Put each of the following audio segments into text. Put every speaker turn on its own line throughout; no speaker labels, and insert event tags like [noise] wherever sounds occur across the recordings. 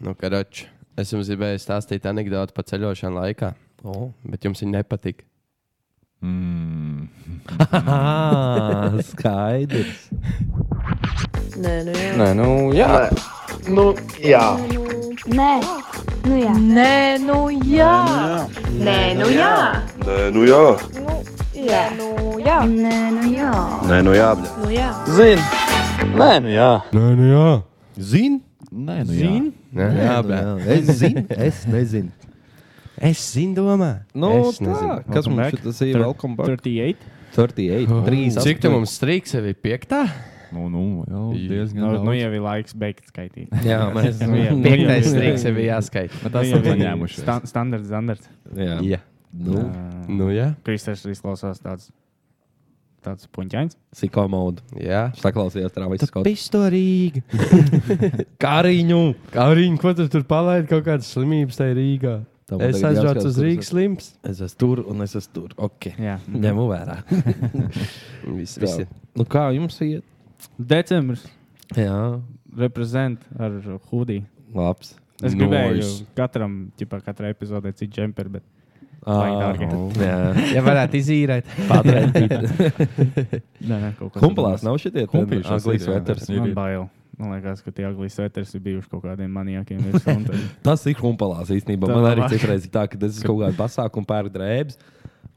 Nu, karoč, es jums gribēju stāstīt anekdoti par ceļošanu laikā, oh. bet jums viņa nepatika.
[laughs]
Ah, skaidrs.
Nē, nu jā.
Nē, nu, jā.
Nu, jā.
Nē, nu jā.
Nē, nu jā. Nē, nu jā.
Nē, nu jā,
Nē, nu jā.
Nē, nu jā.
nē, nu jā,
Nu jā.
Zini, nē,
Nē, nu jā.
nu jā.
Zini? Nē, nu jā.
Zini? Nē,
Nē,
jā,
nu
bet
jā. Es zinu, es nezinu.
es zinu, domā.
Nu,
es
tā, kas
Welcome
mums
back.
tas ir?
Tur-
Welcome back. Oh.
38.
38, 3.
Cik tu mums strīks sevi piektā?
Nu, nu, jau diezgan.
Nu, nu
daudz.
jau ir laiks beigt skaitīt.
Jā,
[laughs]
mēs.
Nu, jā.
Piektais strīks sevi jāskaita.
Bet tas
Nu,
ir
jau ir
paņēmuši.
stan- Standarts, standarts.
Jā.
Jā.
Nu,
Ā,
Nu, jā.
Kristers izklausās tāds, tāds puņķains.
Siko mode.
jā.
Saklausījās Travis Scott.
Pistorīgi.
Kariņu.
Kā Rīgā, ko tu tur palaidi? Kaut kādas slimības tajā Rīgā.
Tā man
Es
tagad jāskatās,
aizbraucu uz
kur
Rīgas slims.
Es esmu tur un es esmu tur. Ok.
Jā. Mhm.
Ņemu vērā.
Viss, viss.
Tā. Mm. Nu, kā jums iet?
Decembris
Jā,
reprezent ar hudiju.
labs.
Es
Nice.
gribēju katram, ķipā, katrai epizodē citu džemperi, bet Vai dārgi?
Ah, [laughs] jā.
Ja varētu izīrēt,
nē, nē, kaut kas
Kumpelās nav šitie
Kumpīšos ir,
Anglijas
jā.
vēters.
Ir,
Man
ir.
bail. Man liekas, ka tie aglīs sveters ir bijuši kaut kādiem manijākiem. virsū, un tad-
Tas ir kumpelās īstenībā.
Tā
Man arī
labāk.
citreiz ir tā, ka es kaut kādā pasākumā pērku drēbes.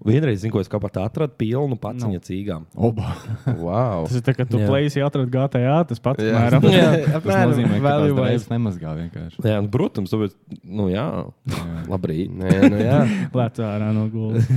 Vienreiz zinu, ko es kaut kādā atradu pilnu
Nu.
paciņa cīgām.
Oba.
wow.
Tas ir tā, ka tu
Jā.
plēsi atrod GTA, tas pats
Jā.
[laughs]
mēram.
Tas nozīmē, ka
value
tas
wise.
reizes nemazgā
[laughs]
vienkārši.
Jā, nu, protams, tāpēc, nu jā, labrīt.
Nē, [laughs] nu jā.
Lēca ārā no gulas.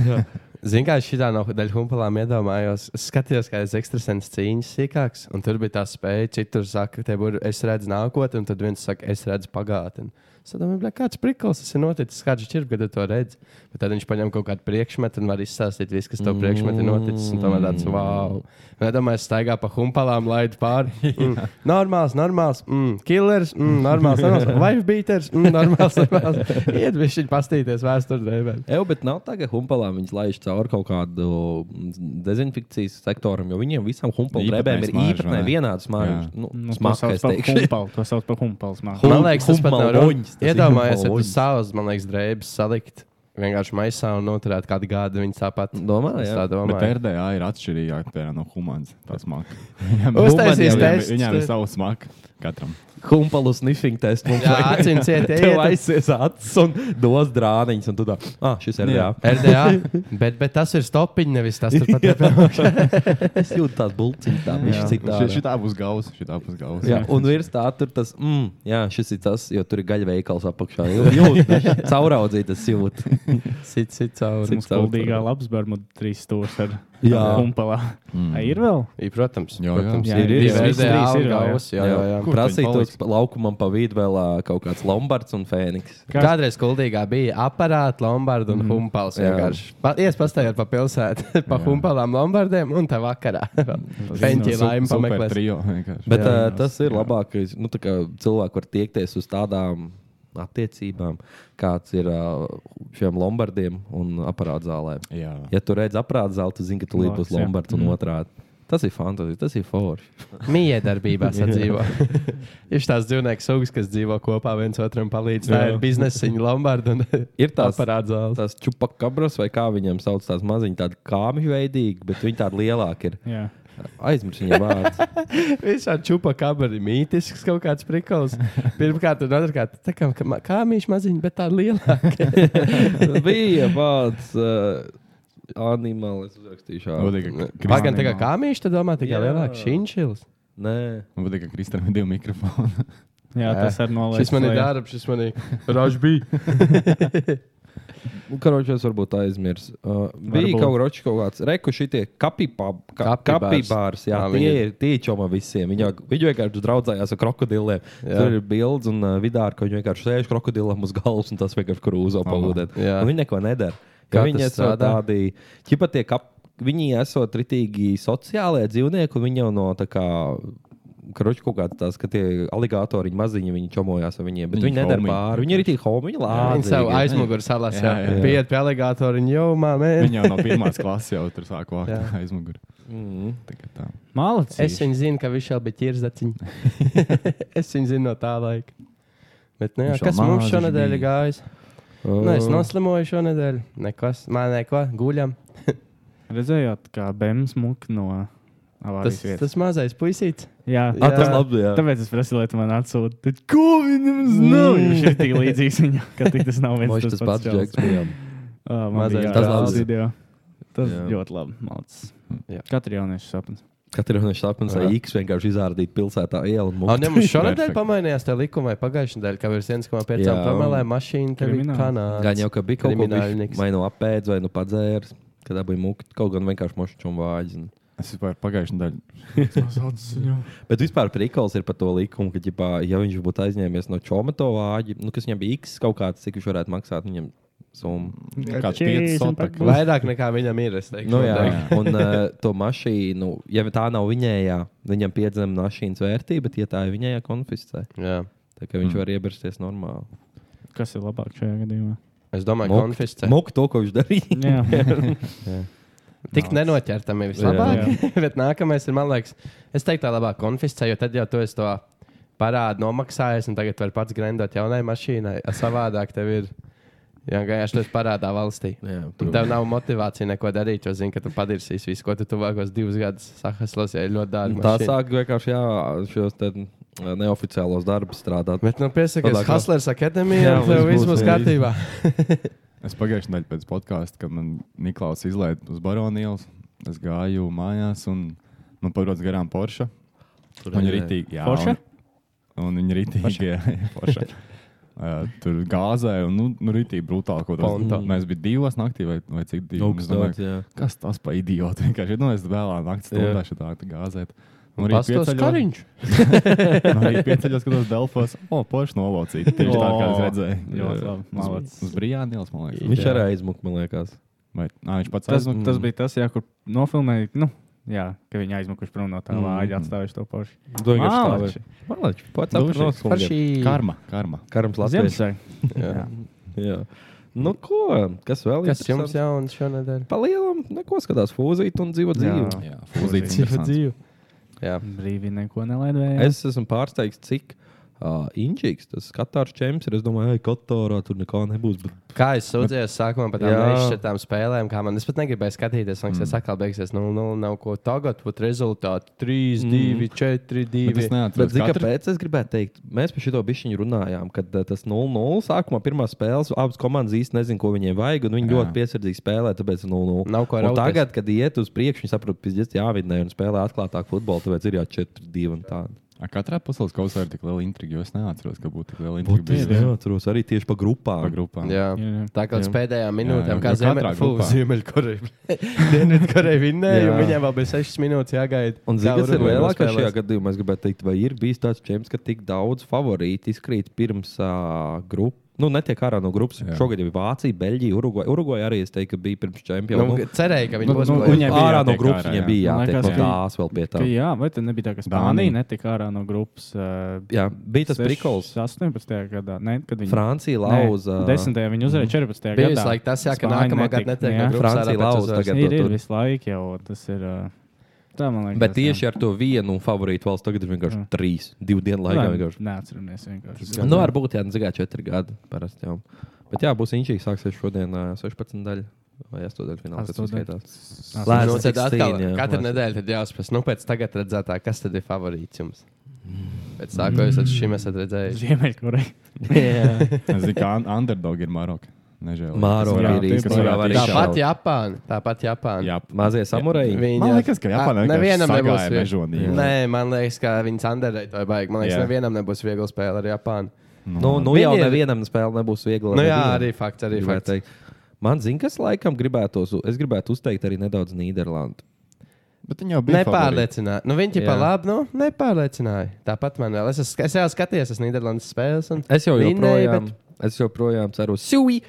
Zini, kā es šitā no daļa humpalām iedomājos. Es skatījos, kā es ekstresens cīņas sīkāks, un tur bija tā spēja. Citur saka, te būtu es redzu nākotni, un tad viens saka, es redzu pagātni. Es domāju, bļa, kāds priklis tas ir noticis, kāds ir čirp, kad tu to redz. Bet tad viņš paņem kaut kādu priekšmetu un var izstāstīt visu, kas tev priekšmetā ir noticis. Un tomēr tāds, wow. Un es domāju, es staigā pa humpalām, laidu pāri. Mm. Normāls, normāls, mm. killers, mm. normāls, normāls, life beaters, mm. normāls, normāls. Iet, viņš ir pastīties vēsturdēvēm.
Evo, bet nav tā, ka humpalām viņas laiž cauri kaut kādu mm, dezinfekcijas sektoram, jo viņiem visām humpalu
Īpatnēji
drēbēm ir
smāržu,
īpatnēji
vai ne?
vienāds mākslinieks. Nu,
Nu, to
Smags,
sauc
es
par
teikšu.
humpalu, To sauc par humpalu smāku.
Man liekas, tas pat nav
Humpalvoņas,
runa.
tas ir
Iedomājieties, ja tu
humpalvoņas.
savus, man liekas, drēbes salikt vienkārši maisā un noturēt kādu gadu viņu tāpat.
Domā,
Es
jā.
tā
Bet
domāju.
RDA ir atšķirīgāk piemēram, no humāns. Tas mākslinieks.
Uztaisīs tests.
Viņam ir savs mākslinieks katram.
[laughs] Humpalu sniffing tests. mums
Jā,
vajag.
acīm ciet,
Tev
ejiet.
aizies acis un dos drāniņus, un tu tā, ah, šis ir jā.
RDA, bet, bet tas ir stopiņš, nevis tas tur pat ir.
Es jūtu tās bulciņas, tā viņš
Jā.
citā.
Šī šitā būs gausa. Šitā būs gausa.
Jā, un virs tā tur tas, mm, jā, šis ir tas, jo tur ir gaļveikals apakšā. Jū- Jūt, cauraudzīt tas jūt.
Sit, sit cauri.
Mums kuldīgā labs bermuda trīs stūrs
[laughs]
ar
Jā.
humpalā.
Mm.
Ai, ir vēl?
I, protams,
Jā, jā.
protams.
Jā,
ir
ir,
divi
ir, visi
RDA un
trīs ir vēl, jā.
gaus, jā, jā, jā.
Kur viņi
Prasīt
paliks?
uz laukumam pa vidu vēl ā, kaut kāds Lombards un Fēniks.
Kas-
Kādreiz kuldīgā bija aparāti, lombardi un humpals.
Jā.
vienkārši. Pa- Ies pastāvēt pa pilsētu, [laughs] pa
Jā.
humpalām, lombardiem un tā vakarā. Pēņķi laimi pameklēt.
Trio vienkārši.
Bet
Bet,
jā,
jā,
tas ir labākais, nu, tā kā cilvēki var tiekties uz tādām attiecībām, kāds ir ā, šiem Lombardiem un aparātzālēm.
jā.
Ja tu redz aparātu zelta, tad zini, ka tu līdz būs
Laks, jā.
Lombards un otrādi. Tas ir fantastiski, tas ir forši.
Mīkdarbībā
[laughs]
sadzīvo. [laughs] Ir tās dzīvnieku sugas, kas dzīvo kopā, viens otram palīdz. Tā ir biznesa, viņa lombarda un [laughs]
Ir tās
parādzāle.
tās čupakabras, vai kā viņiem sauc, tās maziņas, tādas kāmju veidīgas, bet viņi tādi lielāki ir.
Jā.
Aizmirsu viņa vārdu.
Visā čūpa kamerā ir mītisks kaut kāds prikals. Pirmkārt, un otrkārt, tā kā, kā, kā mīļš maziņš, bet tā lielā.
Bija vārds uh, animālis, uzrakstīju šādu.
Patīk, ka
Pagaidām, tā kā kā mīļš, tad domā tikai
Jā.
lielāks šinšils.
Nē,
Man patīk, ka Kristam ir divi mikrofoni.
Jā, tas ar nolaidu.
Šis man ir darbs, šis man ir ražbī.
[laughs]
nu, karočos varbūt aizmirsu. Uh, bija
Varbūt.
kaut, roči, kaut kāds reku šitie kapibārs. Ka,
Kapibārs.
kapibārs, jā,
Jā,
tie
viņi
ir tie čoma visiem. Viņa, viņi vienkārši draudzējās ar krokodiliem. Jā. Tur ir bildes un uh, vidā, ka viņi vienkārši sēž krokodilam uz galvas un tas vienkārši krūzo pavūdē.
Jā.
Viņi neko nedara.
Kā
Kā
tas
viņi esot
strādā?
tādi, ķipa tie kap, viņi esot ritīgi sociālie dzīvnieki, un viņi jau no tā kā. Kruķis kaut kāds tāds, ka tie aligatori viņi maziņi viņi čomojās ar viņiem, bet
Viņi
viņi, viņi nedara
homi.
pāri. Viņi ir tik homiņi,
Viņa sev
lādi.
aizmugurē salās.
Jā, jā, jā.
Pieiet pie alligatora un jau māmē.
Viņa jau no pirmās klases jau tur sāk vākt [laughs] aizmuguri.
Mm.
Tā kā tā.
Malacis.
[laughs]
[laughs] Es viņu zinu, ka viņš jau bija ķirzaciņš. es viņu zinu no tā laika. Bet, nu, jā,
Viņš vēl
kas mums
maziņš
šonadēļ ir
bija.
gājis? Nu, es noslimoju šonadēļ. Nekas, man neko, guļam.
Redzējāt, kā bēns mūk no
Tas,
avārijas vietas.
tas mazais puisīts.
Jā,
Ah,
tas labi, jā.
Tāpēc es prasīju, lai tu man atsūti. Tad, ko viņam zināja?
Mm.
Viņš ir tik līdzīgs viņam, ka tik tas nav viens
Moši
tas
tas pats
čels.
džeks bija.
Ā, man
Mazais
bija
tas
jāatrod
labs.
video. Tas
Jā.
ļoti labi. Malcis.
Jā.
Katra jaunieša sapnis.
Katra no šāpnes
Jā.
X vienkārši izārdīt pilsētā ielu.
Un ja mums šonadēļ
Perfekt.
pamainījās tā likuma vai pagājušajā nedēļā, ka virs 1,5
Jā.
promilē mašīna tev ir
Krimināls.
kanāla.
Gan jau, ka bija kaut kas tāds,
Kriminālnieks.
vai nu apēdis, vai nu padzēris, kad bija mūka, kaut gan vienkārši mošķis un nu. vāģis.
Es vispār pagājušajā nedēļā.
Bet vispār prikals ir par to likumu, ka, ģipā, ja viņš būtu aizņēmies no čoma to vāģi, nu, kas viņam bija X kaut kāds, cik viņš varētu maksāt viņam summu.
Kāds
Čīzi
5
un
sotak.
Vairāk nekā viņam ir. es teikšu,
Nu, jā,
noteikti.
[laughs] un uh, to mašīnu, ja tā nav viņējā, viņam piedzem mašīnas vērtība, bet ja tā ir viņējā konfiscē,
Jā.
tad viņš mm. var iebirsties normāli.
Kas ir labāk šajā gadījumā?
Es domāju, ka
Mukt-
konfiscē.
Muka to, ko viņš darīja.
Jā,
Tik nenoķertam ir vislabāk. [laughs] Bet nākamais ir, man liekas, es teiktu, tā labāk konfiscē, jo tad jau tu esi to parādu nomaksājis un tagad vari pats grendot jaunai mašīnai. A Savādāk tev ir. Jā, gājuši tas parādā valstī.
Jā,
Un Tev nav motivācija neko darīt, jo zini, ka tu padirsīsi visu, ko tu tuvākos divus gadus sahaslos, ja ir ļoti
Un
dārgi.
Nu, Tā
mašīna.
sāk vienkārši jā, šos te, ā, neoficiālos darbus strādāt.
Bet, nu, piesakies
Labāk, jā.
Haslers akadēmijā,
Jā,
un tev
viss
viss būs
būs, jā,
kārtībā.
Es pagājušajā nedēļā pēc podkāstiem, kad man Niklaus izlaiž uz Baronijas. Es gāju mājās un man padodas garām Porsche. Viņa ir rītīga. Jā,
Porsche?
Un, un viņa ir rītīga. Uh, tur gāzēja, un nu, nu rītī brutāli kaut kāda.
Ponta.
Mēs bijām divas naktī, vai, vai cik divi. Un es domāju,
Augstāk, jā.
Kas tas par idiotu? [laughs] Vienkārši nu, es vēlā
Jā.
naktī strādāju šitā tā gāzēt. Un arī
Pastos
[laughs]
kariņš.
Arī pieceļos, kad tas Delfos. O, Porsche nolocīja. Tieši tā, kā es redzēju.
Ļoti labi.
Uz,
Malācis.
uz Brijānijas, man liekas.
Viņš arī aizmuka, man liekas.
Vai, nā, viņš
Tas,
pats
nu,
aizmuka?
tas
mm.
bija tas, jā, kur nofilmēja. Nu, jā, ka viņi aizmukuši prom no tā
Mm.
vāja, atstājuši to pašu.
To vienkārši tā
Malači.
vajag. Malači, pats
Duši.
apvienot
Par
kungiem.
šī
Karma, karma.
Karams Latvijas.
Ziemassvētku.
Jā.
[laughs] Jā. Nu, ko? Kas vēl
Kas jums
interesants?
jauns šonadēļ?
Palielam, neko skatās fūzīt un dzīvo dzīvi.
Jā,
Fūzīts.
fūzīts.
Jā.
Brīvi neko nelaid vējā.
Es esmu pārsteigts, cik uh, inčīgs tas Katārs čempions ir. Es domāju, ka Katārā tur nekā nebūs. Bet...
Kā es sūdzējos sākumā par tām
Jā. Mm.
nešķirtām spēlēm, kā man es pat negribēju skatīties, man liekas, atkal beigsies 0-0, nav ko tagad, bet rezultāti 3, 2, 4,
Bet
2.
es neatceros,
Mm. Bet, zin,
katru-
kāpēc es gribēju teikt, mēs par šo bišķiņu runājām, kad eh, tas 0-0 sākumā pirmā spēlē abas komandas īsti nezina, ko viņiem vajag, un viņi
Jā.
jā. ļoti piesardzīgi spēlē, tāpēc ir 0-0.
Nav ko
Un
rauties.
Tagad, kad iet uz priekšu, viņi saprot, ka pizdies jāvidnē un spēlē atklātāk futbolu, tāpēc ir jau 4-2 un tādi.
Ar Katrā pasaules kausā ir tik liela intriga, jo es neatceros, ka būtu tik liela intriga.
Būtībā
bijusi
neatceros arī tieši pa grupām.
Pa grupām.
Jā.
Jā, jā.
Tā kā uz pēdējām
jā,
minūtēm,
jo
kā
katrā grupā.
Ziemeļkoreja, [laughs] Dienvidkoreja vinnēja,
Jā.
un viņiem vēl bija 6 minūtes jāgaida.
Un zini,
kā
kas ir
Urugvaja
lielākais šajā
nospēlēs.
gadījumā? Es gribētu teikt, vai ir bijis tāds čempions, ka tik daudz favorītu izkrīt pirms uh, grupas. Nu, netiek ārā no grupas. Jā.
Jā.
Šogad jau bija Vācija, Beļģija, Urugvaja. Urugvaja arī es teiktu, ka bija pirms čempiona.
Nu, cerēju, ka viņi
Nu,
būs
nu,
klāt.
viņiem bija
ārā no
jātiek
grupas
ārā,
viņa
jā.
bija
Man
jātiek
liekas,
no
ka-
tās vēl pie tā.
Ka Jā, vai tad nebija tā, ka
Dānija.
Spānija netika ārā no grupas? Uh,
Jā, bija tas prikals.
18. gadā. Ne, kad viņi
Francija
Nē,
lauza. Mm.
10. viņi uzvarēja 14.
Bija
gadā.
vislaik tas, jā, ka
Spāņi
nākamā gada
netika,
netiek
jā.
no grupas
Francija
ārā, bet
lauza
uzvarēs.
tagad.
Ir, ir
tur.
visu laiku jau tas ir. uh, Tā man liekas.
Bet tieši ar to vienu favorītu valsts tagad ir vienkārši
Jā.
trīs, divu dienu laikā.
Nē,
vienkārši.
neatceramies vienkārši.
Nu, varbūt jā, zigā četri gadi parasti jau. Bet jā, būs inčīgi sāksies šodien ā, 16 daļa vai 8 daļa fināls, kas
Astoņdaļa.
skaitās.
Nāc,
Lēns
Nu, tad
16,
atkal
jā,
katru
lēns.
nedēļu tad jāuzspēs. Nu, pēc tagad redzētā, kas tad ir favorīts jums? Pēc tā, ko jūs esat šim esat redzējuši.
[laughs]
Ziemeļkoreja.
Es zinu, ka un- underdog ir Maroka. Nežēl.
Māro
Jā,
ir
tie
īstenībā
varētu
arī
izšaut.
Tāpat
šādi.
Japāna. Tāpat Japāna.
Jā,
Mazie samuraji.
Viņa
Man liekas, ka Japānā
A,
vienkārši
nevienam nebūs
sagāja
vie-
mežonību.
Nē, man liekas, ka viņi sandarēja to baigi. Man liekas,
Jā.
ka nevienam nebūs viegla spēle ar Japānu.
Nu, nu jau
Viņi ir-
nevienam spēle nebūs viegla.
Nu, jā,
nevienam.
arī fakts. Arī
Gribētu
fakts.
teikt. Man zina, kas laikam gribētos, es gribētu uzteikt arī nedaudz Nīderlandi.
Bet viņi jau bija. favorīti.
Nepārliecināja. Nu, viņi pa
Jā.
labi, nu, nepārliecināja. Tāpat man vēl. Es, es, es jau skatījos, es Nīderlandes spēles. Un...
Es jau
Vinnēja,
joprojām, es joprojām ceru uz Sui.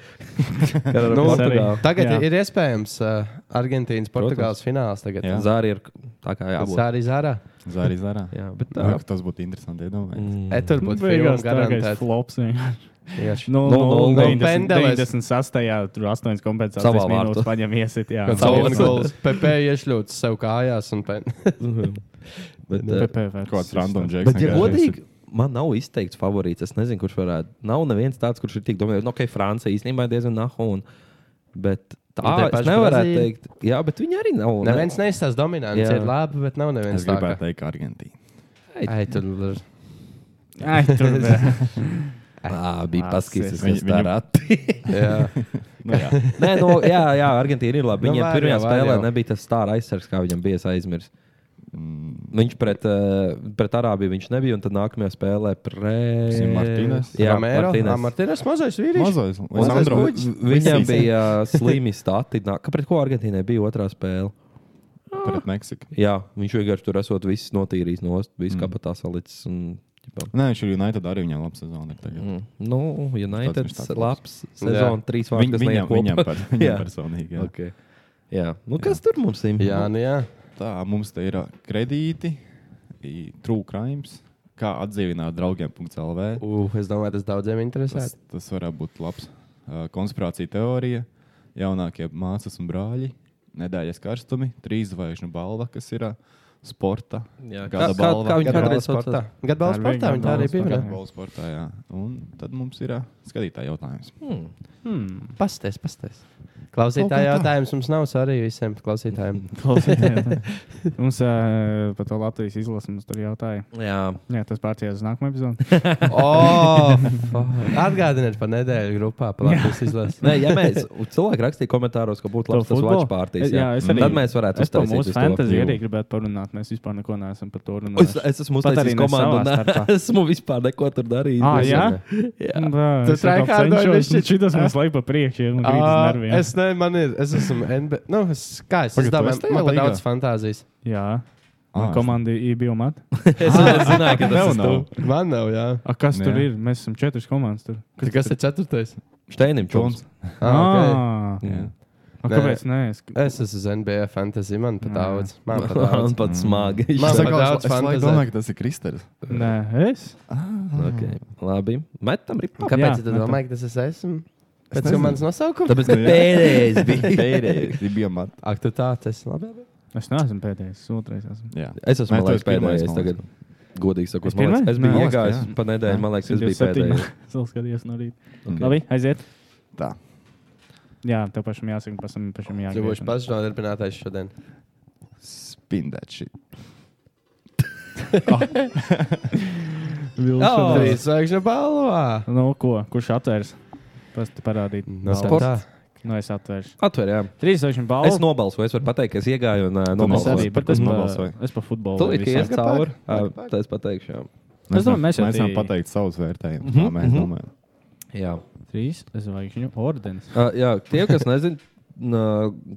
Nu,
nu,
arī.
Tagad
Jā.
jā. ir iespējams uh, Argentīnas Portugāles fināls. Tagad.
Jā.
Zāri ir tā kā jābūt.
Tā arī zārā.
Zārī, zārā.
Jā, bet tā. Mm.
Nu, Tas būtu interesanti. iedomājieties.
E, [laughs] tur būtu filmas
Beigās
garantēts.
tāds flops. vienkārši.
Tieši.
Nu,
Nu,
nu,
nu,
90
pendeles.
98. tur 8
Savā
kompensācijas
vārtā.
minūtes paņem iesit. Jā,
Kad
Savu
Saulis
Saules goals.
Gols [laughs] Pepe iešļūts sev kājās un pen.
bet, eh,
PPV. Nu,
Kaut kāds random
Tas-
jēgas.
bet, ja godīgi, man nav izteikts favorīts. Es nezinu, kurš varētu. Nav neviens tāds, kurš ir tik dominējis. No, ok, Francija īstenībā ir diezgan nahu. Un, bet tā
Un tie
es
paši
nevarētu
Brazīļi?
teikt. Jā, bet viņi arī nav. ne-
Neviens neizstāsta dominants,
Jā.
ir labi, bet nav neviens.
Es gribētu teikt, ka Argentīna.
Ai, tur ir.
Ai,
[laughs]
tur bija.
Ā, Ah,
Ah,
bija paskatījis, kas
Viņu-
tā
viņu-
rati.
[laughs]
[laughs]
Jā,
Nu, jā.
Nē, no, jā, jā, Argentīna ir labi.
Nu,
Viņam
var
pirmajā
jau, var
spēlē
jau.
nebija tas stāra aizsargs, kā viņam bija es aizmirsis.
Mm,
Viņš pret, eh, pret Arābiju viņš nebija, un tad nākamajā spēlē pret
Zinu, Martīnes?
Jā,
Martīnes.
Martīnes.
Jā, Martīnes mazais vīrietis.
Mazais,
Mazais
Lisandro.
puķis.
Viņam bija eh, slimi stati. Nā- Kāpēc ko Argentīnai bija otrā spēle?
pret Meksiku.
Jā, viņš vienkārši tur esot viss notīrījis no ostas, viss mm. kapatā salicis. Un, ķipā,
Nē, viņš ir United arī viņam labs sezona. Mm.
mm, nu, United
viņš tāds
labs sezona, trīs
Viņ,
vārtus.
viņam, viņam,
[laughs]
par,
jā.
viņam personīgi. Jā. Okay.
Okay. jā, nu kas tur mums ir?
Jā, nu jā.
Tā mums te ir ā, kredīti, trūkrājums, kā atdzīvināt draugiem. CELV.
Uh, es domāju, tas daudziem interesē.
Tas, tas varētu būt labs. Ā, Konspirācija teorija, jaunākie māsas un brāļi, nedēļas karstumi, trīs zvaigžņu balva, kas ir ā, sporta.
Jā,
gada
kā- kā-
balva.
kā viņi
Gada
kādreiz
balva
Gadbalda sportā.
saucās?
Gadbalda
Tā ir
sportā viņa tā arī
gadbalda
bija.
sportā.
Futbola sportā, jā. Un tad mums ir ā, skatītāja jautājums.
Pastāstiet, pastāstiet. Klausītāji
Kaut kā tā.
jautājums mums nav arī visiem
[laughs]
klausītājiem.
Mums ā, par to Latvijas izlasi mums tur jautāja.
jā.
Jā, tas pārcēlās uz nākamo epizodi.
oh, fuck. Atgādiniet par nedēļu grupā, par Latvijas
[laughs]
izlasi.
Nē, ja mēs cilvēki rakstīja komentāros, ka būtu labs tas
futbolu?
watch parties,
Jā,
jā,
es arī.
tad mēs varētu
Es par
uztaisīt
mūsu
uz to.
fantāziju
Jū.
arī gribētu parunāt. Mēs vispār neko neesam par to
Es,
runājuši.
es esmu
Pat arī
uztaisījis
ne
komandu,
savā starpā.
un [laughs] esmu vispār neko tur darījis.
Ā, jā?
jā.
Tu tryhardoji bišķiņ?
Šitas
[laughs]
mums laik pa priekšu, ja nu man gribas nerviem.
Ah, es ne, man ir, es esmu NBA. Nu, es, kā es
Pagaid, tu
domāju,
esi tajā
man ir
līgā?
daudz fantāzijas.
Jā,
Ā, es-
komanda IBMAT.
Es nezināju, ka tas
Tev
ir
nav.
tu.
Man nav, jā.
A, kas tur
Jā.
ir? Mēs esam četras komandas. Tur.
Kas, kas ir ceturtais?
Steinim čums.
Čuns.
Ah, okay.
Ah,
Jā.
a, kāpēc? Nē, es
Es esmu uz NBA fantāzija. Man pat
Nē.
daudz. Man
[laughs]
pat daudz.
Man pat smagi.
Man
Es
saka,
saku,
daudz
es- es
fantazē.
laikam domāju, ka tas ir Kristers.
nē, es.
Okay. Labi. Metam ripam.
Kāpēc
Jā,
tu
man tā-
domāji, ka tas es esmu? Pēc
nezinu.
tam mans nosaukums?
Tāpēc, ka pēdējais
[laughs]
bija.
bija mats.
Ak, tu tā, tas ir labi. labi.
Es neesmu pēdējais, es otrais. Esmu.
Es esmu
Nē,
man
tu
liekas,
esi pirmais,
pēdējais
man
tagad. Godīgi sakot,
Es
man liekas,
pirmais?
es biju
Nē.
iegājis
Jā.
pa nedēļu. Man liekas, es biju
127.
pēdējais.
[laughs] Es vēl skatījos no rīta.
Ok.
Labi, aiziet.
Tā.
Jā, tev pašam jāsaka, pašam, pašam
Tu būsi
jāsaka.
pats nodarbinātais šodien.
Spindēt šī.
Oh,
Vilšanās.
Trīs zvaigžņu balvā.
Nu, ko? Kurš atvērs? Pats te parādīt.
No
Balvu.
sporta.
Nu, es atvēršu.
Atver, jā.
Trīs seši
Es
balvas.
nobalsoju, es varu pateikt, ka es iegāju un uh,
Es arī,
nobalsoju.
bet
Par
es
ko
par,
nobalsoji?
es par futbolu.
Tu liki
visu.
ies cauri,
Pagaid,
Ā, tad es pateikšu. jā.
Es domāju, mēs jau
mēs varam
tī-
pateikt savus
Mhm,
vērtējumus. Mm -hmm. domājam.
Jā.
Trīs zvaigžņu ordenis.
Uh, jā, tie, kas nezina,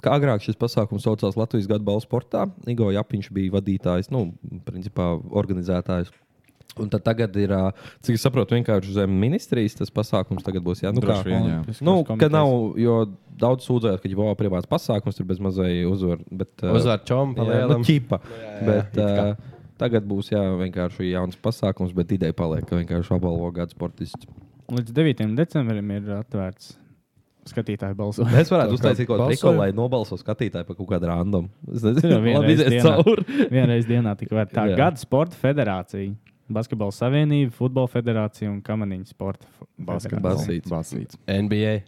kā agrāk šis pasākums saucās Latvijas gada balvu sportā, Igo Japiņš bija vadītājs, nu, principā organizētājs. Un tad tagad ir, ā, cik es saprotu, vienkārši zem ministrijas tas pasākums tagad būs. Jā, nu, kā,
Droši vien, jā.
Olimpiskās
nu, ka
komitejas.
nav, jo daudz sūdzējās, ka jau privāts pasākums tur bez mazai uzvar. Bet, ā,
Uzvar čompa
jā, nu,
lielam.
ķipa.
jā,
Bet, ā, Tagad būs jā, vienkārši jauns pasākums, bet ideja paliek, ka vienkārši apbalvo gada sportistu.
Līdz 9. decembrim ir atvērts skatītāju
[laughs]
balsojums.
Mēs varētu uztaisīt kaut
balsoju.
kādu triku, lai nobalsotu skatītāju par kaut kādu randomu. Es nezinu,
Jā, vienreiz
kāda ir
dienā.
cauri.
[laughs]
[laughs]
Vienreiz dienā tika vērta tā
Jā.
gada sporta federācija, basketbola savienība, futbola federācija un kamaniņu sporta. f- federācija.
Basīts.
Basīts.
NBA.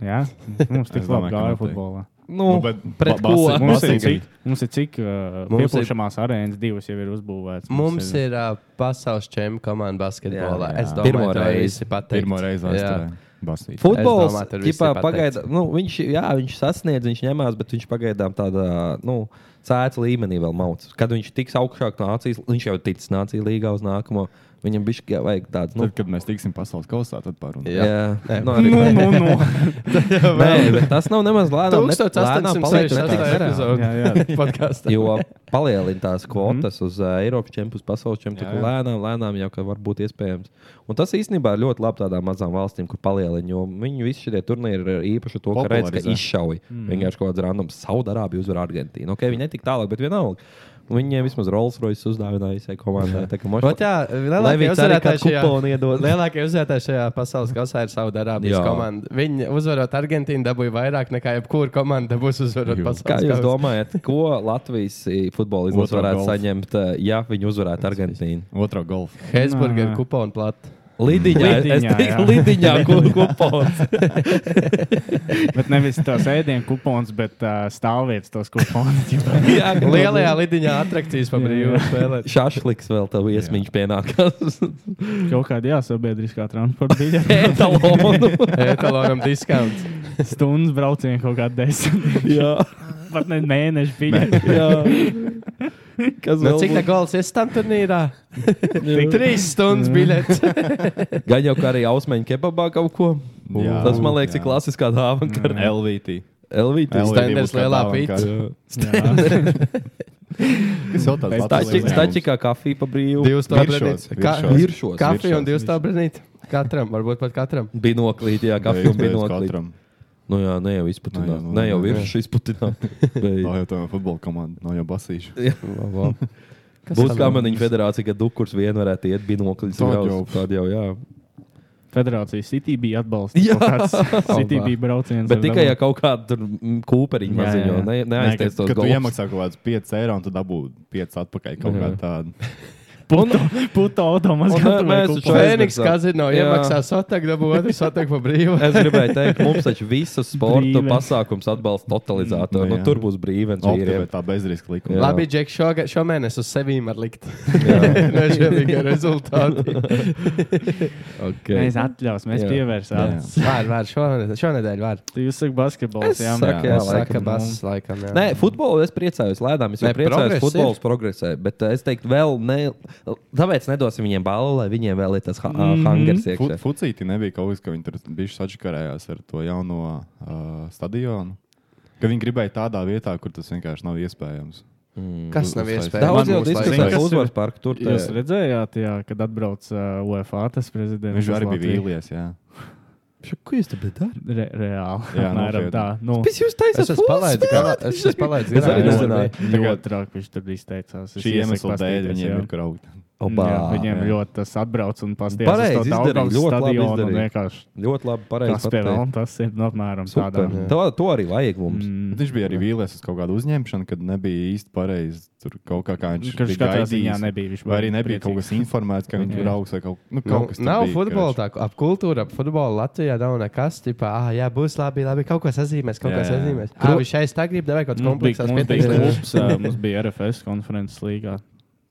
Jā, mums tik
Es
labi
domāju, ka
gāja
noteikti.
futbolā.
Nu,
Nu, bet
pret
ba-
ko?
basīt-
Mums ir
Basīgi.
cik, mums ir cik uh,
Mums ir-
pieplūšamās arēnas divas jau ir uzbūvētas.
Mums ir uh, pasaules čempions komanda basketbolā. Jā,
Jā, jā.
jā. Es domāju,
Pirmo
to
reizi.
visi pateiks.
Pirmo reizi aizstāja. Basīts.
Futbols,
Es domāju, tur visi
ģipā,
pateica.
pagaida, nu, viņš, jā, viņš sasniedz, viņš ņemās, bet viņš pagaidām tādā nu, cēlā līmenī vēl mauc. Kad viņš tiks augšāk nācijas, viņš jau ticis nācijas līgā uz nākamo. Viņam bija vajag tādu nu,
Tad, kad mēs tiksim pasaules kausā, tad parunāsim.
Jā.
jā, nu, arī, nu, nu, nu. [laughs] Nē, bet tas nav nemaz
nu,
lēnām. ne- lēnām paliek, netiks garā.
1868.
Jā,
[laughs]
jā.
epizode podkāstā.
[laughs] Jo palielina tās kvotas uz uh, Eiropas čempionu, pasaules čempionu.
Jā, jā.
Lēnām, lēnām jau ka var būt iespējams. Un tas īstenībā ir ļoti labi tādām mazām valstīm, kur palielina. Jo viņi visi šie turnīri ir īpaši to, ka redz, ka
Popularizē.
izšauja. Mm. Vienkārši kaut kāds randoms Saudārābija uzvar Argentīnu. Okay, viņi netika tālāk, bet vienalga. Viņiem vismaz Rolls Royce uzdāvināja visai komandai. Tā kā moš-
Ot, jā, lielākie
viņi arī
uzvarētāji
kādu
šajā-
kuponu
[laughs]
iedod.
lielākie uzvarētāji šajā pasaules kausā ir Saudārābijas
Jā.
komanda. Viņi uzvarot Argentīnu, dabūja vairāk nekā jebkura komanda būs uzvarot
Jū.
pasaules
Kā jūs
kausā.
domājat, ko Latvijas eh, futbola izlase
Otro
varētu
golfu.
saņemt, eh, ja viņi uzvarētu Argentīnu?
Otra golfa.
Hesburger
Nā.
kuponu plata.
Lidiņā,
Lidiņā,
es
jā.
teiktu,
[laughs]
lidiņā ku- kupons.
Bet nevis tos ēdienu kupons, bet uh, stāvvietas tos kuponus.
[laughs]
Jā,
Lielajā lidiņā attrakcijas pabrīvot
[laughs]
spēlēt.
Šāšliks vēl tev iesmiņš pienākās.
Kaut kādā jāsabiedriskā transporta
[laughs]
biļete.
Etalonu.
Etalonam discounts.
Stundas brauciena kaut kāda desmit.
[laughs] jā,
Pat ne mēneša biļete.
jā. Kas
Nu,
vēl
cik tā
būs? Nu,
gala ir tam turnīrā? Tik trīs stundas biļets.
[laughs] [laughs] Gan jau kā arī ausmeņa kebabā kaut ko.
Jā. Mm.
Tas man liekas, ir klasiskā dāvana.
[laughs]
kar-
LVT.
LVT.
Stenders lielā
[laughs]
Kas vēl tāds
Stači- Stači kā kafija pa brīvu.
Divas stundas
Viršos,
brīdī. Kā-
viršos.
Nu, Viršos.
Kafija
viršos,
un divas stundas brīdī. Katram, varbūt pat katram.
Binoklīt, jā, kafija un binoklīt. Nu jā, ne jau izputināt.
Nē, nu,
Ne jau
nē.
viršu izputināt.
[laughs]
Bet- [laughs]
Tā jau tā futbola komanda, no jau basīša.
Būs kamaniņu federācija, kad dukurs vien varētu iet binoklis.
Tad
grauz.
jau.
Tad jau, jā.
Federācijas City bija atbalsts.
Jā.
Jā,
[laughs]
City bija brauciens.
Bet
ar
tikai, ja
vēl-
kaut kāda tur, mm, kūperiņa
Jā, jā,
maziņo,
jā.
ne- neaiztais tos
Kad tu
golfus. Mhm.
iemaksā kaut kāds 5 eiro, un tu dabū 5 atpakaļ kaut kā
Jā.
tādu.
puto, puto automašīnu.
Un,
gatavoja
mēs
kuponu.
taču aizmirsām.
Fēniks kazino
Jā.
iemaksā sotaku, dabū otru sotaku pa brīvu.
Es gribēju teikt, mums taču visus sporta
Brīvens.
pasākums atbalsta totalizātori.
Nu,
Nu,
jā.
tur būs brīvens
Optimē
vīriem.
tā bezriska
Jā.
likuma.
Labi, Džek, šoga- šomēnes uz sevīm var likt. [laughs] No šiem tikai rezultāti.
Okay.
Mēs atļaus, mēs
Jā.
pievērsām.
Var, var, šonedēļ, šonedēļ var.
Jūs sakat basketbols,
Es
jā. nu.
saku, jā, laikam,
Saka, bas, laikam, jā.
Nē, futbolu es priecājos, lēnām. Es
Nē,
jau priecājos,
progress
ka futbols progresē. Bet eh, es teiktu, vēl ne. Tāpēc nedosim viņiem balvu, lai viņiem vēl ir tas ha mm -hmm. hangers iekšā.
Fucīti nebija kaut kas, ka viņi tur bija sačakarējās ar to jauno uh, stadionu. Ka viņi gribēja tādā vietā, kur tas vienkārši nav iespējams.
Kas nav
Uztais.
iespējams?
Daudz jau
Mums laikam-
diskutēja par
kas ir?
uzvaru parku. Tur tā-
Jūs redzējāt, jā, kad atbrauc uh, UEFA tas prezidents.
Viņš
uz
arī bija
Latviju?
vīlies. Jā,
Šo, Ko jūs te darāt?
Re, reāli.
Jā,
Jā, apmēram
nopietni.
tā. Nu,
Es jūs teicu,
Es esmu palaidis, kā- es esmu palaidis.
Es arī
garām.
nezināju.
Ļoti traki viņš tur izteicās. Es
Šī
iesaku
iemesla dēļ
paskatīties,
viņiem
jā. Mhm.
ir grauta.
Opa,
jā, viņiem
jā.
jā. ļoti tas atbrauc un paskatās.
Pareizi izdarīja, ļoti labi izdarīja.
Vienkārši
ļoti labi. Pareizi.
tas pievēl,
pateikt.
un tas ir nu, apmēram tādā.
Super. To, to arī vajag mums.
Mm.
Bet viņš bija arī vīlies uz kaut kādu uzņemšanu, kad nebija īsti pareizi. Tur kaut kā, kā viņš
Kurš
bija
katrā ziņā Mhm.
gaidījis.
nebija. Viņš
Vai arī nebija kaut
priecīgs.
kas informēts, ka viņi
Jā.
tur augs vai kaut, nu,
Nu,
kaut kas tāds.
nav futbola tā, ap kultūru, ap futbolu Latvijā nav nekas. Tipā, ah, jā, būs labi, labi, kaut ko sazīmēs, kaut ko
Jā.
sazīmēs. Ah, viņš šeit tā grib, devai kaut kāds
Mums Mm, bija,
komplekss.
mums bija klubs, ā, mums bija RFS konferences līgā.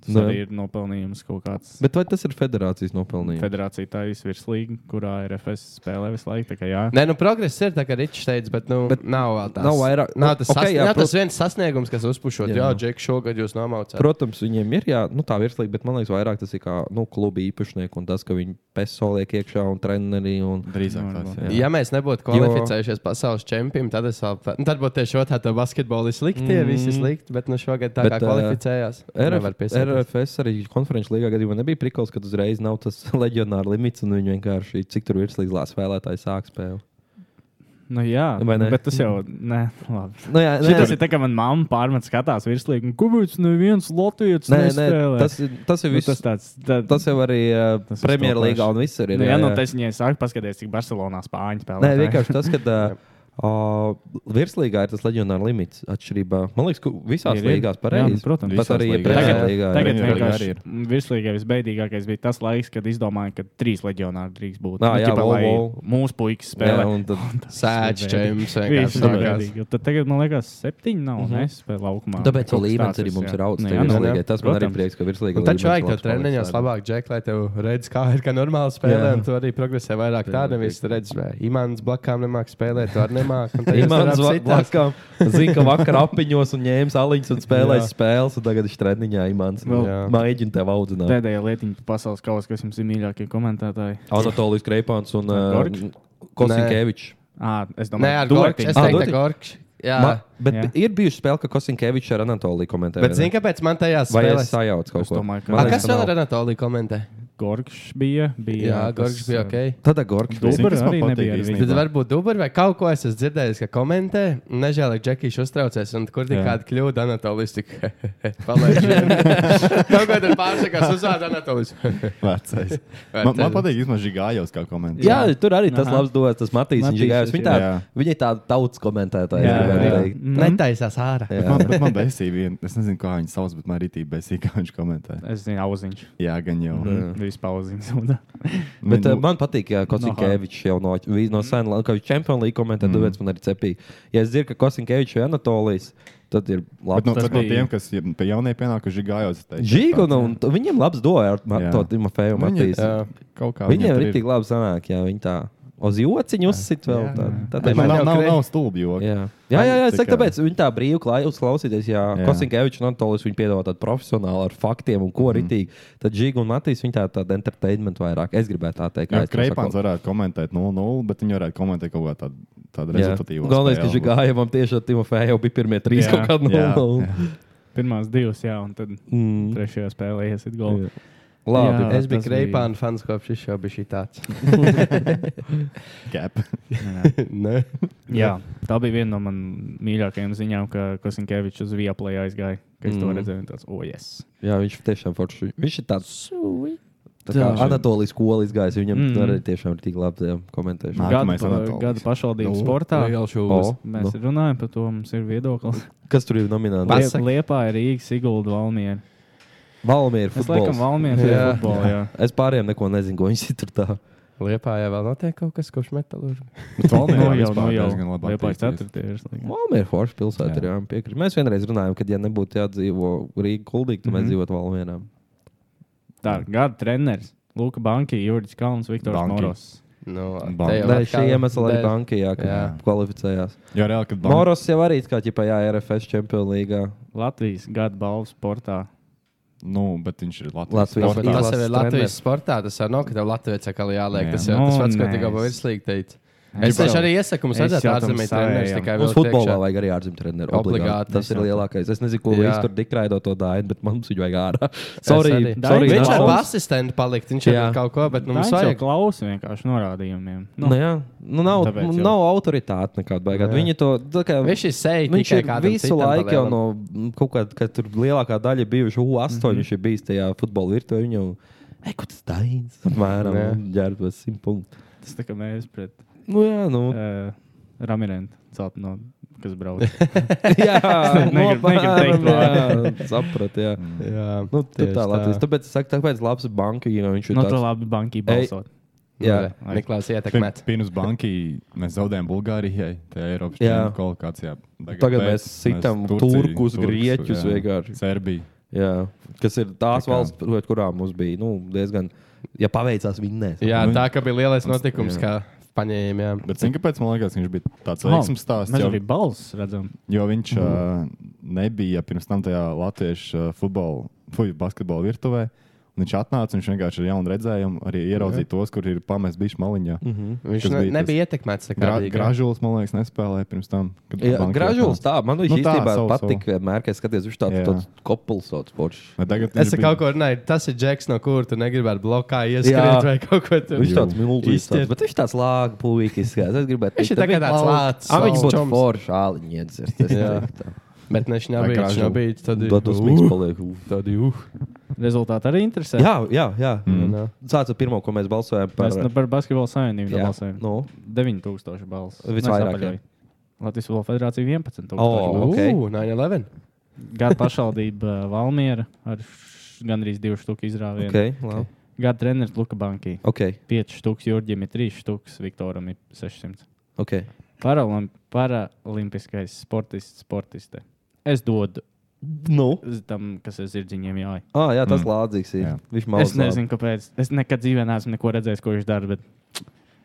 Tas
Nē.
arī ir nopelnījums kaut kāds.
Bet vai tas ir federācijas nopelnījums?
Federācija tā ir virslīga, kurā RFS spēlē visu laiku. tā kā Jā,
Nē, nu progress ir, tā kā Ričs teica, bet, nu, bet
Bet
nav vēl tāds.
nav vairāk-
Nav tas,
Ok,
okay, sas... jā,
jā, prot-
tas viens sasniegums, kas uzpušot.
Jā.
Jā, Džek, šogad jūs nomaucāt.
Protams, viņiem ir jā, nu, tā virslija, bet man liekas, vairāk tas ir kā nu, kluba īpašnieks un tas, ka viņi peso liek iekšā un treneri. Un...
Drīzāk tāds. jā.
Ja mēs nebūtu kvalificējušies pasaules čempionam, tad es vēl tādu, tad būtu tieši otrā tā basketbola slikti, mm.
Mm.
visi slikti, bet nu šogad tā
Bet,
bet,
ā,
kā kvalificējās.
RF,
nevar piesieties.
RFS arī konferenču līgā gadījumā nebija prikals, ka uzreiz nav tas [laughs] leģionāra limits un viņi vienkārši cik tur virslīgā spēlētāji sāk spēli.
nu, jā.
Vai ne?
bet tas jau nē, labi.
Nu, jā,
Šis ir tā, ka man mamma pārmet skatās virslīgi, un kubīts neviens latviečs
nē, nē,
nespēlē.
tas, ir- tas ir
nu,
viss.
tas
Nu,
tāds. Tā,
tas, tas jau arī uh,
Tas ir
Premjerlīgā
stopēšana.
un visur ir.
nu, jā, nu, tas viņai saka, paskaties, cik Barcelonā spāņu spēlē.
Nē, vienkārši tas, ka
[laughs]
uh, virslīgā ir tas leģionāra limits atšķirībā. Man liekas, ka visās
Ir, ir.
līgās
Jā, nu,
pareizi.
protams.
Pat
Visās
arī
līgās.
Premjerlīgā. ir.
Tagad
Premjerlīgā
vienkārši
arī ir.
mm, virslīgais, visbeidīgākais bija tas laiks, kad izdomāja, ka trīs leģionāri drīkst būt.
Ā, jā,
ķipa,
wow,
lai
wow.
Mūsu puikas
Jā,
spēlē.
un tad
Sēdz čempions
Viņš
vienkārši.
ir
sākās.
garīgi. Tad tagad, man liekas, septiņi nav.
Mhm.
Mm -hmm. Es spēlēju laukumā.
Tāpēc
Kaut kas
līmenis
tāds
arī
es,
mums
jā.
ir augsts.
Nu,
tajā
jā, nu,
virslīgā.
jā.
Tas man arī
Protams.
prieks, ka virslīgā
Un taču
līmenis
vajag tev
labs
Nu, treniņos
paliks.
labāk, Džek, lai tev redz, kā ir, kā normāli spēlē,
Jā.
un tu arī progresē vairāk. Tā
Jā,
nevis
tik.
redz, vai imants blakām nemāk spēlēt, tu arī nemāk.
[laughs]
un tad jūs
Imants
varat
va-
citās.
blakām zina, ka vakar apiņos un ņēma aliņas un spēlēja
Jā.
spēles, un tagad viņš treniņā Imants
Jā.
mēģina tev audzināt.
Pēdējā lietiņa par pasaules kausu, kas jums ir mīļākie komentētāji.
Anatolijas Kreipāns un eh,
Gorgs?
Kosinkevičs.
À, es
Nē,
domāju,
ar Gorkšu. Es
Dortiņš.
Ā,
teiktu,
Dortiņš.
Gorkšu. Jā.
Ah, Ma- Bet
Jā.
ir bijusi spēle, ka Kosinkevičs ar Anatoliju komentē. vai
Bet
ne?
zini, kāpēc man tajā
Vai es
spēlē?
sajaucu kaut
Es
ko?
domāju, ka-
Man
A,
liekas,
kas vēl
nav.
ar Anatoliju komentē?
Gorgs bija. bija
Jā,
tas,
Gorgs bija
eh,
ok.
Tad Gorgs bija.
Zini,
Dubra
kas man
arī
patīk
nebija ar
[laughs] īstenībā?
viņu.
Tad varbūt dubļi vai kaut ko es esmu dzirdējis, ka komentē. Nežēl, ka Džekijs uztraucās, un kur tik
Jā.
kāda kļūda Anatolijas tik [laughs]
[laughs]
palaiž. Kaut kā tur pārsakās uzvārds Anatolijas.
Vecais.
Vai
Man, man
tad-
patīk, ka viņš ir gājējis kā komentārs.
Jā, jā, tur arī tas
Aha.
labs dots, tas Matīs. Viņš
Matīsas,
ir gājis. Viņa tā,
jā.
viņa ir tāda tautas komentētāja.
Jā,
es gribētu
jā.
teikt.
Mhm.
Netaisās ārā.
Bet Man,
[laughs]
bet man besīja viena. Es nezinu, kā viņu sauc, bet man arī bija besīja, [laughs] kā viņš komentē.
Es zinu, auziņš.
Jā, gan jau.
Mm.
Vispār auziņš. [laughs] Un-
Bet,
Viņu-
nu, man patīk, ka Kosinkevičs jau no, vi- no sena laika, kad viņš Champions League komentē, tad mm. man arī cepīja. Ja es dzirdu, ka Kosinkevičs ir Anatolijas, tad ir
Bet nu,
labi.
no,
tas
bet no
bija-
tiem, kas ir pie jaunie pienākuši, ir gājējis.
Žīgu, nu, un t- viņiem labs dots ar ma,
Jā.
to Timofeju Matīs.
Kaut kā
Viņiem ir
tur
tik labi sanāk, ja viņi tā uz jociņu uzsit vēl.
Jā.
Tā, tā, tā,
Man
Man
nav,
jau
nav,
kre-
nav stulbi joki.
Jā, jā, jā, jā es
Tā
saku,
kā-
tāpēc viņi tā brīvi klāj- uz- klausīties. Jā,
Jā.
Kosinkevičs un Antolis viņi piedāvā tādu profesionālu ar faktiem un
Mhm.
ko ritīgi. Tad Žīga un Matīs viņi tā tāda entertainment vairāk. Es gribētu tā teikt. kā
Jā,
es to
Kreipāns
saku.
varētu komentēt 0-0, bet viņi varētu komentēt kaut kā tādu, tādu
Jā.
rezultatīvu.
Galvenais, ka
spēli.
Žigājumam tieši ar Timofeju jau bija pirmie trīs
Jā.
kaut kādi
Jā.
nulli.
Pirmās divas, jā, un tad
Mm.
trešajā spēlē iesit golu.
Jā. Labi.
Jā.
Es biju
tas bija- [laughs]
Kreipāna fans, kopš viņš jau bija šī tāds.
[laughs]
Cap.
Nē.
Jā, tā bija viena no manām mīļākajām ziņām, ka Kosinkevičs uz Vieplay aizgāja. Kad es to
Mhm.
redzēju, un tāds, oh, yes.
Jā, viņš tiešām forši. Viņš ir tāds. Tā
Tā.
kā Anatolijas skolas gājis, viņam
Mm.
mm. arī tiešām ir tik labi jā, komentēšana.
Nā,
Gada,
Nākamais
pa-
Anatolijs.
gada pašvaldības
Nu,
sportā.
O,
Mēs
nu.
runājam par to, mums ir viedoklis.
Kas tur ir nominēts?
Pasaki.
Liep, Liepā ir Rīga, Sigulda, Valmiera.
Valmīra.
Es laikam Valmiera
Jā.
ir futbolā. Jā.
Es pārējiem neko nezinu, ko viņš tur tā.
Liepā jau vēl notiek kaut kas, kopš metālūža.
Bet Valmierā
Nu jau, nu
vispār
jau.
diezgan labi
Liepā ir
attīstījies.
ceturtie. es laikam.
Valmīra forša pilsēta
Jā.
ir jāpiekrīt. Mēs vienreiz runājām, ka, ja nebūtu jādzīvo Rīgā, Kuldīgi, tad mēs
Mhm.
dzīvotu Valmīrā.
Tā, gada treneris. Luka Banki, Jurijs Kalns, Viktors
Banki.
Moros.
Nu,
Bam.
te jau
Dēļ šī
atkal-
iemesla arī
dēļ-
Bankijā
Jā.
kvalificējās.
Jā, reāli, kad Bank-
Moros jau arī kā ķipa, jā, RFS Champions League.
Latvijas gada balvu sportā.
Nu, bet viņš ir Latvijas
Latvijas
sportā.
Bet Tas jau
Izlases
ir Latvijas sportā. Tas jau nav, ka tev Latvijas sakā jāliek.
Jā.
Tas jau
Nu,
tas pats, ko
nē,
tikko pa
es-
virslīgi teici. Es
jau-
taču arī iesaku mums
es
redzēt
jau tam
ārzemēs treneris
savējam.
tikai vēl
Mums futbolā
tiekšā.
vajag arī ārzemju treneru.
Obligāti.
Obligāti. Tas ir lielākais. Es nezinu, ko
Jā.
viņš tur dikraido to dāņu, bet mums viņu vajag ārā. [laughs] Sorry,
arī.
sorry
Viņš
nav
ar
mums.
asistentu palikt, viņš jau
Jā.
kaut ko, bet nu, mums
Daņš jau
vajag.
klausa vienkārši norādījumiem.
Nu, jā, nu, nav,
Tāpēc
nu,
jau.
nav autoritāte nekāda.
Jā.
baigā. Viņi to tā kā-
Viņš ir seja.
Viņš
tikai
ir
kādam
visu
citam
laiku jau
palielam.
no mm, kaut kāda, kad tur lielākā daļa bijuši U8, mm
Mhm.
-hmm. viņš ir bijis tajā futbola virtuvē. Viņu Ei, ko tas [laughs] dāvins?
Jā.
Mēram, ģērbties simt punktu.
Tas tā kā mēs pret
Nu,
[laughs]
jā, nu.
uh, Ramirēnu celtno, kas brauc.
[laughs] jā,
[laughs]
negribu- negribu teikt
jā, sapratu, jā.
Jā,
Nu, tur
Mm. tieši
tā Latvijas. Tāpēc es saku, tāpēc labs banka, jo viņš ir
nu, tā
tāds.
labi banki
Ei.
balsot.
Jā.
Nu, re, Niklaus ietekmēt.
Pir- Pirms banki mēs zaudējām Bulgārijai, tajā Eiropas
Jā.
čempionu kvalifikācijā.
Tagad
pēc
mēs sitam
Turciju,
turkus,
Turkus,
grieķus
jā.
vienkārši.
Serbiju.
Jā, kas ir tās
Tā kā-
valsts, pret kurām mums bija nu, diezgan, ja paveicās vinnēs.
Jā,
Nu,
tā kā bija lielais notikums, kā paņēma. jā.
Bet zini, kāpēc man liekas, viņš bija tāds veiksmīgs stāsts?
Mēs
Jo,
arī balss redzam.
jo viņš
Mhm.
mm. uh, nebija pirms tam tajā latviešu uh, futbola, fuju, basketbola virtuvē. Un Viņš atnāca, viņš vienkārši ar jaunu redzējumu arī ieraudzīja tos, kur ir pamests bijis maliņā. Mm
Mhm.
-hmm.
Viņš ne, nebija ietekmēts. tā
Gra
kā bija, jā.
gražulis, man liekas, nespēlēja pirms tam. kad
Jā,
banka
gražulis
atnāca.
tā, man viņš
Nu
nu,
tā,
īstenībā
savu, savu.
patīk. Vienmēr, kad es skaties, viņš tāds,
Jā.
tāds kopuls sauc poršs.
Bet Tagad
Es
viņš
te
bija-
kaut ko runāju, tas ir Džeks, no kur tu negribētu blokā ieskriet
Jā.
vai kaut ko tādu.
Viņš tāds milzīgs,
Izciet.
tāds, bet viņš tāds lāga puikas. Es gribētu
Viņš ir tā kā tāds lācis,
Ah, viņš
saules
būtu
čoms.
foršs, āliņš
Jā.
iedzers.
Bet ne, viņš
Vai
nebija. Viņš
gražu.
nebija. Tad
Tad uz mīgs paliek.
Tādi, uh. Mm.
Rezultāti arī interesē.
Jā, jā, jā.
Jā.
Sāc ar pirmo, ko mēs balsojām par.
Mēs nu, par basketbalu savienību
Jā,
balsojam.
nu.
9000 balss.
Visvairāk,
Mēs apaļoju. Latvijas Banka Federācija 11.
O.
Oh.
Ok.
Uh, 9-11.
Gada pašvaldība eh, Valmiera ar š- gandrīz 2 stūku izrāvienu.
Ok, labi.
Gada treneris Luka Banki.
Ok,
5 stūks, Jurģim ir 3 stūks, Viktoram ir 600.
ok.
Paralim- Paralimpiskais sportists, sportiste. Es dodu
Nu.
z- tam, kas ir zirdziņiem jāj.
Ah, jā, tas lādzīgs ir.
Jā.
Viņš
Es
maudz lādi.
nezinu, kāpēc. Es nekad dzīvē neesmu neko redzējis, ko viņš dara, bet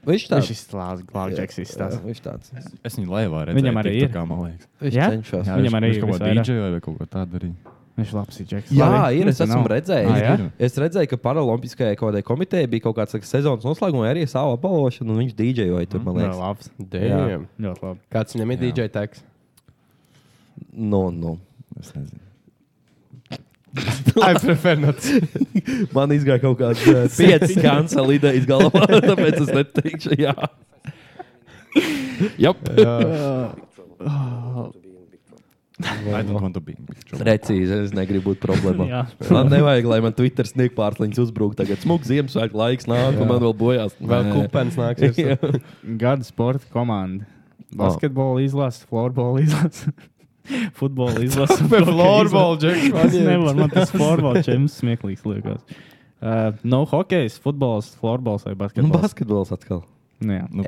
Viņš
tā.
tāds.
viņš ir slānis, glābjaks izstāsts.
Jā, Viņš tāds.
Es viņu laivā redzēju.
Viņam arī
tik tā
ir.
Kā, man liekas.
Viņš
Jā?
cenšas.
Jā,
Viņam
viņš-
arī
viņš
ir
kaut ko
visvairāk.
dīdžejoja vai kaut ko tādu arī.
Viņš ir labs džeks.
Jā,
Labi.
ir. Es
Tas
esmu
nav.
redzējis.
Ah, jā?
Es redzēju, ka Paralimpiskajai kaut kādai komitejai bija kaut kāds saka, sezonas noslēguma arī savu apbalvošanu, un viņš dīdžejoja tur, man
Jā,
liekas.
labs.
Damn.
Ļoti labi.
Kāds viņam ir DJ teiks?
Nu, nu.
Es nezinu.
I prefer not.
[laughs] Man izgāja kaut kāds uh, pieci kancela idejas galvā, [laughs] tāpēc es neteikšu, jā. [laughs] Jā,
I don't want to be in big trouble.
precīzi. Es negribu būt problēmā.
Jā.
man nevajag, lai man Twitter sniegt pārsliņas uzbrūk. Tagad smūgs Ziemassvētku laiks nāk, un man vēl bojās.
Vēl
Nē. [laughs]
kupens [laughs] nāksies.
Jā.
Gada sporta komanda. Basketbola izlase, florbola izlase, [laughs]
[laughs]
futbola izlase. un
Pēc
hokeja
florbola [laughs] džekas.
izlase. Es nevaru, man tas florbola čems smieklīgs liekas. Uh, no hokejs, futbols, florbols vai
Nu,
basketbols.
basketbols atkal.
Nu, jā.
Nu,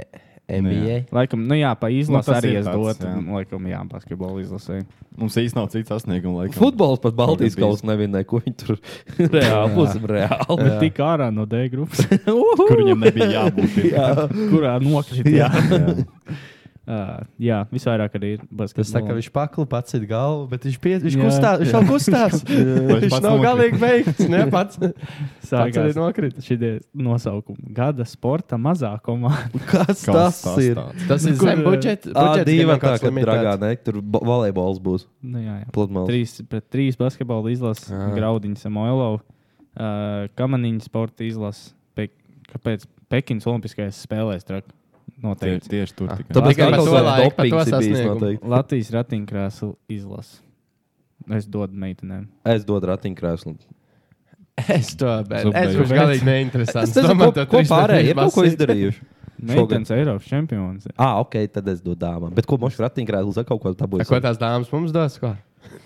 NBA.
Laikam, nu jā, pa izlasi
Nu, tas
arī
ir
es
tāds,
dotu.
jā.
Laikam, jā, basketbola izlasē.
mums īstenībā nav cits sasniegums. laikam.
Futbols pat Baltijas
Kaut
kausā nevinēja, ko viņi tur reāli būsim reāli.
Bet tik ārā no D
[laughs]
grupas,
Kur viņam nebija jābūt.
Jā.
kurā nokrita.
Jā.
Jā.
uh, jā, [laughs] visvairāk arī ir basketbola.
Tas tā kā viņš paklu pats ir galvu, bet viņš, pie, viņš
Jā.
kustās. Viņš jau
[laughs]
kustās. viņš
pats
nav
nokrita.
galīgi beigts. Ne pats. Pats arī nokrita.
Šie nosaukumi. Gada sporta mazā komanda. [laughs]
Kas tas ir?
tāds?
Tas ir
Kur,
zem
eh,
budžeta.
Tā
budžets gan
divi
nav
tā
kāds
kā dragā,
limitēts.
ne? Tur bo- volejbols būs.
Nu, jā, jā.
Pludmales.
Trīs pret trīs basketbola izlases,
Jā.
Graudiņš, Samoilovs, uh, Kamaniņa sporta izlases. Pe kāpēc Pekinas Olimpiskajās spēlēs trak?
Tie-
Noteikti.
Tieši
Ah,
tur tikai.
Tāpēc,
Atkal
ka
kaut
to
kāds
laiku, pa to
dopings ir bijis
sasniegumu.
noteikti.
Latvijas ratiņkrēslu izlases. Es dodu meitenēm.
Es dodu ratiņkrēslu.
Es to bērnu. Es
Zubreiz.
būšu galīgi neinteresants.
Es nezinu,
Domāju,
ko,
to
ko
trīs
pārējie ir
nedēļas
kaut ko
basī.
izdarījuši.
Meitenes Eiropas čempions.
Ah, ok, tad es dodu dāmām. Bet ko mošu ratiņkrēslu ar kaut ko tādu
Ko tās dāmas mums dos? Ko?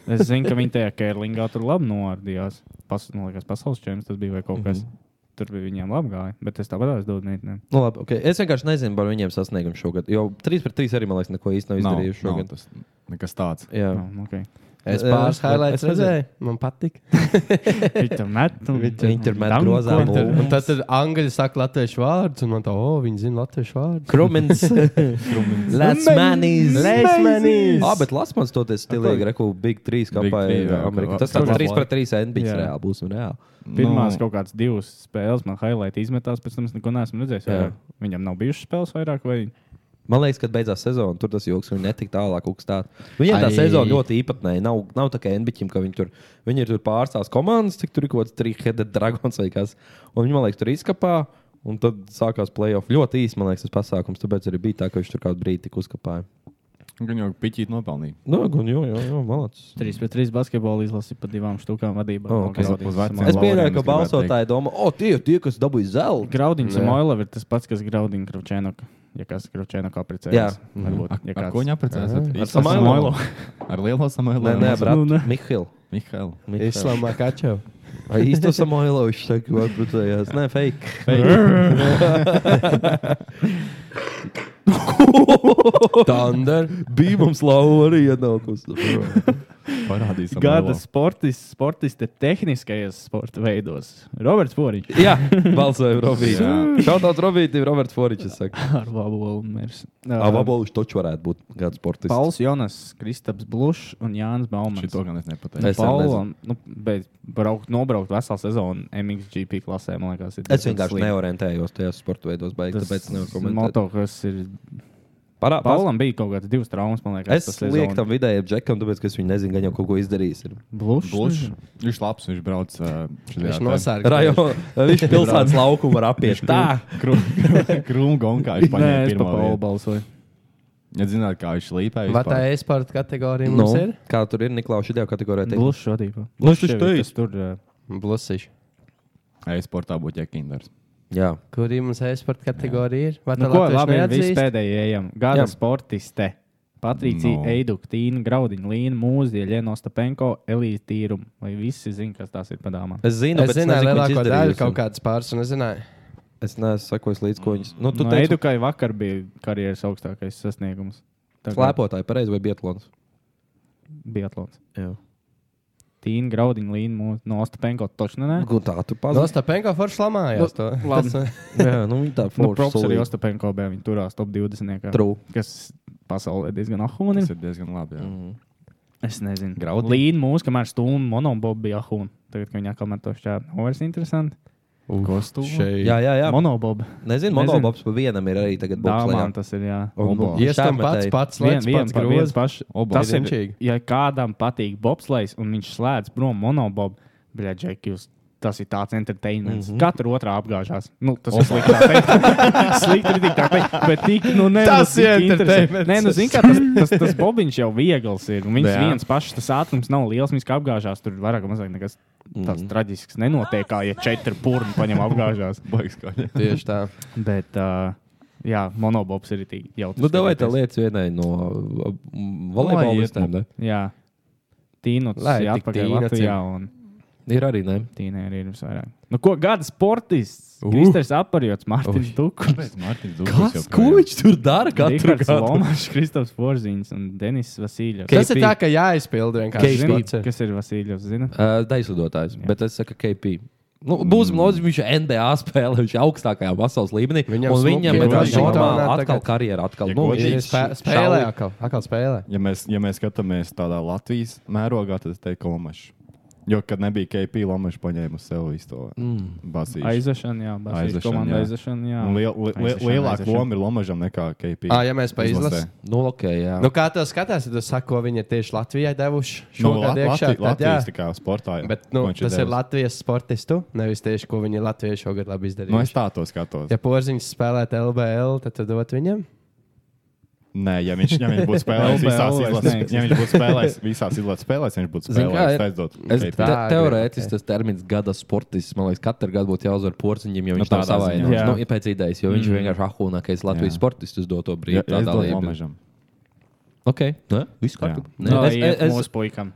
Es zinu, ka viņi tajā kērlingā tur labi noārdījās. Pas, man liekas, pasaules čempions tas bija vai kaut
Mhm.
kas. Mm -hmm. Tur bija viņiem labi gāja, bet es tāpat es dodu meitenēm.
Nu, labi, okay. Es vienkārši nezinu par viņiem sasniegumu šogad. Jo 3 pret 3 arī man liekas, neko īsti nav
Nav,
izdarījuši
nav
šogad.
tas Nekas tāds.
Jā,
Nu, okay.
Es
Eh,
pāris
es-
highlights
es redzēju.
redzēju. Man patīk.
Viņi tur met, un
Viņi tur met
Danko.
grozā
Viņi
būvu.
tur-
Un tad ir angļu saka latviešu vārdus, un man tā, o, viņi zina latviešu vārdus.
[laughs]
Krumins. Lasmanis.
Lasmanis.
Ah, bet Lasmanis toties stilīgi, reku Big 3 kampā
Three,
ir
jā,
Amerika.
kaut
Tas
kā-
tāds
kaut
3
kā-
pret 3 NBA
Jā.
reāli būsim reāli. Nu.
Pirmās kaut kādas divas spēles man highlight izmetās, pēc tam es neko neesmu redzējis.
Jā.
vairāk. Viņam nav bijušas spēles vairāk, vai
Man liekas, kad beidzās sezona, tur tas joks, ka viņi netika tālāk uzstāt. Viņiem tā
Ai.
sezona ļoti īpatnēja. Nav, nav tā kā NBķim, ka viņi tur, viņi ir tur pārstāvs komandas, cik tur ir kaut kāds trīsheaded dragons vai kas. Un viņi man liekas, tur izkapā. Un tad sākās playoff. Ļoti īsi, man liekas, tas pasākums. Tāpēc arī bija tā, ka viņš tur kādu brīdi tika uzkapājis.
Gan jau piķīt nopelnīja.
Nu, gan jau, jau, jau, malācis.
3 pret 3 basketbolu izlasi pa divām štukām vadībā.
O, ok.
Uz veciem
Es
Lauriem
pieņēmu, ka
es gribētu
balsotāji domā, o, tie ir tie, kas dabūja zelta.
Graudiņš Moilov ir tas pats, kas Graudiņš Kravčēnoka. Ja kāds
Jā.
Kravčēnoka
Mhm.
apprecējas, varbūt. Ja
Ar
kāds-
ko viņa apprecējās?
Ar Samoilu.
Ar lielo samailu.
Nē, nē, brāl,
Nu,
nu,
ne.
Mihālu.
Mihailu.
Islamā kačau.
Vai īsto Samoilu viņš saka, vai brutējās? Nē, fake. [laughs]
Thunder.
Bija mums lauva arī nu, ienākus.
Parādīs
Gada sportis, sportiste tehniskajos sporta veidos. Roberts [laughs] Poriņš
Jā, balsoju Robīti. Šautāt Robīti, Roberts Foričs saka.
ar Vabolu un Mērs.
Ababoliņš taču varētu būt kāds sportists.
Pauls Jonas, Kristaps Blušs un Jānis Baumans.
Šito gan es nepateicu.
Nu,
Es
Paulam, nu, bet braukt, nobraukt veselu sezonu MXGP klasē, man liekas, ir.
Es
diezgan
vienkārši
slikti.
neorientējos tajās sporta veidos, baigi, tāpēc nevaru
Tas
komentēt.
moto, kas ir.
Parā, pas,
Paulam bija kaut kāds divs traumas, man liekas.
es lieku tam vidējiem džekam, tāpēc, ka es viņu nezinu, gan jau kaut ko izdarījis. ir.
Blušs.
Blušs. Viņš labs, viņš brauc. ā, šajā
Viņš
te-
nosērga.
Rajo, viņš pilsētas laukumu var apiet. Tā,
[laughs]
[laughs] Krūmu gonkā viņš
Ah! Nē, es pa
paņēma
Paulu
pirmo. vietu.
balsoju.
Ja zināt, kā viņš līpēja.
Vai tā
vispār.
ir sporta kategorija?
nu,
Mums ir
kā tur ir Niklaus šajā kategorijā? teikt?
Blušs vadībā.
Blušs viņš
Ševi,
teica.
kas Tur uh,
blusiši.
E-sportā būtu jākindars.
Jā,
Kur ir mums e-sporta kategorija? ir? Vai
nu,
tā
ko
latvieši
labi ir
neatzīst?
vispēdējie ejam. Gada
Jā. Nu.
sportiste. Patricija,
No.
no. Eiduk, Tīna, Graudiņa, Līna, Mūzija, Leno Stapenko, Elīze Tīruma. Vai visi zina, kas tās ir padāmā?
es zinu,
Es
bet nezinu,
zināju,
ko viņš
lielāko daļu
izdarījis, un
kaut kādas pāris, un es zināju.
Es neesmu sakojis līdz ko viņš. Nu, tu
Nu,
teici,
Eidukai vakar bija karjeras augstākais sasniegums. Tā kā
slēpotāji, pareizi vai bietlons?
Biatlons.
Jā.
Tīna, Graudiņa, Līna, Mūzija, Nostapenko, Točnē.
Nu, Tā, tu pazūd.
Nostapenko forši lamājās to. eh,
labi.
[laughs] Jā, nu, viņa tā
Nu, Props arī
forši.
Ostapenko bija. Viņi turās top 20. kā-
True.
Kas pasaulē diezgan
Tas
ahūni.
ir diezgan labi. jā.
Es nezinu.
Graudi.
Līna mūsu, kamēr stūma monobob bija ahūni. Tagad, kad viņi atkal man to šķēp, nav nu, vairs interesanti.
Kostūmu.
Jā, jā, jā.
Monobob.
Nezinu, monobobs pa vienam ir arī tagad
Dāmām
bobslēgā.
tas ir, jā.
Un
Obo.
Iestam pats,
šāmetēji.
pats
Vien-
lēns,
vien
pats
pa- viens
grūzs.
paši.
Obo.
Tas ir,
Vienšķīgi.
ja kādam patīk bobslēgs un viņš slēdz prom monobobu, Bļaigi, Džek, jūs. Tas ir tāds entertainments. Mm
Mhm.
-hmm. Katru otrā apgāžās. Nu, tas ir slikti. tā [laughs] teikt. Slikti ir tik tā teikt. Bet tik, nu, ne,
Tas
nu,
ir
tik interesanti.
entertainments.
Nē, nu, zini, kā tas, tas, tas bobiņš jau viegls ir. Un Viņš
Jā.
Jā. viens pašs, tas ātrums nav liels. Viņš kā apgāžās, tur vairāk vai mazāk nekas tāds mm -hmm. traģisks nenotiek, kā ja četri purni paņem apgāžās.
Baigs kā ņem.
Tieši tā.
Bet, uh, jā, monobobs ir tik
[laughs]
jautrs.
Nu, davai tā
skatīties.
lietas vienai no uh,
iet,
volejbolistiem. ne?
Jā. Tīnots
Lai
ir
tik
atpakaļ
Tīnots ir.
Latvijā. Un...
Ir arī, ne?
Tīna ir visvairāk. Nu, ko gada sportists? Uh. Kristers apgājis, Mārcis Kalniņš,
Mārtiņš
Kas? Ko viņš tur dara? [laughs] Katru
Rikards
gadu.
Lomačs, Kristofs Porziņš un Denis Vasiljovs.
Tas
KP.
ir tā, ka jāizpild vienkārši.
KP.
Šis ir-
Kas ir Vasiljovs? Zina?
Uh, Daisudotājs, bet es saku KP. Nu,
Mm.
Būsim loģiski, viņš ir NBA spēlē, viņš ir augstākajā pasaules līmenī.
Viņam
un
smuki
viņam
ir
ir tāds
Washingtonā
normāls
tagad.
atkal karjeras, atkal.
Ja
nu,
godīgi,
Viņš
viņš
spē-
šauj-
spēlē atkal. Atkal spēlē.
Ja mēs, ja mēs skatāmies tādā Latvijas mērogā, tad es teiktu, ka Lomačs. Jo, kad nebija KP, Lomačs paņēma uz sevi visu to mm. basīšu.
Aizvešana, jā,
Aizvešana,
Basīs komanda
jā.
aizvešana, jā.
Un Liel, li, li,
Aizvešana,
lielāka
aizvešana.
loma ir Lomačam nekā KP.
Ā, ja mēs pa izlasē.
Nu, ok, jā.
Nu, kā tas skatās, tad saka, ko viņi ir tieši Latvijai devuši
Nu,
šogad
Lat-
iekšā. tad
Latvi-
jā.
Latvijas tā kā sportā. jā,
Bet, nu,
ko viņš ir
tas ir
devis.
Latvijas sportistu, nevis tieši, ko viņi Latvijai šogad labi
Nu,
izdarīja.
es tā to skatos.
Ja porziņš spēlētu LBL, tad tu dot viņam?
Nē, ja viņš, ja viņš
[laughs]
būtu spēlējis visās
LBL
izlases
neeksistē.
spēlēs, ja viņš būtu spēlējis visās izlases spēlēs, viņš būtu
Zini, kā
spēlējis
ir?
aizdot.
Es
KP.
te,
Tā,
teorētiski tas termins gada sportists, man liekas, katru gadu būtu jāuzvar porcelāņiem, jo
Nu,
viņš tā
tādā ziņā. Mm.
savainojas.
Jā.
Nu, ir pēc idejas, jo viņš ir vienkārši ahūnākais Latvijas
Jā.
sportists uz doto
Ja,
brīdi.
ja
Tā
es dotu
dalība.
Lomažam.
Ok, ne? Viss
Jā. Nu,
kārtībā.
Nē,
Nē,
tas
es-
ir
es-
Nu, mūsu puikam.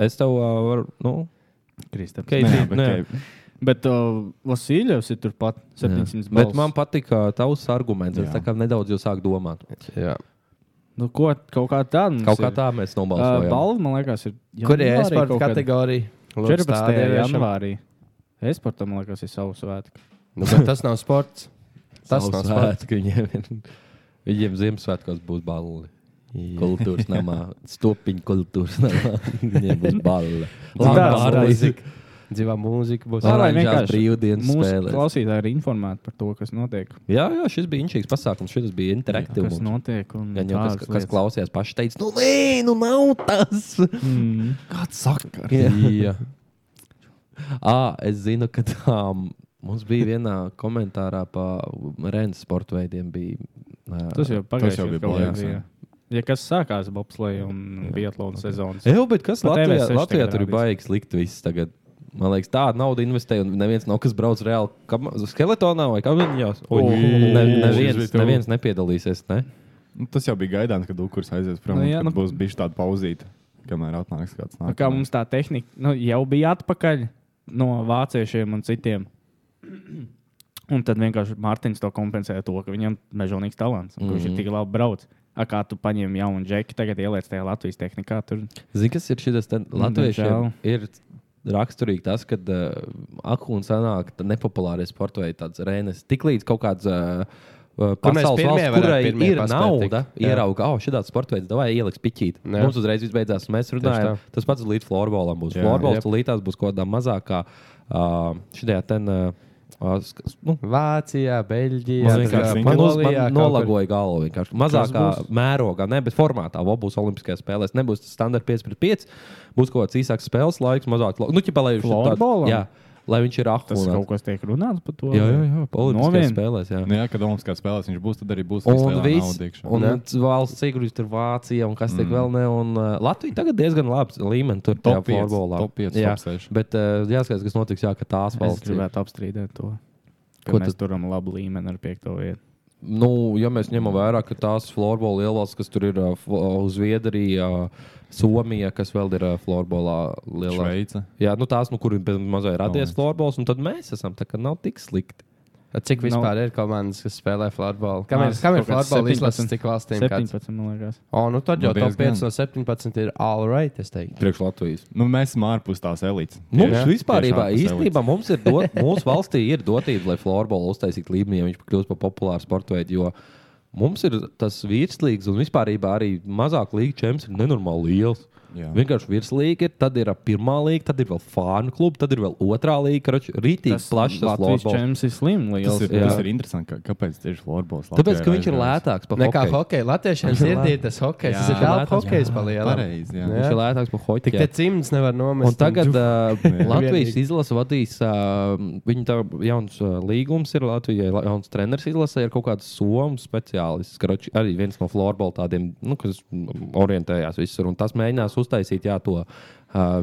Es tev uh, varu, nu,
Kristaps.
Kei-
Nē,
Nē,
bet
nē.
KP
Bet uh, Vasiljovs ir turpat
jā.
700
bet
balss.
man patika tavs arguments. Es
Jā.
tā kā nedaudz jau sāku domāt.
Jā.
Nu, ko, kaut kā tā.
Nu,
mums
Kaut kā
ir.
tā mēs
Uh,
nobalsojām.
Balva, man liekas, ir.
Kur ir
janvārī
e-sporta
kaut kad.
kategorija? Lūdzu,
14.
stādi ieviešam.
janvārī. E-sportam, man liekas, ir savs svētki.
Nu, bet tas nav sports. Tas
Savs
nav sports.
svētki viņiem ir. [laughs] Viņiem Ziemassvētkos būs balli. Kultūras namā, stopiņa kultūras namā.
[laughs]
Viņiem būs balli.
tā,
Labā
tā.
mūzika.
Dzīvā mūzika būs.
Labā
Lai
mūzika.
vienkārši
Brīvdienas
Mūsu
spēlēs.
klausītāji ir informēti par to, kas notiek.
Jā, jā, šis bija inčīgs pasākums. Šis bija interaktīvs.
Kas notiek? un
Gan jau
tādas
tas, kas
lietas.
klausījās, paši teica, nu, nē, nu, nav tas.
Mm.
kāds saka.
Jā.
À, es zinu, ka tā, mums bija vienā komentārā par Rēnas sporta veidiem. Bija, ā,
Tas jau pagājušajā
jau bija
gadā bija.
pagājušajā.
jā. Ja kas sākās Bobslēga un Bietlona sezonas?
Ej, bet kas
Pa
Latvijā,
TV6
Latvijā
tagad
tur ir
rādīs.
baigts likt viss tagad? Man liekas, tāda nauda investē, un neviens nav, kas brauc reāli kam, skeletonā vai kamiņos.
Ui,
Ne,
tas
neviens,
bija tuvu.
neviens nepiedalīsies. Ne?
Nu, tas jau bija gaidāms, kad Ukurs aizies prom.
Nu,
Nu,
jā,
jā,
nu-
nu... Būs bijis tāda pauzīte, kamēr atnāks kāds
Nu,
nākamais.
kā mums tā tehnika nu, jau bija atpakaļ no vāciešiem un citiem. Un tad vienkārši Mārtiņš to kompensēja to, ka viņam ir mežonīgs talants, un mm -hmm.
Mhm.
viņš ir tik labi brauc. A, kā tu paņem jaunu džeku, tagad ieliec tajā Latvijas tehnikā. Tur
Zini, kas ir šis
Mm,
latviešiem?
diemžēl.
Ir raksturīgi tas, ka uh, akūns sanāk tā nepopulārie sporta veidi, tāds rēnes. Tiklīdz kaut kāds uh, uh,
Kur mēs
pasaules
pirmie
valsts,
varētu
kurai
pirmie
ir
paspēt
nauda,
tikt, jā.
ierauga, oh, šāds sporta veids, vai ieliks piķīt.
Jā.
Mums uzreiz viss beidzās, un mēs runājam,
tā.
tas pats līdz florbolam būs.
Jā.
Florbols
Jep.
tulītās būs kaut kādā mazākā uh, šajā ten. Uh, uh, sk- s- nu,
Vācijā, Beļģijā,
Man
tā kā
vienkārši
vienkārši-
man uz,
Polijā kaut
man
kur.
nolagoja galvu. Vienkārši. Mazākā
būs?
mērogā, ne, bet formātā. Vēl būs Olimpiskajās spēlēs. Nebūs tas standarts 5 pret 5. Būs kaut kāds īsāks spēles laiks, mazāk lo... nu, ķipa, lai viņš ir tāds-
Florbolam?
Jā, lai viņš ir
tas
ahūns.
kaut kas tiek runāts par to.
Jā, jā, jā. Olimpiskajās
Novien.
spēlēs. Jā.
Nu, jā, kad Olimpiskā spēlēs viņš būs, tad arī būs
Un viss, un
Un...
valsts cīņš tur Vācija, un kas tiek mm. vēl ne, un uh, Latvija tagad diezgan labs līmenis tur
Top
tajā
pieci,
florbolā.
top pieci,
jā,
top seši.
bet uh, jāskatās, kas notiks, jā, ka tās
Es
valsts. ir-
gribētu apstrīdēt to.
Ko
Ko mēs turam labu līmeni ar piekto vietu?
Nu, ja mēs ņemam vērā, ka tās florbola lielās, kas tur ir uh, fl- uh, Zviedrija, uh, Somija, kas vēl ir uh, florbolā lielā.
Šveice.
Jā, nu tās, nu, kur ir bez- mazai radies
Paldies.
florbols, un tad mēs esam, tā kā nav tik slikti.
Cik
Nu.
vispār ir komandas, kas spēlē floorbola? Kam ir, kam ir
Kaut kāds
floorbola izlases,
17,
cik valstīm? kāds?
17, man liekas.
O, nu tad jau
Nu,
top
diezgan.
5 no 17 ir all right, es teiktu.
Priekš Latvijas.
Nu, mēs esam ārpus tās elites.
Mums
Tieši-
vispār
tieši ārpus
īstenībā mums ir dot, mūsu valstī ir dotība, lai florbola uztaisītu līmeni, ja viņš kļūst par populāru sporta veidu. jo Mums ir tas virslīgs un vispār arī mazāk līnijas čempions ir nenormāli liels.
Jā.
Vienkārši virslīgi ir, tad ir ā, pirmā līnija, tad ir vēl fānu klubs, tad ir vēl otrā līnija. Rītīgi plašs tas
Latvijas
logs.
čempions ir slims.
Tas
liels.
ir,
Jā.
tas ir interesanti, kā, kāpēc tieši Lorbols.
Tāpēc, ka viņš ir lētāks par
Ne kā
hokeju.
hokeja. Latviešiem sirdī tas hokejs. Tas ir
Jā.
daudz hokejs palielinājums.
Pareizi, jā.
Jā.
Viņš ir lētāks par hokeju.
Tik te cimds nevar nomest.
Un tagad uh, Latvijas
Vienīgi.
izlase vadīs, uh, viņa tā jauns uh, līgums ir Latvijai, la- jauns treneris izlasē, ir kaut kāds somu speciālists, kurš arī viens no florbola tādiem, nu, kas mm, orientējās visur. Un tas mēģinās uztaisīt jā, to uh,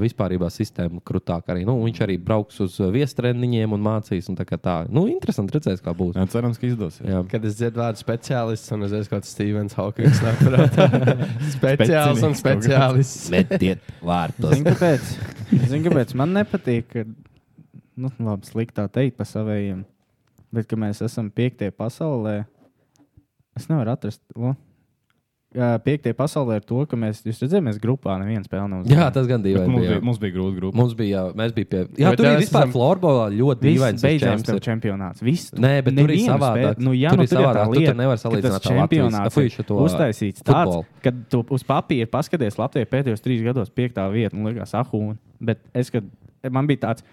vispārībā sistēmu krūtāk arī. Nu, viņš arī brauks uz uh, viestreniņiem un mācīs. Un tā kā tā. Nu, interesanti redzēs, kā būs.
Jā, cerams, ka izdosies.
Jā.
Kad es dzirdu vārdu speciālists, un es esmu kaut kāds Stevens Hawkins. nāk prātā. Speciāls un
Specinieks kaut
speciālists.
Metiet vārtus.
Zini, kāpēc? Zini, kāpēc man nepatīk, ka nu, labi, sliktā teikt par saviem, bet ka mēs esam piektie pasaulē. Es nevaru atrast. Lo. Jā, Piektie pasaulē ir to, ka mēs, jūs redzat, mēs grupā nevienu spēli neuzvarējām.
Jā, tas gan
Bet
dīvaini.
Mums
bija,
bija,
jā.
mums bija grūti grupa.
Mums bija, jā, mēs bijām pie. Jā,
Bet
tur
jā,
bija
es
vispār
esam-
florbola ļoti
Viss
dīvains. tas
beidzās
čempions
tev
ir.
čempionāts. Viss, tu
Nē, bet tur ir
nevienu
savādāk.
spēli- Nu, jā,
Tur
nu,
ir savādāk. Tu
Tu
tur nevari salīdzināt
Tas
ar Latvijas-
čempionāts
Fuj, šo
ir
to uh,
uztaisīts
futbolu.
tāds, ka tu uz papīra paskaties Latvijai pēdējos trīs gados piektā vieta un likās ahūna. Bet es, kad man bija tāds.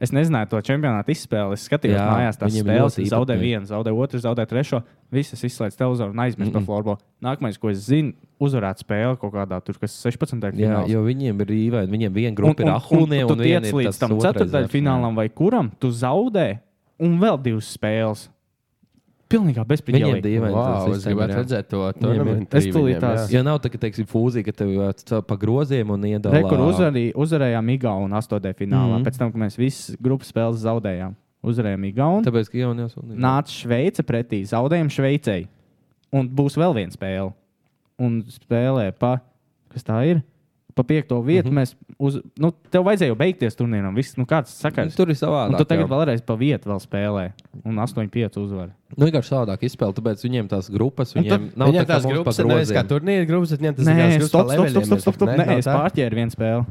Es nezināju to čempionātu izspēli. Es skatījos,
Jā,
kā mājās tās
viņiem
spēles.
ļoti
Es zaudēju
īpatnēji.
vienu, zaudēju otru, zaudēju trešo. Visas izslēdz televizoru un aizmirsu mm -mm. par floorbola. Nākamais, ko es zinu, uzvarēt spēli kaut kādā tur, kas 16.
Jā,
finālā.
jo viņiem ir īvaini. Viņiem viena grupa ir ahūnija, un,
tu
un, viena
tiec
ir
līdz
tas
tam
otrais
ceturdaļfinālam vai kuram tu zaudē, un vēl divas spēles. Pilnīgi
Viņiem
bezprecedentīgi.
dīvaini.
Wow,
tā
es
sistēma,
gribētu
jā.
redzēt to
Viņiem
turnīru.
ir-
Es tūlīt tās-
Ja nav tā, ka teiksim, fūzija, ka tev ā, tā pa groziem un iedod.
Rekur uzvarī- uzvarējām Igaunu astotajā
Mhm.
finālā, mm -hmm. pēc tam, kad mēs visas grupas spēles zaudējām. Uzvarējām Igaunu,
Tāpēc, ka jau nesūdzēju.
nāca Šveice pretī, zaudējām Šveicei. Un būs vēl viena spēle. Un spēlē pa, kas tā ir? Pa piekto vietu
Mhm.
mm -hmm. mēs, uz, nu, tev vajadzēja jau beigties turnīram. Viss, nu, kāds sakars?
Tur ir
Un
savādāk.
tu
jā.
tagad vēlreiz pa vietu vēl spēlē. Un 8-5 uzvarēja.
Nu, vienkārši savādāk izspēlē, tāpēc viņiem tās grupas, viņiem nav
Viņam
tā kā
tās
mums pa
grupas ir nevis kā
groziem.
turnīra grupas, bet viņam tas ir kā
Nē,
grupas pa
stop, stop, stop,
leveļiem,
stop, stop, stop.
ne?
Nē,
Nav
es
tā?
pārķēru vienu spēli.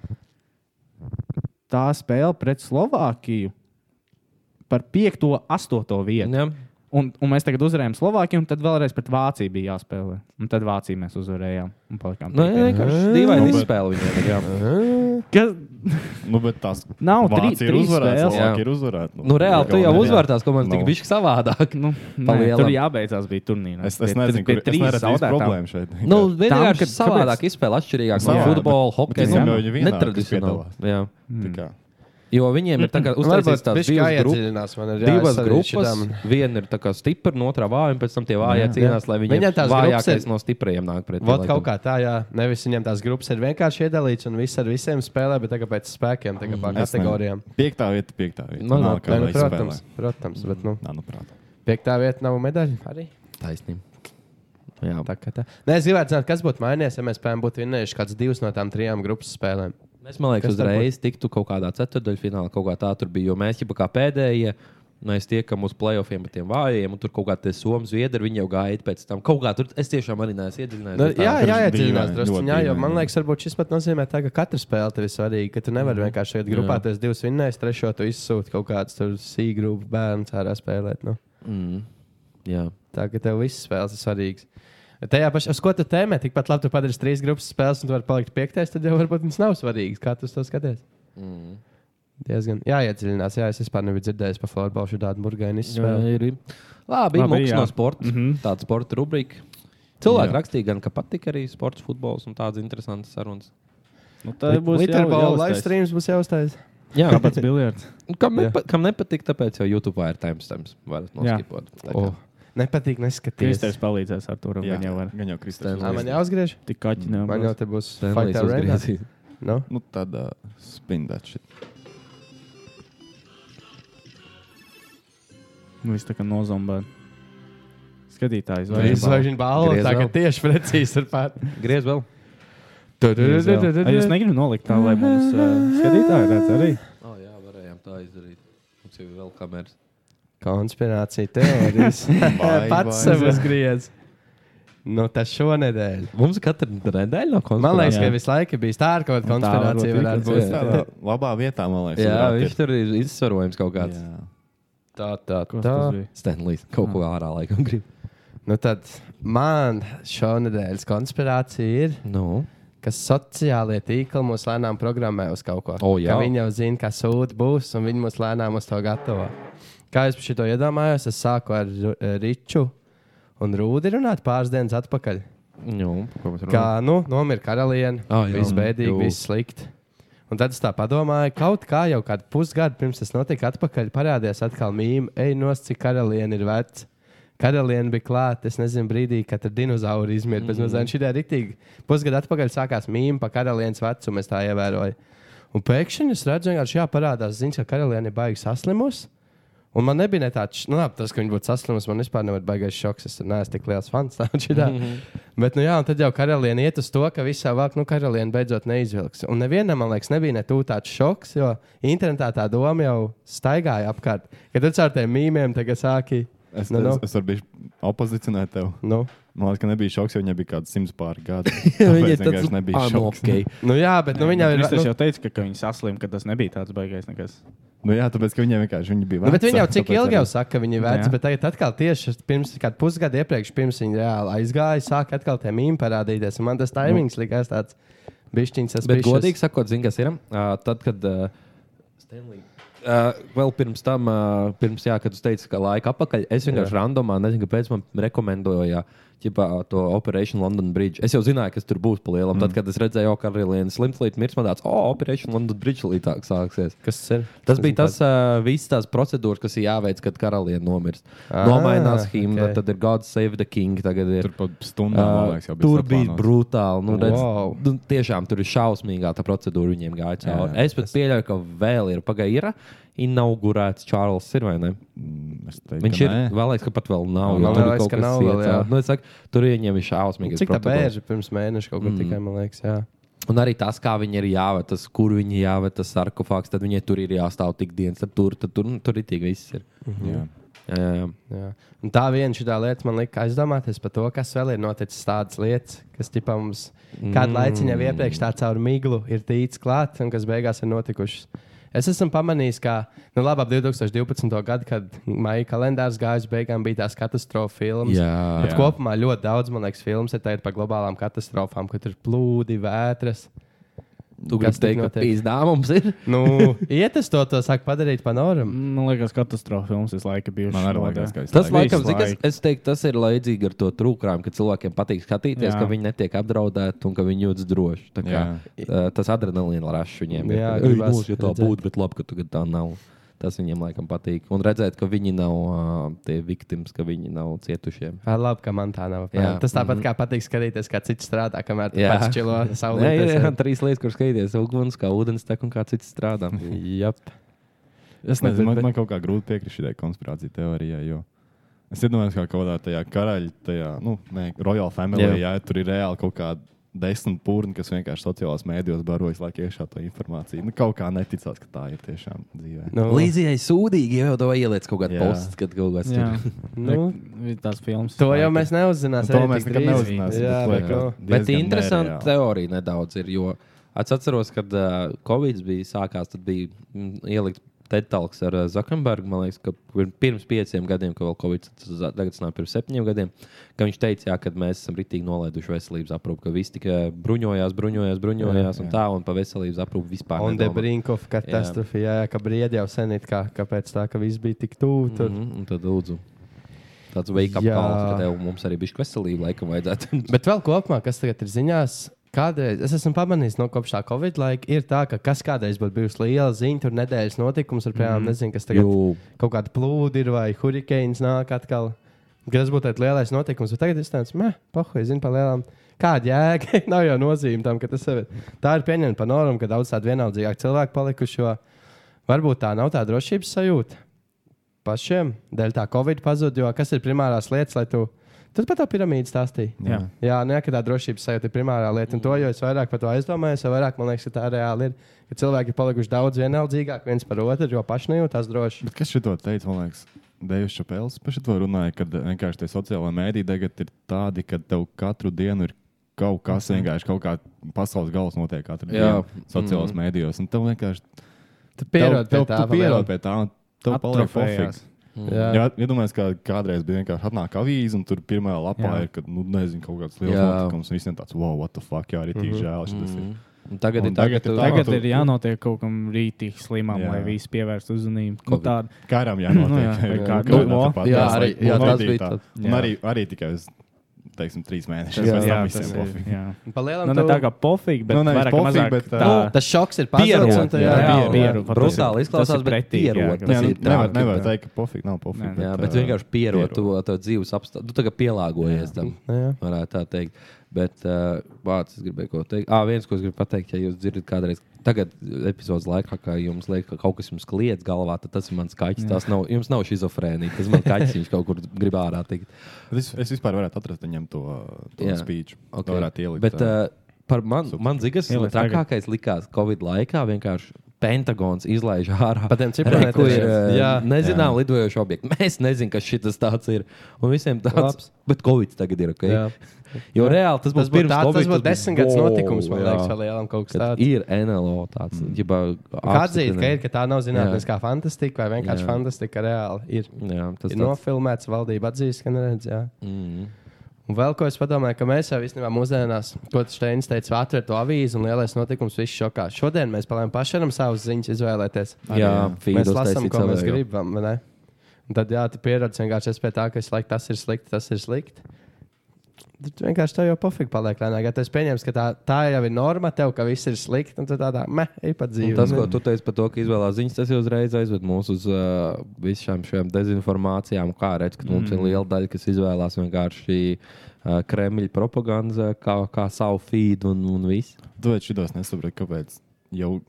Tā spēle pret Slovākiju par 5, 8 vietu.
Jā.
Un, un mēs tagad uzvarējām Slovākiju, un tad vēlreiz pret Vāciju bija jāspēlē. Un tad Vāciju mēs uzvarējām. un palikām
Nu, jā,
piektie.
vienkārši dīvaini izspēle viņiem. ir, jā.
Kas-
Nu, bet tās
Nav
Vācija
trī-
ir
trīs
uzvarēta.
spēles.
Slovākija
Jā.
ir uzvarēta.
Nu, reāli, tu jau
Galvenais, jā. Nu.
uzvar tās komandas, tik
Nav.
bišķi savādāk.
Nu,
Pa
nē, tur
lielam.
jābeidzās bija turnīrs.
Es, es nezinu, kur tas ir. Tas ir problēmas [laughs] šeit.
[laughs] Nu,
Tam,
vienkārši
kad-
savādāk izspēlē, atšķirīgāk no
Savādāk,
futbola,
bet-
hokeja.
bet
nu,
izņemot viņu vienā, kas
Netradicionāli.
piedalās.
Jā.
Tā kā.
Jo viņiem ir tā kā uztaisīts
Varbūt
tās
bišķi
divas grupas.
jāiedziļinās, man ir
divas
jāsadzīst
grupas.
šitam.
Viena ir tā kā stipra, un otrā vāja, un pēc tam tie vājie cīnās, lai viņi
Viņiem tās grupas
vājākais
ir-
no stiprajiem nāk pretī.
Vot
laikam.
kaut kā tā, jā. Nevis viņam tās grupas ir vienkārši iedalīts un viss ar visiem spēlē, bet tagad pēc spēkiem, tagad pa
Mm, Es nezinu.
kategorijām.
Piektā vieta, piektā vieta.
Nu,
Nav
nu,
kā
Nē, nu,
lai
Protams,
spēlē.
protams, bet nu,
Nā, nu, prāt.
piektā vieta nav medaļa arī.
taisnība. Jā, tā.
Tā kā tā. Nē, es gribētu zināt, kas būtu mainījies, ja mēs spējām būt vinnējuši kādas divas no tām trijām grupas spēlēm.
Mēs, man
Kas
liekas,
tā
uzreiz tiktu kaut kādā ceturdaļfinālā, kaut kā tā tur bija. Jo mēs jau kā pēdējie, mēs tiekam uz playoffiem ar tiem vājiem, un tur kaut kā tie somi zviedri, viņi jau gaida pēc tam. Kaut kā tur es tiešām arī neesmu
Nu, jā,
iedziļinājies.
jā,
dīvaini,
iedziļinās drusku.
ļoti
Jā, jo
dīvaini.
man liekas, varbūt šis pat nozīmē, tā, ka katra spēle tev ir svarīga. Ka tu
Mhm.
nevari vienkārši iet grupā, tas divas vinnējas, trešo tu izsūti kaut kāds tur sīgrūbu bērns ārā spēlēt. Nu.
Mm. jā.
Tā kā tev viss spēles ir svarīgas. Tajā pašā, uz ko tu tēmē, tikpat labi tu padarīsi trīs grupas spēles, un tu vari palikt piektais, tad jau varbūt viņas nav svarīgas. Kā tu uz to skaties?
Mm.
Diezgan. Jā, iedziļinās. Jā, es vispār nebiju dzirdējis par floorbola šādu burgainu
Jā,
izspēli.
ir. ir. Labi,
Labi,
Labi mums
jā.
no sporta. Mm -hmm. Tāda sporta rubrika. Cilvēki
Jā.
rakstīja, gan, ka patīk arī sports, futbols un tādas interesantas sarunas.
Nu, tā būs
Literbola
jau-
live streams būs jāuztais.
Jā,
Kāpēc biljards?
Un Nu, Kam,
Jā.
nepa, kam nepatīk, tāpēc jau YouTube ir timestamps. Varat
Jā.
noskipot. Tā kā.
Oh. Nepatīk neskatīties.
Kristēns palīdzēs ar to,
Jā,
viņa jau var.
Gan jau Kristēns.
Ā, Man jāuzgriež.
Tik kaķi nav.
Man jau te būs
Stanley's
fight arena.
uzgriezīs.
Nu?
Nu, tad uh, spindēt šit.
Nu, Viss tā kā nozombē. Skatītājs vai
Izvairīšana balva.
Griez
Tā kā
vēl.
tieši precīzi ir pat.
[laughs] Griez vēl.
Ai, Es negribu nolikt tā, lai mums uh, skatītāji redz arī.
Oh, jā, varējām tā izdarīt. Mums jau ir vēl kameras.
Konspirācija teorijas.
[laughs]
Pats sev uzgriez. Nu, tas šonadēļ.
Mums ir katra nedēļa no konta.
Man liekas,
Jā.
ka visu laiku ir bijis tā, ka kaut kāda
Un tā
konspirācija
varbūt
varētu
ir,
būt.
jā.
Tādā labā vietā, man liekas.
Jā,
varētu
viņš
iet.
tur ir izsvarojams kaut kāds.
Jā.
Tā, tā,
Kas
tā.
tas bija?
Stanlīs kaut ko ārā laikam grib.
Nu tad man šonadēļas konspirācija ir,
Nu,
ka sociālie tīkli mūs lēnām programmē uz kaut ko.
O, jā.
Ka viņi jau zina, kas sūta būs, un viņi mūs lēnām uz to gatavo. Kā es par šo iedomājos, es sāku ar Ru- Riču un Rūdi runāt pāris dienas atpakaļ.
nu, ko mēs runājam?
Kā nu, nomira karaliene,
Ah,
oh,
jā.
viss bēdīgi,
Jū.
viss slikti. Un tad es tā padomāju, kaut kā jau kādu pusgadu pirms tas notika, atpakaļ parādījās atkal mīmija, ej, nos, cik karaliene ir veca. Karaliene bija klāta, es nezinu, brīdī, kad ar dinozauru izmirst. Mm -hmm. Šī ir rītīga. Pusgadu atpakaļ sākās mīmija par karalienes vecumu, es tā ievēroju. Un pēkšņi es redzu, ka šajā parādās ziņas, ka karaliene ir baigi saslimusi. Un man nebija ne tāds, nu, labi, tas, ka viņš būtu saslimis, man vispār nebija baigais šoks. Es neesmu tik liels fans. [laughs] tā un šitā. Bet, nu, jā, un tad jau karaliene iet uz to, ka visā vāk, nu, karaliene beidzot neizvilks. Un nevienam, man liekas, nebija ne tūlīt tāds šoks, jo internetā tā doma jau staigāja apkārt. Kad tu caur tiem mīmiem tagad sāki.
Es,
Nu,
nu,
nu.
no. es, es varu būt opozicionēt tev.
Nu.
Man liekas, ka nebija šoks, jo viņai bija kaut kāds simts pāri gadi.
Viņa
Tāpēc
ir
vienkārši
tāds
nebija
Ah, nu,
šoks.
ok.
nu, jā, bet nu, viņa ir.
Es
Nu,
jau teicu, ka, ka viņi saslimta, ka tas nebija tāds baigais nekas.
Nu, jā, tāpēc, ka viņai vienkārši viņa bija
Nu,
veca.
bet viņi jau cik
tāpēc
ilgi jau
arī-
saka, ka viņi ir veci,
Jā.
bet tagad atkal tieši pirms kāda pusgada iepriekš, pirms viņi reāli aizgāja, sāk atkal tie mīmī parādīties. Un man tas timings likās tāds bišķiņas, tas
Bet, godīgi sakot, zinu, kas ir. Uh, tad, kad uh, Stanley. Uh, vēl pirms tam, uh, pirms, jā, kad jūs teicāt, ka laika apakaļ, es vienkārši randomā, nezinu, kāpēc man rekomendēja ķipā, to Operation London Bridge. Es jau zināju, kas tur būs palielam. Mm. Tad, kad es redzēju, ka Karolīna slimta līdz mirs, man tāds, o, Operation London Bridge līdāk sāksies.
Kas tas ir?
Tas bija tas uh, viss tās procedūras, kas ir jāveic, kad karaliene nomirst. Ah, Nomainās
ok.
himna, okay. tad ir God Save the King. tagad Ir.
Tur pat stundā, man
Ā,
liekas, jau bija.
Uh, tur bija
saplānots.
brutāli. Nu, redz,
Wow.
wow. nu, tiešām tur ir šausmīgā tā procedūra viņiem gāja cauri. Es pat pieļauju, ka vēl ir pagaidīra. Inaugurēts Čārlis ir vai ne?
Es teiktu,
Viņš
ka
ir.
nē.
Vēl liekas, ka pat vēl nav.
Man
jo tur ir
liekas,
kaut
ka
kas
nav vēl,
iet
jā.
cauri. Nu, es saku, tur ir ieņemti šausmīgi.
Cik tā bērna pirms mēneša kaut kur mm. tikai, man liekas, jā.
Un arī tas, kā viņi ir jāved, tas, kur viņi jāved, tas sarkofāks, tad viņiem tur ir jāstāv tik dienas, tad tur, tad tur, nu, tur ir tik viss. Ir.
Mm.
Jā.
Jā, jā, jā.
jā. Un tā viena šī lieta man lika aizdomāties par to, kas vēl ir noticis tādas lietas, kas tipā mums kādu laiciņu jau iepriekš tā caur miglu ir tīts klāt un kas beigās ir notikušas. Es esmu pamanījis, ka nu, labi, ap 2012. gadu, kad maija kalendārs gāja uz beigām, bija tās katastrofa filmas.
Jā.
Bet kopumā ļoti daudz, man liekas, filmas ir tagad par globālām katastrofām, kad ir plūdi, vētras.
Tu gribi
Kas tik
teikt, ka
notiek?
pīzdā mums ir?
[laughs] Nu, iet uz to, to sāk padarīt panoramu.
Man liekas, katastrofa filmas visu laiku bijušas.
Man arī liekas, ka es
Tas,
Laikam.
laikam,
Visu
zin, kas,
laiku.
es teiktu, tas ir līdzīgi ar to trūkumu, ka cilvēkiem patīk skatīties,
Jā.
Jā. ka viņi netiek apdraudēti un ka viņi jūtas droši. Tā Kā, uh, tas adrenalīna rašs viņiem ir.
Jā,
Ej,
gribas
mūs, ja tā
redzēt.
būtu, bet labi, ka tagad tā nav. Tas viņiem laikam patīk. Un redzēt, ka viņi nav uh, tie viktims, ka viņi nav cietušie.
Ai, Labi, ka man tā nav.
Jā.
apmēram. Tas tāpat mm -hmm. kā patīk skatīties, kā cits strādā, kamēr tu
Jā.
pats čilo
Nē, ir jā,
saulē.
trīs lietas, kuras skaties. Uguns, kā ūdens tek un kā cits strādā.
Jā,
Es nezinu,
bet-
man, man kaut kā grūti piekrist šai konspirācijas teorijai. Jo... Es iedomājos, kā kaut kādā tajā karaļa, tajā nu, ne, Royal Family,
Jā.
jā. Jā, tur ir reāli kaut kāda desmit pūrni, kas vienkārši sociālajās mēdījos barojas, lai iekšā to informāciju. Nu, kaut kā neticās, ka tā ir tiešām dzīvē.
nu,
Līdzīgi sūdīgi jau to ieliec kaut kādā
Jā.
postā, kad kaut kas
Jā,
tāds ir.
Nu.
Vi- tās filmas.
To jau
laiku.
mēs neuzzināsim.
Nu, to mēs nekad neuzzināsim,
Jā,
bet
bet,
liekas.
nu,
Bet
diezgan
interesanti
nereāli.
teorija nedaudz ir. Jo es atceros, kad uh, Covid bija sākās, tad bija mm, ielikt Tetālks ar uh, Zakenbergu. Man liekas, ka pir- pirms pieciem gadiem, kad vēl Covid tas za- tagad sanāk pirms septiņiem gadiem, ka viņš teica, jā, ka mēs esam ritīgi nolaiduši veselības aprūpi, ka viss tikai bruņojās, bruņojās, bruņojās jā, un tā, un pa veselības aprūpi vispār.
On the
nedomā.
brink of katastrofe. Jā, jā, ka briedi jau sen ir kā, kāpēc tā, ka viss bija tik tuvu. Tur. Mm -hmm.
Mhm, Un tad lūdzu. Tāds veikums,
Jā.
ka tev mums arī bija veselība, laikam, vajadzētu.
Bet vēl kopumā, kas tagad ir ziņās, kādreiz es esmu pamanījis no kopš tā Covid laika, ir tā, ka kas kādreiz būtu bijusi liela ziņa, tur nedēļas notikums, ar piemēram, mm -hmm. nezinu, kas tagad ir.
Jū.
kaut kāda plūdi ir vai hurikāns nāk atkal. Tas būtu tāds lielais notikums, bet tagad es tādu pahoju, zinu, par lielām. Kāda jēga? [laughs] Nav jau nozīme tam, ka tas sev ir. Tā ir pieņemta panorama, ka daudz tādu vienaldzīgāku cilvēku palikuši. jo Varbūt tā nav tā drošības sajūta pašiem, dēļ tā Covid pazuda. Jo kas ir primārās lietas, lai tu. Tad pat tā piramīda stāstīja.
Jā.
Jā, nē, ka tā drošības sajūta ir primārā lieta. Un to jau es vairāk par to aizdomājos, jo vairāk man liekas, ka tā reāli ir. Ka cilvēki ir palikuši daudz vienaldzīgāki viens par otru, jo paši nejūtas droši.
Bet kas šito teica, man liekas, Deivs Čepels par šo runāja, kad vienkārši tie sociālai mēdī tagad ir tādi, ka tev katru dienu ir kaut kas vienkārši kaut kā pasaules gals notiek katru
Jā.
dienu sociālajos mēdījos. Un tev vienkārši
Tu pierod
tev,
pie
tev,
tā,
tu pierod
palielin.
pie tā, un tev paliek
Atrofējās.
pofīgs.
Jā.
Jā, iedomājieties, kā kādreiz bija vienkārši atnāk avīze, un tur pirmā lapā
Jā.
jā. ir, kad, nu, nezinu, kaut kāds liels
Jā.
notikums, un visiem tāds, wow, what the fuck, jā, arī tik žēl. Mm
Mhm.
-hmm.
Un Tagad
Un
ir tā, ka
tagad ir
tu-
tā,
Tagad
tu-
ir jānotiek kaut kam rītīgi slimam,
Jā.
lai visi pievērstu uzmanību. Nu,
Covid.
tāda
Kāram jānotiek.
Nu jā,
jā,
vai
jā,
kā-
kaut
nu,
kādā
o,
pat-
jā,
tas,
arī-
lai
jā, tas
novadītā.
bija tā.
Un arī, arī tikai uz, teiksim, trīs mēnešus.
Jā,
pēc
jā,
tam
tas
visiem
ir.
pofīgi.
Jā.
Palielam,
Nu, ne tā kā pofīgi, bet
Nu, nevis
vairāk vai
pofīgi,
mazāk
bet,
tā.
Nu,
ā,
Tas šoks ir
Pierod,
pārāk
jā,
jā,
pierod, pat tas ir-
Brutāli
tas
izklausās,
ir
bet
pretīgi, jā,
pierod.
ka-
Tas
Jā, nu,
ir tā,
nevar,
ka
nevar
tā-
teikt, ka pofīgi nav pofīgi.
Nē,
Jā,
bet,
bet
ā,
vienkārši pierod,
pierod.
tu to dzīves apstākļus. Tu tagad pielāgojies tam,
Jā.
varētu tā teikt. Bet, uh, vārds, es gribēju ko teikt. Ah, viens, ko es gribu pateikt, ja jūs dzirdat kādreiz, tagad epizodes laikā, kā jums liekas, ka kaut kas jums kliedz galvā, tad tas ir mans kaķis. Tas nav, jums nav šizofrēnija. Tas man kaķis, viņš kaut kur grib ārā tikt.
Bet Es, es vispār varētu atrast viņam to, to
Jā.
spīķu. Okay.
Nu,
Ok.
To varētu ielikt.
Bet,
ā,
uh, par man, man zigas, tas
Ieliec tagad.
trakākais likās Covid laikā vienkārši. Pentagons izlaiž ārā.
Pa tiem cipriem
Re, ko ir eh,
netiec. Jā.
nezināma lidojoša objekta. Mēs nezinām, kas šis tāds ir. Un visiem tāds
Labs.
- bet Covid tagad ir ok.
Jā.
Jo reāli tas
Tas
būs
būtu
pirms
tāds,
Covid,
tas būtu desmit gads
wow,
notikums, man
jā.
liekas, vēl lielam kaut kas
Kad
tāds.
ir NLO tāds. Mm.
Kā atzīt, ka, ir, ka tā nav zinātniskā fantastika vai vienkārši
Jā.
fantastika reāli ir.
Jā, tas
ir
ir nof...
nofilmēts, valdība atzīst, ka neredz. Jā.
mm.
Un vēl ko es padomāju, ka mēs jau īstenībā mūsdienās, ko Steins teica, atver to avīzi un lielais notikums, viss šokā. Šodien mēs palēm pašam savas ziņas izvēlēties.
jā
Mēs
feedos
lasām,
taisīt
ko mēs
savējo.
gribam. vai ne? Un tad jā, tu pieradzi vienkārši es pie tā, ka es laiku tas ir slikti, tas ir slikti. Tad vienkārši tev jau pofīgi paliek lēnāk. Ja tas pieņems, ka tā, tā jau ir norma tev, ka viss ir slikti, un tad tādā meh, ej pat
Un
dzīvi.
Tas, ko tu teici par to, ka izvēlās ziņas, tas jau uzreiz aizved mūs uz uh, visām šīm dezinformācijām. Kā redz, ka mums mm. ir liela daļa, kas izvēlās vienkārši uh, Kremļa propagandu, kā, kā savu feed un, un visu.
Tāpēc šitos nesaprotu, kāpēc jau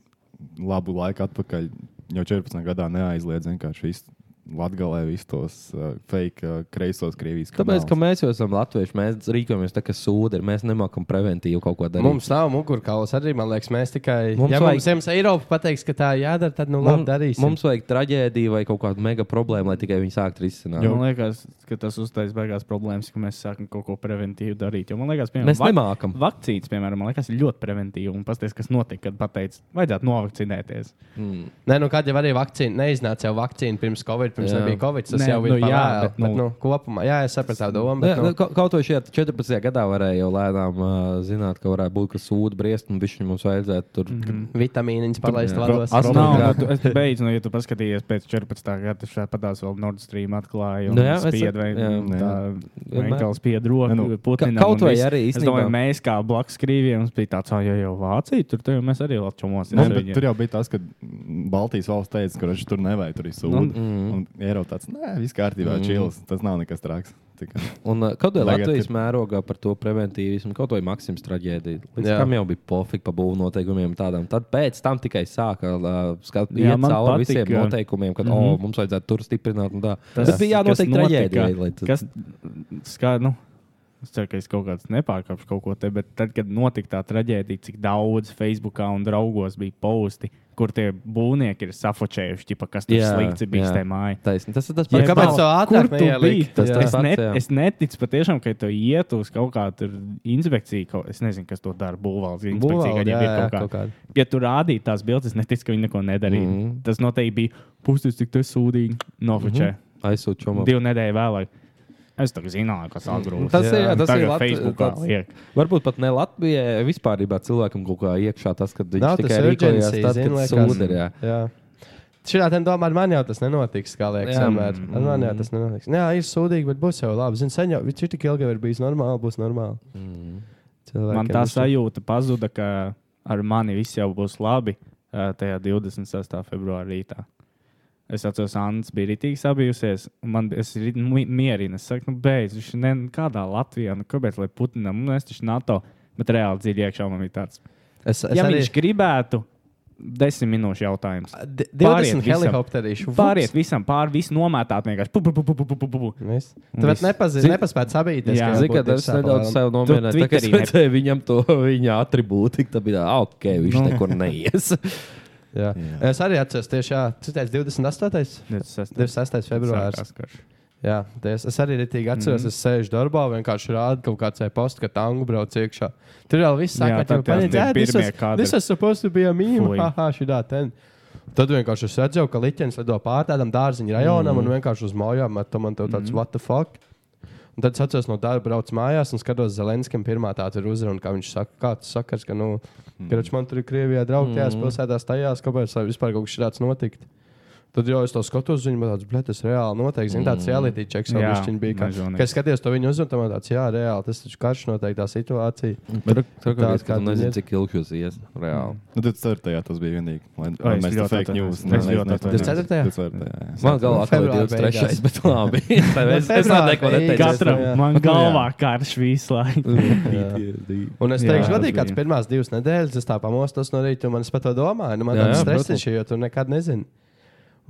labu laiku atpakaļ, jau 14 gadā neaizliedz vienkārši visu Latgalē visus tos uh, fake uh, kreisos Krievijas
Tāpēc, ka
kanālus.
mēs jau esam latvieši, mēs rīkojamies tā, ka sūdi ir. Mēs nemākam preventīvi kaut ko darīt.
Mums nav mugurkaulas arī, man liekas, mēs tikai.
Mums
Mums ja
vajag-
mums jums Eiropa pateiks, ka tā jādara, tad nu labi
Mums,
darīsim.
mums vajag traģēdiju vai kaut kādu mega problēmu, lai tikai viņi sāktu risināt.
Man liekas, ka tas uztaisīs beigās problēmas, ka mēs sākam kaut ko preventīvu darīt. Jo, man liekas, piemēram,
Mēs nemākam.
Vakcīnas, piemēram, man liekas, ir ļoti preventīva. Un paskatieties, kas notika, kad pateica, vajadzētu novakcinēties.
Mm.
Nē, nu kad jau arī vakcīna neiznāca, jau vakcīna pirms Covid, pirms
Jā.
jā. nebija Covid, tas
Nē,
Nē, jau
nu
ir
jā,
nu, jā,
bet,
bet, nu,
nu-
bet, nu, kopumā. Jā, es sapratu tavu domu.
Jā,
Bet, nu,
nu, kaut- kaut vai šajā 14. gadā varēja jau lēnām uh, zināt, ka varētu būt, ka sūdi briest un viņš mums vajadzētu tur. Mm
Mhm.
-hmm.
vitamīniņas palaist vados.
Tas
Problēma.
nav no, tu, es beidzu, nu, ja tu paskatījies pēc 14. gada, tad šādi padās vēl Nord Stream atklāja.
Nu
Nu,
jā,
jā,
es-
spied, vai, jā,
jā.
tā
Vienmēr.
vienkārši spied roku.
Nē, nu,
Putinam
ka- kaut
un
vai
viss.
arī
Es domāju,
īstenībā-
mēs kā blakus Krievijiem mums bija tāds, ah, jo jau Vācija, tur tur jau mēs arī vēl čumosim.
Nu,
ar
bet
viņiem."
tur jau bija tas, ka Baltijas valsts teica, ka viņš tur nevajag tur
Mm,
izsūtīt. Un Eiropa tāds - nē, viss kārtībā, čils. Tas nav nekas traks. Tikai.
Un uh, kaut kādā
Tagad
Latvijas
ir-
mērogā par to preventīvismu, kaut vai Maksims traģēdija. Līdz
Jā.
tam jau bija pofīgi pa būvniecības noteikumiem tādām. Tad pēc tam tikai sāka uh, skat-
Jā,
iet
man
cauri
patika. Mhm.
visiem noteikumiem, ka mm -hmm. oh, mums vajadzētu tur stiprināt. un Tā.
Tas,
Tas bija
kas
jānotiek traģēdijai. lai
notika,
tas-
Kas, skā, nu, es ceru, ka es kaut kāds nepārkāpšu kaut ko te, bet tad, kad notika tā traģēdija, cik daudz Facebookā un draugos bija posti, kur tie būvnieki ir safočējuši, ķipa, kas tur
Jā,
slikti bija
jā.
tajā mājā.
Taisni, tas ir tas
Jā,
pats,
kāpēc
kas
tā ātrāk
Kur tu
neielika?
biji?
Tas
Jā.
tas
Es,
pats,
net,
jā.
es neticu patiešām, ka tu iet uz kaut kādu inspekciju. Kaut, es nezinu, kas to dara. Būvvaldes inspekcija,
Būvvalde,
kad viņiem
jā,
ir
jā,
kaut
kaut kāda.
kāda. Ja tu rādīji tās bildes, es neticu, ka viņi neko nedarīja. Mm
Mhm.
-hmm. Tas noteikti bija puses, cik tu esi sūdīgi nofočē. Mm -hmm
aizsūtījums.
divu nedēļu vēlāk. Es tagad zināju, kas atgrūst.
Mm. Tas ir- jā, tas ir Lat-
Facebookā.
tāds-
liek.
Varbūt pat ne Latvijai, vispār ir cilvēkam kaut kā iekšā tas, ka viņš
Nav tas
tikai rīkojas
urgency,
tad,
zini,
kad
liekas.
sūdi ir. Jā.
Jā. Šajā tam domā, ar mani jau tas nenotiks, kā liekas.
Jā. Mm.
Jā, ar mani jau tas nenotiks. Jā, ir sūdīgi, bet būs jau labi. Zinu, sen jau, viņš ir tik ilgi jau ir bijis normāli, būs normāli.
Mm.
Cilvēkiem
Man tā
viņš-
sajūta pazuda, ka ar mani viss jau būs labi eh, tajā 26. februāra rītā. Es atceros, Anna bija rītīgi sabijusies. un Man bija mierīgi. Es saku, nu, beidz, viņš ne kādā Latvijā, nu, kāpēc, lai Putinam, nu, es taču NATO, bet reāli dziļi iekšā man bija tāds.
Es, es
Es ja
arī...
arī... viņš gribētu, desmit minūšu jautājums.
D-
Pāriet
20
visam.
helikopterīšu.
Pāriet visam, pāri visam nomētāt vienkārši. Pu, pu, pu, pu, pu, pu, pu, pu.
Viss.
Un
Tu pat
viss.
nepazīsti,
Zini-
nepaspēji sabīties.
Jā.
ka
Zinu, ka
varbūt ir
tas nedaudz
sapalēnam.
sev nomierināja. Tā kā es
Twitterī
[laughs]
ne-
redzēju viņam to viņa atribūti, tad bija tā, ah, ok, viņš
Nu.
nekur neies.
[laughs] Jā. Es arī atceros, tieši jā, tu teici 28.
26.
26. februāris.
Sākās karš.
Jā, es, es arī rītīgi
Mhm.
atceros, mm -hmm. es sēžu darbā, vienkārši rādu kaut kādā postā, ka tangu brauc iekšā. Tur jau viss
Jā,
sākās
tad tie pirmie kadri.
Tas ir supposed to be a meme.
Fui.
Haha, šī tā ten. Tad vienkārši es redzēju, ka liķis lido pāri tādam dārziņu rajonam mm. un
Mhm.
vienkārši uz mājām ar to man te tāds mm. what the fuck. Un tad es atceros no darba, braucu mājās un skatos Zelenskijam, pirmā tā ir uzruna, kā viņš saka, kāds sakars, ka, nu,
Mhm.
mm. man tur ir Krievijā draugi, tajās mm. pilsētās, tajās, kāpēc lai vispār kaut kas tāds notikt. Tad jau es to skatos, viņa man tāds, bet tas reāli noteikti, zini, tāds reality checks,
Jā,
kāds viņš bija. kā-
mežonīgs.
Kad es skatījos to viņa uzrunu, tad man tāds, jā, reāli, tas taču karš noteikti tā situācija.
Tur
tā
kā
kā
kāds
tu
nezina,
ies-
cik ilgi jūs ies. Reāli.
Nu, 24. tas bija vienīgi. Lai,
Ai,
lai
es
mēs tam
ļoti
fake news.
atvainojos.
nē,
Es
nē,
ļoti
nē,
atvainojos.
24.?
24. jā.
Man galvā atkal ir
nu, Februāra
23.
beigās.
bet labi.
[laughs]
es
februāra
es tādu neko neteicu.
beigās.
Katram
jā.
man galvā karš visu laiku.
Un es
Jā,
teikšu,
tas
godīgi, kāds
bija.
pirmās divas nedēļas, es tā pamostos no rīta, un man es par to domāju, nu, man
Jā,
tāds
jā,
stresiņš, jo tu nekad nezini.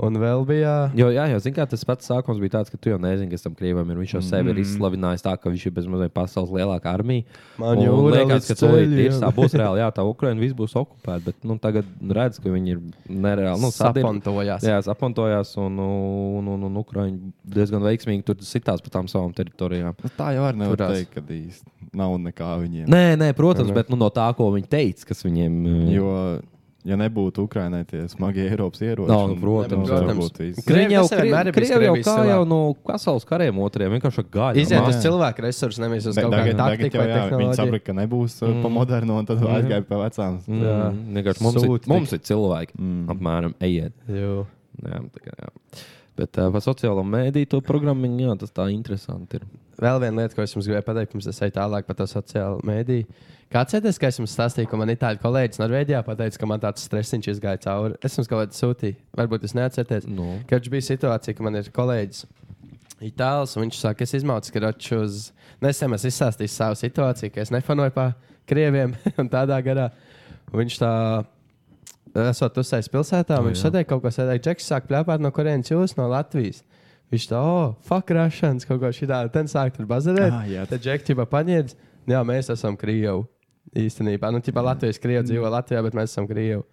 Un vēl bija.
Jo, jā, jau zinu, tas pats sākums bija tāds, ka tu jau nezini, kas tam krievam ir. Viņš jau
Mm.
sevi ir izslavinājis tā, ka viņš ir bezmazliet pasaules lielākā armija.
Man
Un
jūra
liekas, ka
līdz
tūlīt
ceļiem.
ir tā būs reāli. Jā, tā Ukraina viss būs okupēta, bet nu, tagad redz, ka viņi ir
[laughs]
nereāli. Nu, sadir-
Sapantojās.
Jā, apantojās, un, nu, un, un, un Ukraiņi diezgan veiksmīgi tur sitās pa tām savām teritorijām.
Nu, Tā jau var nevar
Turās.
teikt, ka īsti nav nekā viņiem.
Nē, nē, protams, bet nu, no tā, ko viņi teica, kas viņiem ir.
Jo, ja nebūtu Ukrainai tie smagie Eiropas ieroči,
Nav,
un-
protams,
tad
protams.
būtu viss.
Krievi
Krievi jau,
nesevi
krievi,
vienmēr ir bijis
krievi jau
Krievijas
kā
savā.
jau no pasaules kariem otriem vienkārši gāja.
Iziet uz
jā.
cilvēku resursu, nevis uz
Bet
kaut kādu
Tagad, tagad
taktiku
jau
vai
jā, viņi
tehnoloģiju.
saprata, ka nebūs mm. pa modernu, un tad aizgāja pa vecām. Mm.
Jā, vienkārši mums, ir,
Sūti tik-
mums ir cilvēki. Mm. Apmēram, ejiet.
Jū.
Jā, tā kā, jā. Bet uh, par sociālo mēdīju to programmu, jā, tas tā interesanti ir.
Vēl viena lieta, ko es jums gribēju pateikt, pirms es eju tālāk par to sociālo mediju. Kāds ir tas, ka es jums stāstīju, ka man itāļu kolēģis Norvēģijā pateica, ka man tāds stresiņš izgāja cauri? Es jums kaut kādā sūtīju, varbūt jūs neatcerieties.
Nu.
Kad bija situācija, ka man ir kolēģis itālis, un viņš saka, es izmaucu skroču uz nesen, es izstāstīju savu situāciju, ka es nefanoju pa krieviem [laughs] un tādā garā. Un viņš tā, esot uzsācis pilsētā,
Nu
un viņš sēdēja kaut ko sēdēja, Džeks sāk pļāpāt, no kurienes jūs no Latvijas. Viņš tā, oh, fuck, rašanas, kaut ko šitā, tad sāk tur bazarēt.
Ah, jā.
tad Džeks ķipa paņēdz, Nu jā, mēs esam Krievi. Īstenībā, nu, tipā Latvijas krievi dzīvo Latvijā, bet mēs esam krievi.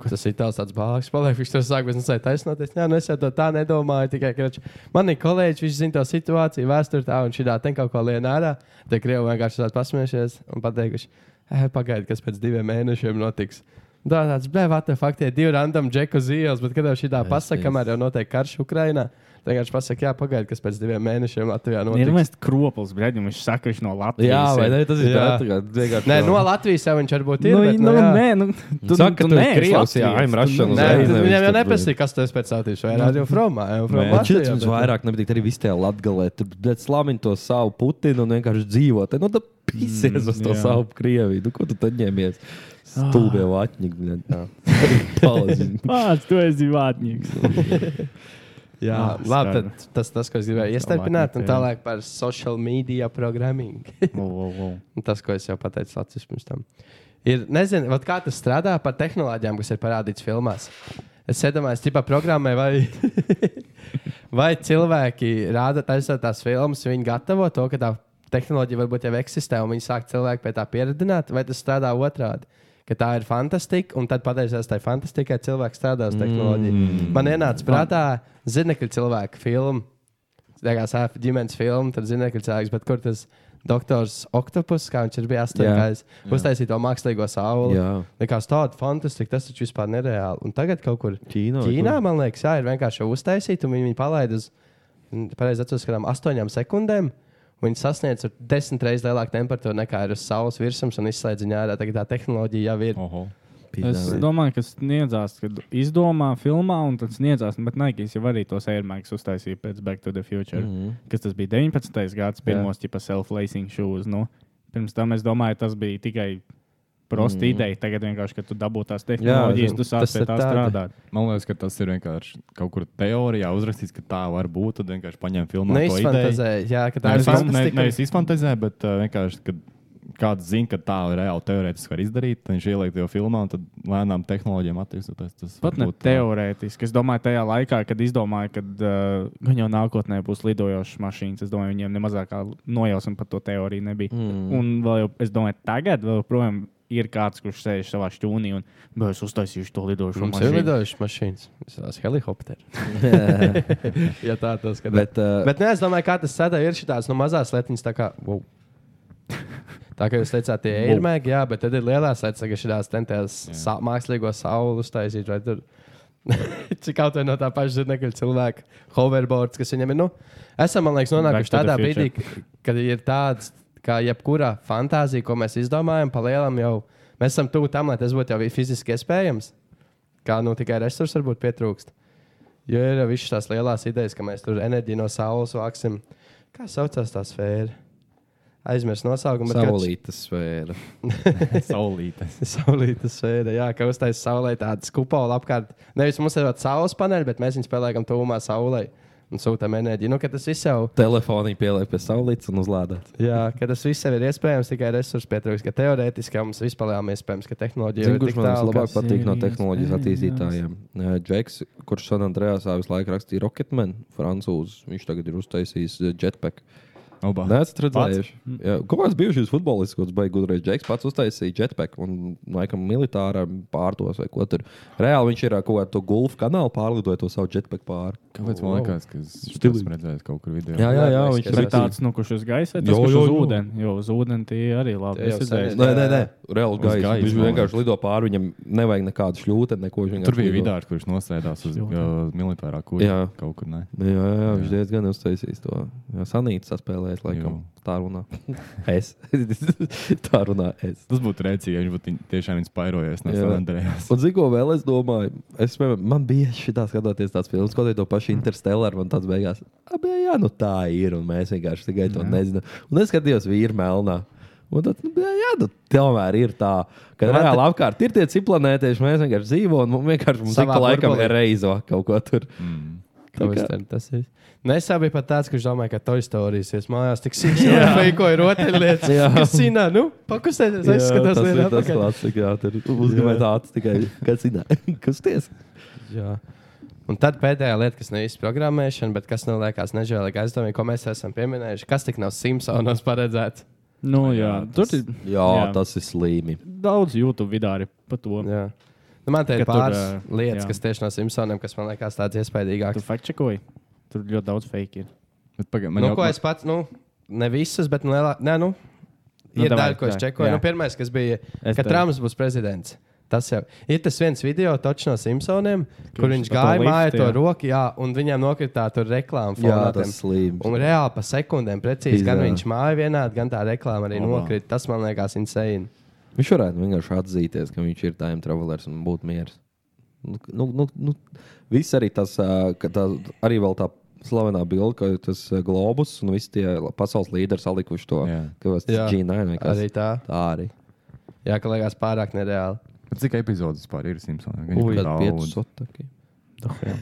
Tas ir tāds tāds bāks, paliek, viņš tur sāk beznesēt taisnoties. Jā, nu es jau to tā nedomāju, tikai, ka viņš- man ir kolēģis, viņš zina to situāciju, vēsturi tā, un šī tā, ten kaut ko lienā ārā. Te krievi vienkārši tāds pasmiešies un pateikuši, eh, pagaidi, kas pēc diviem mēnešiem notiks. Tā tāds, blē, vate, fakti, ir divi random džeku uz ielas, bet kad jau šī tā pasaka, kamēr jau notiek karš Ukrainā, tad vienkārši pasaka, jā, pagaidi, kas pēc diviem mēnešiem Latvijā notiks.
Ir mēs kroplis, bļaļ, un viņš saka, viņš no Latvijas.
Jā, vai ne? Tas ir
Jā.
tā, tā kā vienkārši.
Nē, nu, no Latvijas jau viņš varbūt ir.
Nu,
bet,
nu,
jā.
nē, nu, tu,
Saka,
tu
tu esi
neesi
krievs, jā,
Latvijas.
I'm Russian
Tu
Nē,
uzreiz.
neesi.
tad
nevis
Viņam jau
tur
nepatīk, kas tas pēc tam ir. Viņš jau fromā, jau
Man
fromā.
šķiet, viņš vairāk nepatīk arī vistajā Latvijā. Tur bet slāmin to savu Putinu un vienkārši dzīvo. Tad, nu, tad pīsies uz to
jā.
savu Krieviju. Nu, ko tu tad ņemies? Stulbie vatņi. [laughs] Palazini.
Pats, tu esi vātnieks.
Jā,
Ah,
labi,
skaidrs.
tad tas, tas, ko es gribēju iestarpināt, un tālāk par social media programming. [laughs] Un tas, ko es jau pateicu Latvijas pirms tam. Ir, nezinu, vat kā tas strādā par tehnoloģijām, kas ir parādīts filmās. Es iedomājos, tipā programmai, vai, [laughs] vai cilvēki rāda taisot tās filmas, viņi gatavo to, ka tā tehnoloģija varbūt jau eksistē, un viņi sāk cilvēku pie tā pieredzināt, vai tas strādā otrādi. Ka tā ir fantastika, un tad pateicoties tai fantastikai, cilvēks strādā uz tehnoloģiju. Mm. Man ienāca prātā zinekļu cilvēku filmu tā kā sāpju ģimenes filmu, tad zina, ka cilvēks, bet kur tas doktors Oktopus, kā viņš ir bijis astoņkājis, uztaisīja to mākslīgo sauli.
Jā.
Likās tāda fantastika, tas taču vispār nereāli. Un tagad kaut kur
Ķīnā Nu, vai
Ķīnā
kur?
man liekas, jā, ir vienkārši jau uztaisīta, un viņi, viņi palaid uz, mm, pareizi atceros, kādām astoņām sekundēm. Viņi sasniedz ar desmit reizes lielāku temperatūru nekā ir uz saules virsmas un izslēdz viņu ārā. Tagad tā tehnoloģija jau ir.
Oh,
Oho.
Es domāju, ka sniedzās, kad izdomā filmā, un tad sniedzās, bet Nikes jau arī tos airmags uztaisīja pēc Back to the Future, mm
Mhm.
-hmm. kas tas bija 19. gads, pirmos tipa self-lacing shoes. Nu. Pirms tam es domāju, tas bija tikai prosta mm -hmm. ideja. Tagad vienkārši, kad tu dabū tās
Mhm. Jā,
tehnoloģijas, tu
tas
sāc pie
ir
tā
tāda.
strādāt.
Man liekas, ka tas ir vienkārši kaut kur teorijā uzrakstīts, ka tā var būt. Tad vienkārši paņem filmu.
Neizfantāzēju, jā, ka tā ir fantastika.
Nevis izfantāzē, bet uh, vienkārši, kad kāds zina, ka tā reāli teorētiski var izdarīt, tad viņš ieliek to filmā un tad lēnām tehnoloģijām attīstoties. Tas
Pat ne
varbūt, uh,
teorētiski. Es domāju, tajā laikā, kad izdomāju, ka uh, gan jau nākotnē būs lidojošas mašīnas, es domāju, viņiem nemazākā nojausma par to teoriju nebija. Mm. Un vēl jau, es domāju, tagad vēl joprojām ir kāds, kurš sēž savā šķūnī un "Bē, es uztaisīšu to lidojošo
Mums ir
mašīnu.
lidojušas mašīnas, visās helikopteri.
[laughs]
ja tā tas skatās.
Bet, uh,
Bet nē, es domāju, kā tas sada ir šīs no mazās lietiņas. Tā kā, wow. [laughs] tā kā jūs teicāt, tie ir mēģi, jā, bet tad ir lielās lietas, kā šīs tentēs sa mākslīgo sauli uztaisīt. vai tur- [laughs] Cik kaut kā no tā paša zirnekļa cilvēka hoverboards, kas viņam ir. Nu, esam, man liekas, nonākuši
Back to the
tādā brīdī,
future.
k- kad ir tāds, kā jebkura fantāzija, ko mēs izdomājam, palielam jau. Mēs esam tuvu tam, lai tas būtu jau fiziski iespējams. Kā nu tikai resursi varbūt pietrūkst. Jo ir jau visas tās lielās idejas, ka mēs tur enerģiju no saules vāksim. Kā saucās tā sfēra? Aizmirst nosaukumu. bet [laughs] kāds-
Saulītas sfēra.
Saulītes.
Saulītas sēde, jā, ka uztaisīja saulē tādas kupola apkārt. Nevis mums ir tāds saules paneļi, bet mēs viņus pieliekam tuvumā saulē un sūtām enerģiju. Nu, ka tas viss jau,
Telefonī pieliek pie saulītes un uzlādēt.
jā, ka tas viss jau ir iespējams, tikai resursu pietrūkst. ka Teorētiski jau mums vispār ir iespējams, ka tehnoloģija
Zinu,
jau ir
kurš
tik
man
tālu.
vislabāk
Labāk...
patīk no
Serious
tehnoloģijas
Players.
attīstītājiem? Eh, Džeks, kurš San Andrejasā visu laiku rakstīja Rocketman, francūzs, viņš tagad ir uztaisījis eh, jetpack.
Oba.
Nē, esat redzējuši. Jā, Kaut kāds bijušais futbolists, kurš baigs gudrais džeks, pats uztaisīja jetpack un, laikam, militāram pārdos vai ko tur. Reāli viņš ir ar kaut kādu gulfu kanālu pārlidojis to savu jetpack pāri.
Kāpēc man liekas, ka es to
Stilīgi.
redzēju kaut kur video?
Jā, jā, jā,
Liekas,
viņš
ka
ir
Tas ir tāds, nu, kurš uz gaisa, tas
Jo,
kurš
jo,
uz
jo.
ūdeni. Jo uz ūdeni tie arī labi.
Tie jau
Es redzēju,
sen
Nē, nē, nē. reāls gaiss.
gaisu,
Viņš
man
vienkārši lido pāri, viņam nevajag nekādu šļūtu, neko viņš vienkārši.
Tur bija
lido.
vidārs, kurš nosēdās uz
Ļoti.
uh, militārā
Jā.
kuģa kaut kur. Ne?
Jā, jā, jā, viņš diezgan uztaisīs to. Jā, Sanīts saspēlēs, laikam.
Jā.
Tā [laughs] runā. es. tā runā es.
Tas būtu rēcīgi, ja viņš būtu in- tiešām inspirējies no
Jā.
Sanandrējas.
[laughs] Un zinu, ko vēl es domāju. Es, piemēram, man bija šitā skatoties tāds filmas, ko te to pašu Interstellar, man tāds beigās. Abie, jā, nu tā ir, un mēs vienkārši tikai to nezinām. Un es skatījos vīru melnā. Un tad, nu, jā, jā, nu, tomēr ir tā, ka
Man
reāli apkārt ir tie ciklonētieši, mēs vienkārši dzīvojam, un vienkārši mums
Savā
ik pa laikam
burbulī.
ir reizo kaut ko tur.
Mm.
Tas ir. Nē, es jau biju pat tāds, kurš domāja, ka to stāstīs. Es mājās tik sīkā veidā, ko ir rotaļlietas.
Jā.
Kas cīnā, nu, pakustēties,
Jā,
aizskatās
tas ir
vienā
tas klasika, jā, tur uzgāja tāds tikai, [laughs] kas ir, kusties.
Jā. Un tad pēdējā lieta, kas nav īsti programmēšana, bet kas man liekas nežēlīgi aizdomīgi, ko mēs esam pieminējuši, kas tik nav Simpsonos paredzēts.
nu, jā, tur ir
Jā, tas ir slīmi.
daudz YouTube video arī par to.
Jā. Nu, man te ir
Ka tur,
pāris
ā,
lietas,
jā.
kas tieši no Simpsoniem, kas man liekas tāds
Tu
iespaidīgāks.
fakčakoji? Tur ļoti daudz fake ir.
Man
Nu,
jau
ko es pats, nu, ne visas, bet nu, lielā, nē, nu,
Nu,
ir
davai,
daļa, ko es
tā,
čekoju.
jā.
Nu, pirmais, kas bija,
Es
ka
tev-
Trumps būs prezidents. Tas jau ir tas viens video, točs no Simpsoniem, kur viņš
pa to
gāja
liftu,
mājā to
jā.
roku, jā, un viņam nokritā tur reklāmas
Jā, tas slīms.
Un reāli pa sekundēm precīzi, gan
Izdā.
viņš māja vienādi, gan tā reklāma arī
Labā.
nokrita. Tas man liekas insane.
Viņš varētu vienkārši atzīties, ka viņš ir time travelers un būt mieras. Nu, nu, nu, nu, viss arī tas, ā, ka tā, arī vēl tā slavena bilde, ka tas ā, globus un visi tie la- pasaules līderi salikuši to
Jā.
Jā.
G9 vai kas
Arī tā.
Tā arī.
Jā, ka liekas pārāk nereāli.
Cik epizodes vispār ir Simpsonam?
Ui,
ir
tad
daudz.
piecus otaki.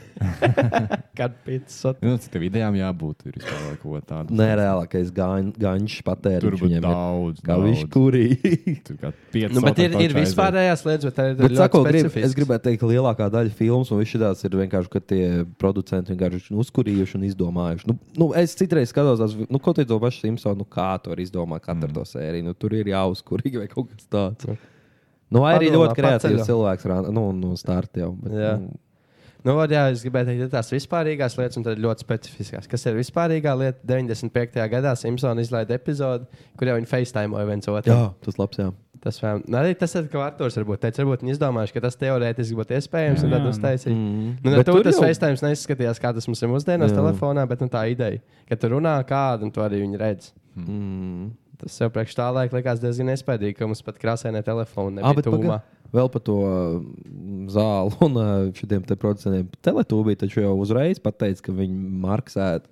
Kad pīcis
Zinu, Nu, cik tam idejām jābūt ir vispār vai ko tādu.
Nereālākais gan- ganšs
Tur
patēriņš
būtu
viņam ir.
daudz.
Kā
daudz.
viņš kurīja.
Tur kā pieci.
Nu, bet ir, ir vispārējās lietas, bet arī
Bet,
ir
sako, grib,
specifiskas.
es gribēju teikt, ka lielākā daļa filmas un viss šis ir vienkārši, ka tie producenti vienkārši uzkurījuši un izdomājuši. Nu, nu, es citreiz skatos, tās, nu, ko te to pašu Simpsonu, nu, kā to var izdomāt katru mm. to sēriju. Nu, tur ir jāuzkurīgi vai kaut kas tāds. Nu, vai arī
Padomā,
ļoti kreatīvs
paceļo.
cilvēks rā- nu, no starta jau. Bet,
Jā.
nu,
Nu, vod, jā, es gribēju teikt, ir tās vispārīgās lietas, un tad ir ļoti specifiskās. Kas ir vispārīgā lieta? 95. gadā Simpsons izlaida epizodi, kur jau viņi FaceTime viens otru.
jā, tas labs. Jā.
Tas vēl- nu, arī tas, ir, ko Arthurs varbūt teica. Varbūt viņi izdomājuši, ka tas teorētiski būtu iespējams, jā, un tad
Jā.
uztaisīja. Mm. Nu,
Bet
bet tur
tur
tas
jau-
FaceTime neizskatījās, kā tas mums ir mūsdienās
Jā.
telefonā, bet nu, tā ideja, ka tur runā kādu, un to arī viņi redz.
Mm.
Tas jau priekš tā laika likās diezgan iespaidīgi, ka mums pat krāsainē telefona
Ah,
nebija
bet
tuvumā.
paga- Vēl par to mm, zāli [laughs] un ā, šitiem te producentiem. Teletūbī taču jau uzreiz pateica, ka viņi marksēta.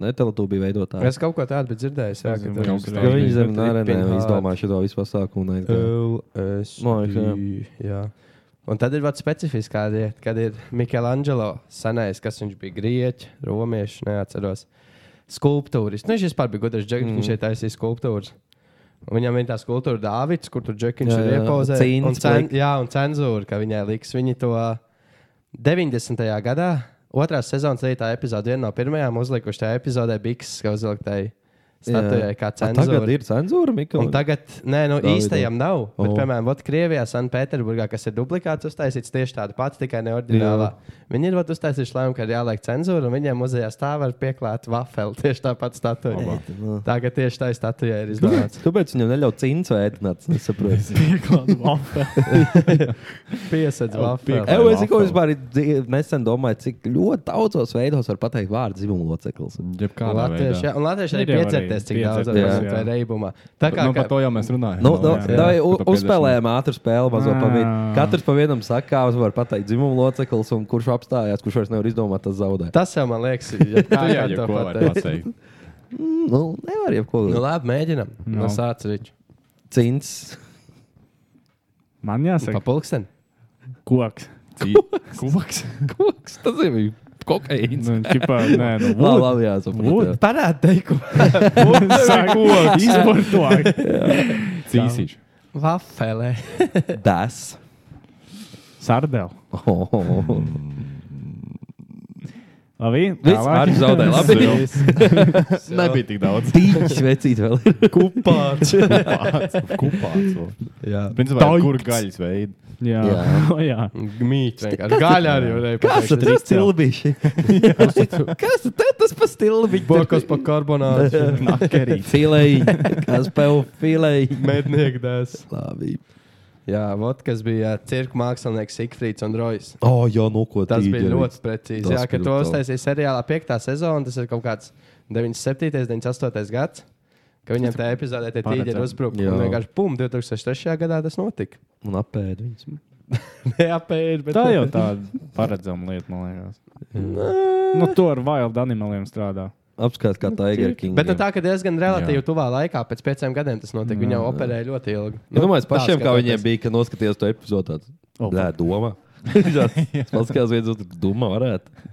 Ne, teletūbī veidotāji.
Es kaut ko tādu biju dzirdējis. Jā, ka
kaut kas
tur-
tāds.
Ka viņi zem
Bet
nē, nē, nē,
Pinhard.
izdomāja šo visu pasākumu. un aizgāja. Man liekas,
Mākslinieks. Un tad ir vēl specifiskā lieta, kad ir Mikelangelo senais, kas viņš bija grieķis, romiešu, neatceros. Skulptūris. Nu, viņš vispār bija gudrs, Džeks, mm. viņš šeit taisīja skulptūras. Un viņam ir tā skulptūra Dāvids, kur tur Džekiņš
Jā,
ir
jā.
iepozējis.
Cīns
Un, cen,
liek.
jā, un cenzūra, ka viņai liks. Viņi to 90. gadā, otrā sezonas rītā epizodē, viena no pirmajām uzlikuši tajā epizodē Biksas, kā uzliktai statujai, kā
A, Tagad
cenzūra.
ir cenzūra,
Un
Mikls.
tagad, nē, nu,
Davido.
īstajam nav. Bet,
O.
piemēram, ot, Krievijā, Sanktpēterburgā, kas ir duplikāts, uztaisīts tieši tāda pati, tikai neordinālā. Jā. Viņi ir vat uztaisījuši lēmumu, ka ir jāliek cenzūra, un viņiem muzejā stāv var pieklāt vafeli [laughs] tieši tāpat statujā. Tā kā tieši tā statujā ir Nu,
[laughs]
izdomāts.
Kāpēc viņam neļauj cīņā ēdināt? Es saprotu.
[laughs] Pieklāta vafeli.
Piesedz vafeli.
Evo, es tikko vispār dzi- nesen domāju, cik ļoti daudzos veidos var pateikt vārdu dzimumu loceklis.
Jebkādā
Latvieši,
veidā.
jā, un latvieši arī
Ir jau arī
piedzerties, cik daudz
piedzerties,
var
jā.
būt reibumā. Tā kā,
Nu, par
kā
to jau mēs runājam.
Nu, nu,
jā.
davai,
Par
u-
to 50.
Uzspēlējām ātru spēli, mazo
Ā.
pavisam. Katrs pa vienam sakā, var pateikt dzimumu loceklis, un kurš apstājās, kurš vairs nevar izdomāt, tas zaudē.
tas jau man liekas,
[laughs]
ja
Tā
kā jau
Nu, jā, jau
to
ko var
pateikt.
pateikt.
Nu, nevar
Nu,
jebko.
labi, mēģinam. No,
Nu.
no sācis rīčs.
Cīņas.
Man jāsaka,
Papulksten.
koks.
Koks.
[laughs] Koks, tas ir bija kokaīns.
Nu, ķipā, nē,
[laughs]
nu,
Labi,
wood.
labi, jā,
Wood.
saprotu.
Parāda teikumu.
[laughs] Sākot, izmantoju.
Cīsīši.
Vafelē.
jā. [laughs] Das.
Sardēl.
Oh, oh, oh.
Labi,
Viss
tālāk.
arī zaudēja. Labi.
Nebija tik daudz.
Tīķis vecīt vēl ir. Kupāts.
Kupāts. Kupāts. vēl.
Jā.
Principā, kur gaļas veids.
Jā,
[laughs] Jā.
O, jā.
Mīts vienkārši. Gaļā arī varēja
Kas tad ir stilbiši? [laughs] Kas tad tev tas pa stilbiši?
Bokas pa [laughs] karbonātu.
Nakerīt.
Filēji. Kas tev filēji?
Mednieku dēls.
Labi.
Jā, vot kas bija cirka mākslinieks Sigfrīds un Rojs.
O, oh, jā, nu ko
Tas bija
tīģeri.
ļoti precīzi.
Tas
Jā, ka
bija
to
brutali.
uztaisīja seriālā piektā sezona, tas ir kaut kāds 97, 98 gads. Ka viņam tajā epizodē tie tīģi ir
Paredzam.
uzbrukumi.
Jā.
Un vienkārši pum, 2003. gadā tas notika.
Un apēd viņus.
[laughs] Jā, pēdi, bet
Tā jau tāda paredzama lieta, man liekas. Nu, to ar wild animaliem strādā.
Apskatās, kā tā ir.
Bet nu, tā, ka diezgan relatīvi tuvā laikā, pēc pieciem gadiem tas notika. Viņa jau operēja ļoti ilgi.
Es Nu, domāju, es
tā
pašiem, kā
skatoties.
viņiem bija, ka noskatījās to epizodu.
O,
Nē, doma. [laughs] Es paskatījos, viens otru, doma varētu.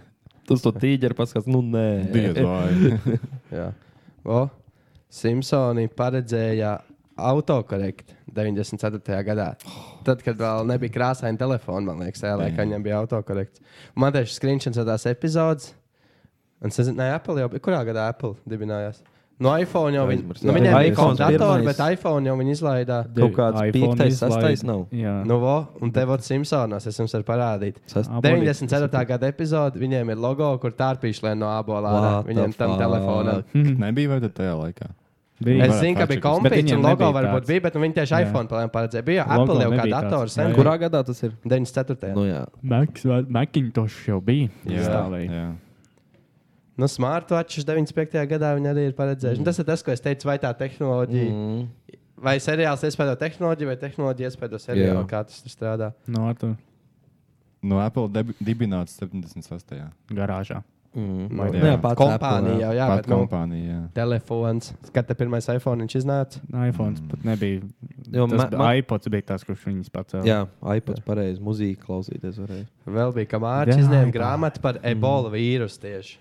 Tas to tīģeri paskatās, nu
[laughs]
Diez
nē.
vai.
Jā. O, Simpsoni paredzēja autokorektu 94. gadā. Tad, kad vēl nebija krāsaini telefoni, man liekas, tajā laikā viņam bija autokorekts. Un Man tieši skriņķis ir tās epizodes. Un es nezinu, ne, Apple jau bija. Kurā gadā Apple dibinājās? No iPhone jau viņi.
Aizmirst,
Nu,
jā.
viņiem bija
iPhone
iPhone datori,
pirmais.
bet iPhone jau viņi izlaidā.
Kaut kāds
iPhone
piektais,
izlaid.
sastais nav.
Jā,
Nu, vo, un te vēl Simpsonos es jums varu parādīt.
Sast-
Ap- Abolītis,
94. gada epizode, viņiem ir logo, kur tārpīši lien no abola. ārā.
What the
Viņiem tam
fuck?
telefonam.
Nebija vai tad tajā laikā?
bija.
Es
varētu
zinu, ka bija
atšķirties.
Bet
kompānija,
viņiem
un logo
nebija
varbūt
tāds.
bija, bet nu, viņi tieši
Jā.
iPhone plēm paredzēja. Bija
Logo
Apple jau kā
nebija
dators,
tāds.
sen
Jā.
kurā
Kurā gadā tas ir?
94.
Nu, jā.
Macs vai- Macintosh jau bija. Stāvēja.
jā.
Nu, smartwatches 95. gadā viņi arī ir paredzējuši. Mm. Tas ir tas, ko es teicu, vai tā tehnoloģija, mm.
Mm.
vai seriāls iespēja tehnoloģiju, vai tehnoloģija iespēja seriālu,
Jā.
kā tas tur strādā.
No otras
No Apple debi- dibināts 78.
garāžā.
Mm.
Man-
Jā, pats
kompānija
Apple, jā.
jau, jā,
Jā,
bet
pat
nu,
kompānija. jā.
telefons, kad te pirmais iPhone viņš iznāca.
iPhone mm. pat nebija.
Jo
Jo, tas
ma-
bija
ma-
iPods, bija tas, kurš viņus pacēla.
Jā, iPads pareizi, mūzika klausīties varēja.
Vēl bija kamārs,
Jā,
izņēma
jā.
grāmatu par
Mm.
ebola vīrusu tieši.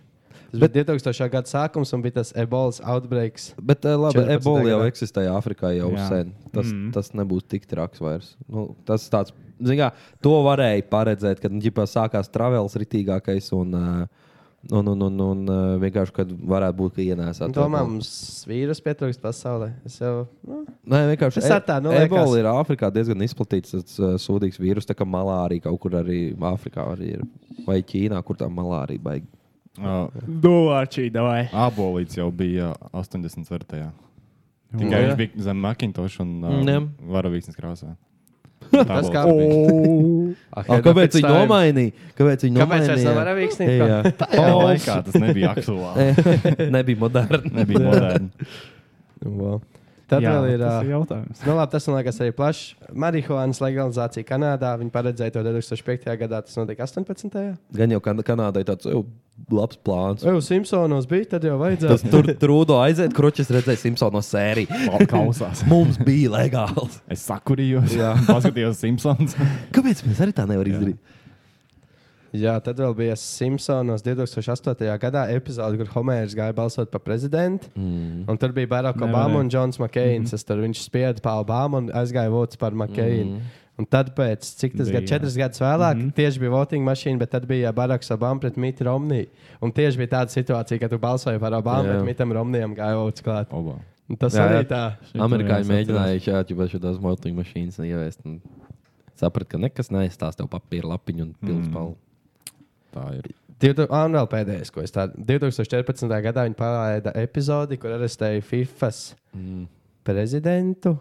Tas bija 2000. gada sākums un bija tas ebolas outbreaks.
Bet eh, labi,
14.
ebola jau
gadā.
eksistēja Āfrikā jau
Jā.
jā. sen. Tas, mm.
Mm.
tas nebūs tik traks vairs. Nu, tas tāds, zin kā, to varēja paredzēt, kad nu, ģipā, sākās travels ritīgākais un, eh, un, un, un, un eh, vienkārši, kad varētu būt, ka ienēsāt.
Nu, Domā, mums vīrusu pietrūkst pasaulē. Es jau
Nē, vienkārši e-
Tas ar tā, nu, liekas-
ebola ir Āfrikā diezgan izplatīts tas, uh, sūdīgs vīrus, tā kā malārija kaut kur arī Āfrikā arī ir. Vai Ķīnā, kur tā malārija baigta.
Ā,
Dovāčī, davai.
Abolīts jau bija 84.
Nu,
Tikai
Jā.
viņš bija zem Macintosh un
Jā.
um, varavīksnes
[laughs]
krāsā. Tas
kā-
[laughs]
Ah,
nu,
Ah, kāpēc viņi nomainīja? Kāpēc viņi
Kāpēc
nomainīja?
vairs nav varavīgs?
Jā,
[laughs]
Tā laikā tas nebija aktuāli.
[laughs] nebija moderns.
nebija moderni.
Wow. Tad Jā, vēl ir.
tas ir
ā,
jautājums.
Nu, labi, tas man liekas arī plašs. Marihuānas legalizācija Kanādā. Viņi paredzēja to 2005. gadā, tas notika 18.
Gan jau kan Kanādai tāds jau labs plāns.
Jau Simpsonos bija, tad jau vajadzēja.
Tas tur trūdo aiziet, kroķis redzēja Simpsonu sēriju.
Klau- Klausās.
[laughs] Mums bija legāls.
Es sakurījos,
Jā.
[laughs] paskatījos
[laughs]
Simpsons.
Kāpēc mēs arī tā nevaram izdarīt?
Jā, tad vēl bija Simpsonos 2008. gadā epizode, kur Homērs gāja balsot par prezidentu. Mm. Un tur bija Barack Obama un Džons Makēns. Mm. Tur viņš spieda par Obamu un aizgāja votus par Makēnu. Mm. Un tad, pēc cik tas
Bija,
bija
jā.
četras gadus vēlāk, mm -hmm. tieši bija voting mašīna, bet tad bija Baraks Obama pret Mitu Romniju. Un tieši bija tāda situācija, ka tu balsoji par Obamu,
Jā.
bet Mitam Romnijam gāja votus klāt.
Oba.
Un tas jā,
Jā,
arī
jā.
tā.
Amerikāņi mēģināja šādi jau šādas motoru mašīnas
Mm.
ievest. un Sapratu, ka nekas neaizstās tev papīra lapiņu un pilnu spalvu.
tā ir.
Divdu- ā, Un vēl pēdējais, ko es tādu 2014. gadā viņi pārlaida epizodi, kur arestēja FIFA mm. prezidentu.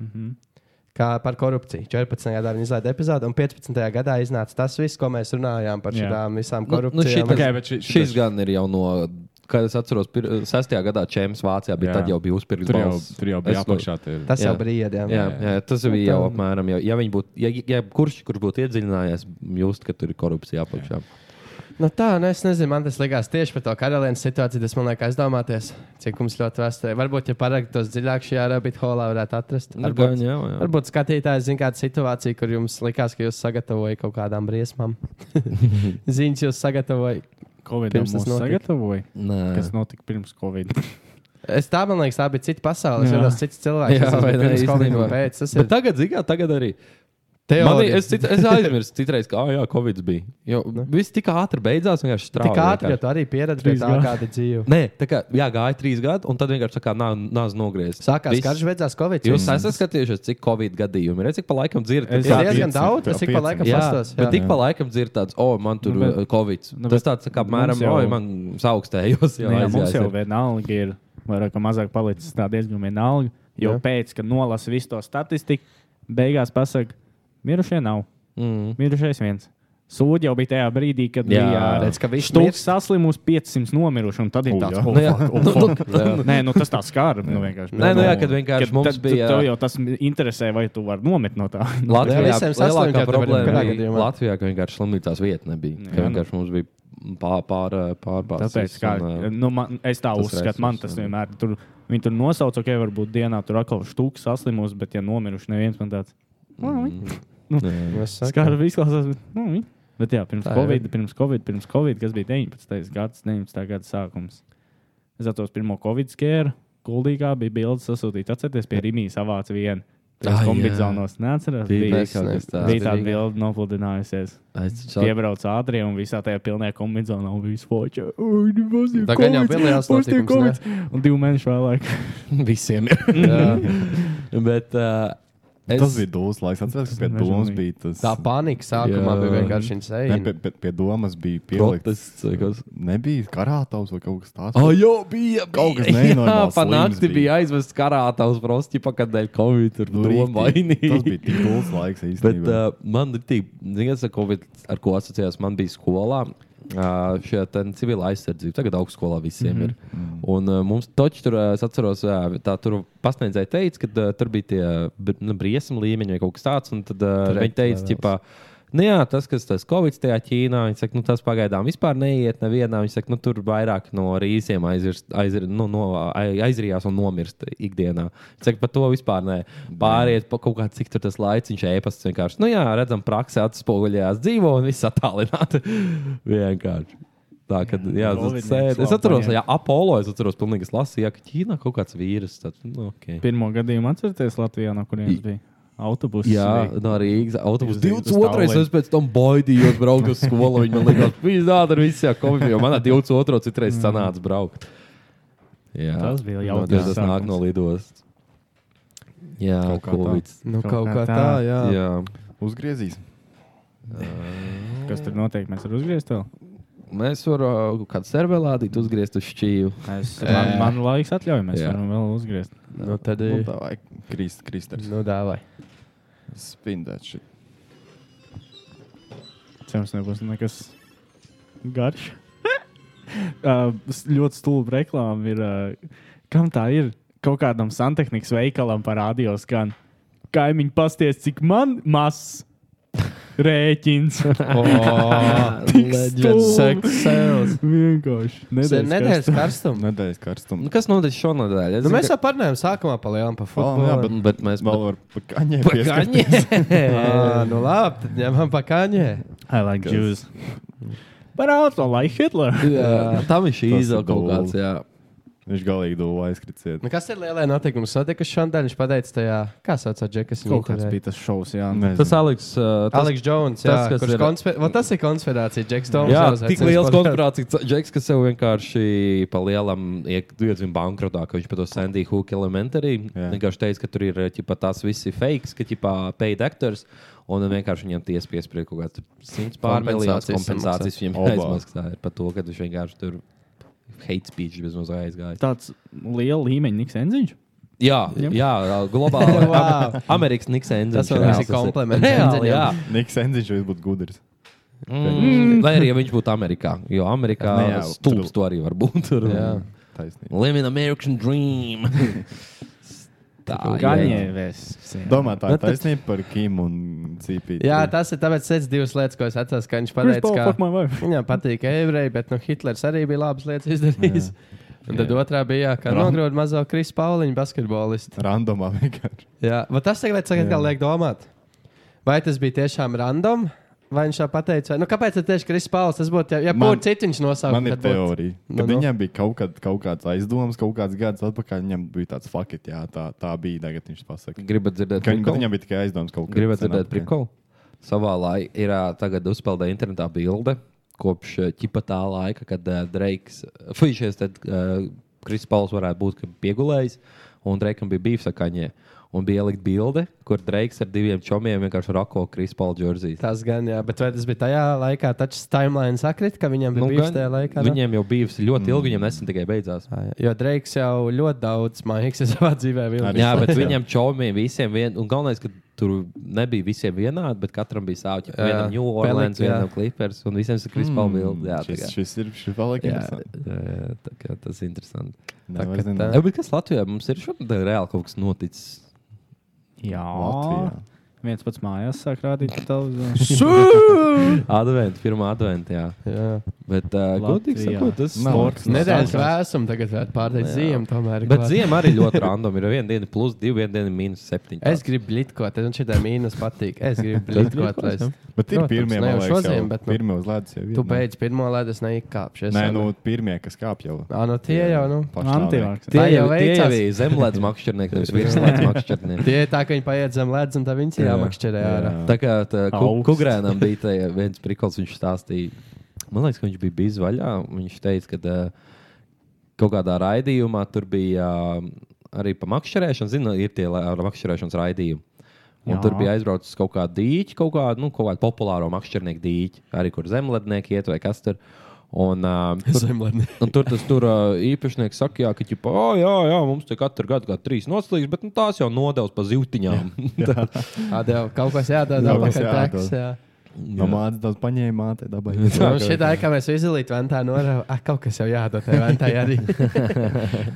Mm -hmm. Kā par korupciju. 14. gadā viņi izlaiž epizodi, un 15. gadā iznāca tas viss, ko mēs runājām par
Jā.
šīm visām
Nu, nu,
korupcijām.
šitas-
Ok, bet šī-
Šis gan ir jau no. Kā es atceros, pir, sestajā gadā Čēns Vācijā bija,
Jā.
tad jau bija uzpirkts
Tur jau,
balss.
tur jau bija
Es no-
apakšā. tie ir.
Tas jau
Jā.
brīdī.
Jā, jā, tas bija jau apmēram. Jau, ja, viņi būtu, ja, ja kurš, kurš būtu iedziļinājies, just, ka tur ir korupcija apakšā.
Nu tā, nu es nezinu, man tas likās tieši par to karalienes situāciju. Tas man liekas aizdomāties, cik mums ļoti vēsturē. Varbūt, ja parakstos dziļāk šajā rabbit holā, varētu atrast.
Nu,
Varbūt-
gan jau, jā.
Varbūt skatītājs zina kādu situāciju, kur jums likās, ka jūs sagatavojat kaut kādām
[laughs]
briesmām. Ziņas jūs sagatavojat. Pirms
Covid-19
tas
mums
notika.
sagatavoja.
Nē,
Kas notika pirms
[laughs]
Covid? Nu,
Es tā domāju, ka tā bija cita pasaule. Es
Jā.
jutos cits cilvēks.
Jā,
es esmu
vai ne,
pirms Covid un
īstenībā.
pēc. Tas ir
Bet tagad, zināmā mērā, tagad arī. Man,
teorija.
i- es, cit, es aizmirsu, citreiz, ka, ah, jā, Covid bija. [laughs] Jo viss tik ātri beidzās, vienkārši strādājot.
Tik ātri, ka tu arī pieredzi pie
Trīs
tā,
gadi.
kāda dzīve.
Nē, tā kā jā, gāja trīs gadi, un tad vienkārši tā kā nā- nāc nogriezties.
Sākās karš, beidzās Covid.
Jūs esat skatījušies, cik Covid gadījumi ir. Redz, cik pa laikam dzirdat.
Es-
esat
Jā,
diezgan
pieci,
daudz,
jā,
es ik pa
pieci.
laikam
Jā,
pastos.
bet tik pa laikam dzird tāds, o, oh, man tur
Nu,
ir
bet-
nu, covid.
nu,
Nu, tas
bet
tāds, tā kā apmēram,
mums jau- Nu,
jau... oi, man saaugstējos jau
Jā, jā, mums jau
aizjās.
vienalga ir. Vairāk vai mazāk palicis tā diezgan vienalga. Jo jā. pēc tam, kad nolasa visu to statistiku, beigās pasakā, mirušie nav.
Mm.
Mirušais viens. Sūdi jau bija tajā brīdī, kad
Jā.
Redz, ka
bija
viņš mirst.
stūks saslimusi, 500 nomiruši. un Tad ir
U,
tāds,
jā.
oh,
Nu, jā.
fuck, oh,
Nu,
fuck.
nu, [laughs] jā.
Nē, nu tas tā skāra. Nu, vienkārši.
Nē, nu jā, kad
Kad
vienkārši mums
tad-
bija.
Tev jau tas interesē, vai tu vari nomirt no tā. Nu,
Latvijā
Jā, visiem saslimtiem
lielākā
tev var
problēma
jebkurā
bija
gadījumā.
Latvijā, ka vienkārši slimnīcās vieta nebija. Ka
Jā, nu.
vienkārši mums bija pār, pār, eh, pārbaudas.
Tāpēc, kā,
eh,
nu, man, es tā
tas
uzskatu, man
resurs,
tas
jā.
vienmēr tur, viņi tur nosauca, ok, varbūt dienā tur atkal stūks saslimus, bet ja nomiruši neviens man tāds. nu, Skar izklausās, bet, nu, vi- bet jā, pirms
Tā, jā.
Covid, pirms Covid, pirms Covid, kas bija 19. gads, 19. gada sākums. Es atceros pirmo Covid skēru, kuldīgā bija bildes sasūtīta, atcerieties, pie Rimijas savāca vienu.
Ah,
Tas
jā.
kombinācijos neatceros.
Bija
Bija,
kaut kas tāds.
bija tā bilde nopludinājusies.
Aizsākt.
Piebrauc ātri un visā tajā pilnajā kombinācijā nav bijis foča. nu,
Tā gan jau bija liels notikums. ne?
Un divu mēnešu vēlāk.
[laughs] Visiem
[laughs]
ir. Bet uh,
Es...
es.
Tas bija dūles laiks. Atceros, ka pie
Nežēl
domas
bija.
bija tas.
Tā panika sākumā
Jā.
bija vienkārši
ne, pie,
insane.
pie, pie domas bija pieliktas.
protests. vai kas?
Nebija karātaus vai kaut kas tāds.
Ah, jā, bija.
Kaut kas
bija. [laughs] Jā,
nenormāls
pa
slims
nakti
bija.
bija aizvests karāta uz prostipa, kad dēļ Covid tur
Nu,
doma
rīktīgi.
mainīja.
Tas bija tik dūles laiks
Bet
īstenībā.
uh, man ir tik, zināms, COVID, ar ko asociējās, man bija skolā. Uh, šie civila aizsardzība tagad augstskolā visiem mm -hmm. ir. Un uh, mums taču tur, uh, es atceros, uh, tā tur pasniedzēja teica, ka uh, tur bija tie br- nu, briesmu līmeņi vai kaut kas tāds. Un tad uh, viņi teica, ka. Nu jā, tas, kas tas Covid tajā Ķīnā, viņi saka, nu, tas pagaidām vispār neiet nevienā. Viņi saka, nu, tur vairāk no rīsiem aizirst, aizir, nu, no, ai- aizrījās un nomirst ikdienā. Viņi saka, par to vispār nē. Pāriet pa kaut kā, cik tur tas laiciņš ēpasts vienkārši. Nu jā, redzam, praksē atspoguļojās dzīvo un viss attālināti. [laughs] vienkārši. Tā, kad, jā,
Covid
tas sēd. Es
slāpā,
atceros,
jā.
jā, Apollo, es atceros, pilnīgi es lasīju, jā, ka Ķīnā kaut kāds vīrs. Tad, nu, okay.
[laughs] Pirmo gadījumu atcerieties Latvijā, no kurienes bija autobuss.
Jā,
bija.
no Rīgas. Autobus
Uz Rīgas
22.
tālruņa.
Es pēc tam baidījos braukt uz skolu. Viņa man liekas, pīzdāt ar visu covid. Jo manā 22. citreiz sanāca braukt. Jā,
Tas bija
Nu,
jautrs
tas- Tas
sākums.
nāk no lidostas. Jā,
Kaut kā tā.
covid.
Nu, kaut kā tā, jā.
Jā.
Uzgriezīs.
Kas tur notiek? Mēs varam uzgriezt vēl.
Mēs varam uh, kaut kādu servelādīt, uzgriezt uz šķīvi.
Mēs, man, man laiks atļauj, mēs
Jā.
varam vēl uzgriezt.
Nu, tad
Nu,
ir.
tā vajag krist, kristers.
Nu, dāvai.
Spindēt šī.
Cerams, nebūs nekas [laughs] garš. uh, s- ļoti stulba reklāma ir. Uh, kam tā ir? Kaut kādam santehnikas veikalam parādījos, ka kaimiņš pasties, cik man mazs rēķins.
Leģends.
Sex sales.
Vienkārši.
Nedēļas
karstums.
karstums.
Nedēļas karstums.
Nu, Kas notiek šonadēļ?
Nu,
Es zinu,
mēs
ka-
jau parunājām sākumā par lielām par [laughs]
Oh, jā,
futbolu.
bet,
Bet mēs
vēl var pa kaņē.
Ā,
pieskart-
[laughs]
Pakaņē!
Nu, labi, tad ņemam pakaņē.
I like Jews. [laughs] But I also like Hitler.
Jā, Tam ir šī
Tas ir
izvēle kaut
dūli.
kāds. jā.
[laughs] Viņš galīgi domāja, aizkritiet.
Nu, kas ir lielais notikums? Notika šodien, viņš pateica tajā, kā sauc Džekas
Kaut kāds bija tas šovs,
Nu,
jā.
Tas Aleks. Uh, tas,
Aleks Jones, jā,
tas, kas
kurš
ir-
konspir... Va, tas ir konspirācija. Džeks Toms.
Jā,
jau
tik
aicinās
liels
podkāstu.
konspirācijas džeks, ka sev vienkārši pa lielam iedzīvot bankrotā, ka viņš pat to Sandy Hook elementārī
Jā.
vienkārši teica, ka tur ir eh, ķipa, tās visi fakes, ka ķipā paid actors, un vienkārši viņam tiesa piespriež kaut kāds simts pārmiljonus
Kompensācijas
kompensācijas viņam
Oba.
aizmaksā ir par to, ka viņš vienkārši tur hate speech bezmaz aizgāja.
Tāds liela līmeņa Niks Enziņš.
Jā, jā, globāli. [laughs] wow. Amerikas Niks Endzis.
Tas man liekas, ir kompliments Enziņam.
Jā,
Niks Enziņš vēl būtu gudrs.
Mm. Lai arī ja viņš būtu Amerikā, jo Amerikā
Ne, Nu jā,
stūlis
tur-
to arī var būt. Tur,
Jā.
Taisnība.
Live in American dream. [laughs] Tā ir.
Gaņēvēs.
Domā, tā ir
Bet tad-
taisnība par Kim un Cīpīti.
Jā, tas ir tāpēc, ka divas lietas, ko es atceros, ka viņš pateica,
Fuck
ka
my wife.
viņam patīk ebreji, bet nu, Hitlers arī bija labas lietas izdarījis. Un tad otrā bija, jā, ka
Ram-
nogrūda mazo Krisu Pauliņu basketbolistu.
Randomā vienkārši.
Jā, bet tas tagad saka,
Jā.
atkal liek domāt, vai tas bija tiešām random, vai viņš tā pateica, vai nu kāpēc tad tieši Kris Pauls, tas būtu, ja, ja
Man-
būtu citu viņš nosaukt.
Man ir teorija.
Nu,
Kad
nu.
viņam bija kaut, kad, kaut kāds aizdoms, kaut kāds gads atpakaļ, viņam bija tāds fakts, jā, tā, tā bija. Tagad viņš pasakā.
Gribat dzirdēt,
Ka viņ, bet
prikolu?
viņam bija tikai aizdoms kaut kas.
Gribat dzirdēt prikolu? Savā laikā ir ā, tagad uzpeldē internetā bilde kopš ā, ķipa tā laika, kad uh, Dreiks, fuišies, tad uh, Kris Pauls varētu būt ka piegulējis, un Dreikam bija bijis sakaņē. Un bija ielikt bilde, kur Dreiks ar diviem čomiem vienkārši rako Kris Paula džersiju.
Tas gan, jā, bet vai tas bija tajā laikā, taču timeline sakrit, ka viņam bija nu, bijis
gan
tajā laikā? ne?
Viņiem jau bija ļoti ilgi, viņiem nesen tikai beidzās.
Ā, jā. Jo Dreiks jau ļoti daudz mākslinieks [laughs] savā dzīvē [laughs]
Arī.
vilni.
Jā, bet
Jā.
viņam čomiem visiem vien, un galvenais, ka tur nebija visiem vienādi, bet katram bija savs.
Jā,
Vienam New
pelikt,
Orleans,
jā.
vienam Clippers un visiem ir
Mm.
Krispāla Vilda. Jā, tā
Mm, Šis,
kā-
šis ir šis vēl
jā,
interesants.
jā, tā kā tas ir interesanti.
Nē,
tā
vairs
kā
nezinu.
tā.
Jā, bet kas Latvijā mums ir šodien reāli kaut kas noticis?
Jā.
Latvijā.
Viens pats mājās sāk rādīt televizors.
Advent, pirmā adventā, jā.
Jā.
Bet, uh, godīgi
Latvijā.
sakot, tas
Nav
sports
nekas.
Nedēļas
nav-
vēsuma tagad varētu pārdeikt ziemu. Tomēr,
Bet
klāt.
ziema arī ļoti random. Ir viena diena plus divi, viena diena mīnus septiņi.
Es gribu blitkot, man šī tā mīnus patīk. Es
[laughs]
gribu blitkot, lai es.
Bet ir
Protams,
pirmie,
ne
man
jau
liekas,
šodien,
jau
bet, nu,
pirmie uz ledus. jau ir,
Tu
ne?
beidz pirmo lēdu, es neikāpšu. Es
Nē,
jau-
nu, pirmie, kas kāp jau.
Ā, nu tie jau, nu.
Antivāks.
Tā
Tie jau
jau veicās.
bija zemlētas makšķernieki,
[laughs]
nevis virsmas makšķernieki.
Tie ir tā, ka viņi paiet zem ledus, un tā viņi ir jāmakšķerē ārā.
Tā kā tā ku-
Augsts.
Kukrēnam bija tajā viens prikals, viņš stāstīja. Man liekas, ka viņš bija bijis vaļā. un Viņš teica, ka uh, kaut kādā raidījumā tur bija uh, arī pa makšķerēšanu. Zinu, ir tie lai- ar makšķerēšanas raidījumi. Un
Jā.
tur bija aizbraucis kaut kāda dīķa, kaut kāda nu, kaut kādu populāro makšķernieku dīķa, arī kur zemlednieki iet vai kas tur. Un,
[laughs]
uh, tur
Zemlēdnieki.
Un tur tas tur ā, īpašnieks saka, jā, ka, ķipa, oh, jā, jā, mums te katru gadu kā trīs noslīdus, bet nu, tās jau nodevs pa zīltiņām. [laughs]
Atdev, kaut kas jādara,
Kaut
kaut
kas
kas
jādod.
jādara.
No mātes daudz paņēma, māte dabai.
Nu, šī [laughs]
[laughs]
tā ir, kā mēs izlīdām ventā norā. Ah, kaut kas jau jādara tajā ventā
[laughs]
arī.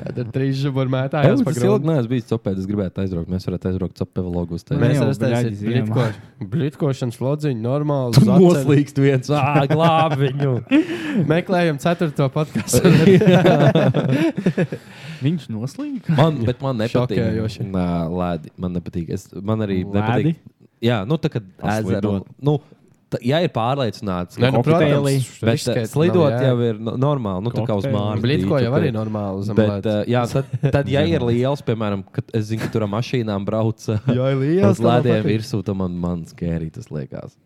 Tad ir trīs žuburi
Es
mētājās pa
pats ilgi
gruntu.
neesmu bijis copēdis, es gribētu aizbraukt. Mēs varētu aizbraukt copēdu logus.
Ne.
Tur
Mēs
jau
esam
bļaģi ziemā.
taisījuši blitkošanas lodziņu, normāli. uz acen.
noslīkst viens, ah, glāb viņu.
Meklējam ceturto podkāstu.
Viņš noslīd.
[laughs] Man, bet man nepatīk.
Šokējoši.
Nā, lēdi, man nepatīk. Es, man arī
Lēdi?
nepatīk. Jā, nu tā kā ezera.
Paslidot.
Nu, tā, ja ir pārliecināts,
Nē, nu,
Kokteili.
protams,
bet
riskēt
eh,
nav
slidot
jēga.
jau ir no- normāli, nu tā kā uz
Kokteili.
mājas.
Blitko jau
dīķu,
arī
tur.
normāli uz
Bet,
zemlētas.
eh, jā,
[laughs]
tad, tad, ja ir liels, piemēram, kad es zinu, ka tur ar mašīnām brauc jā,
[laughs] Jā,
uz
liels.
lēdiem virsū, tad man, man skērī tas liekas.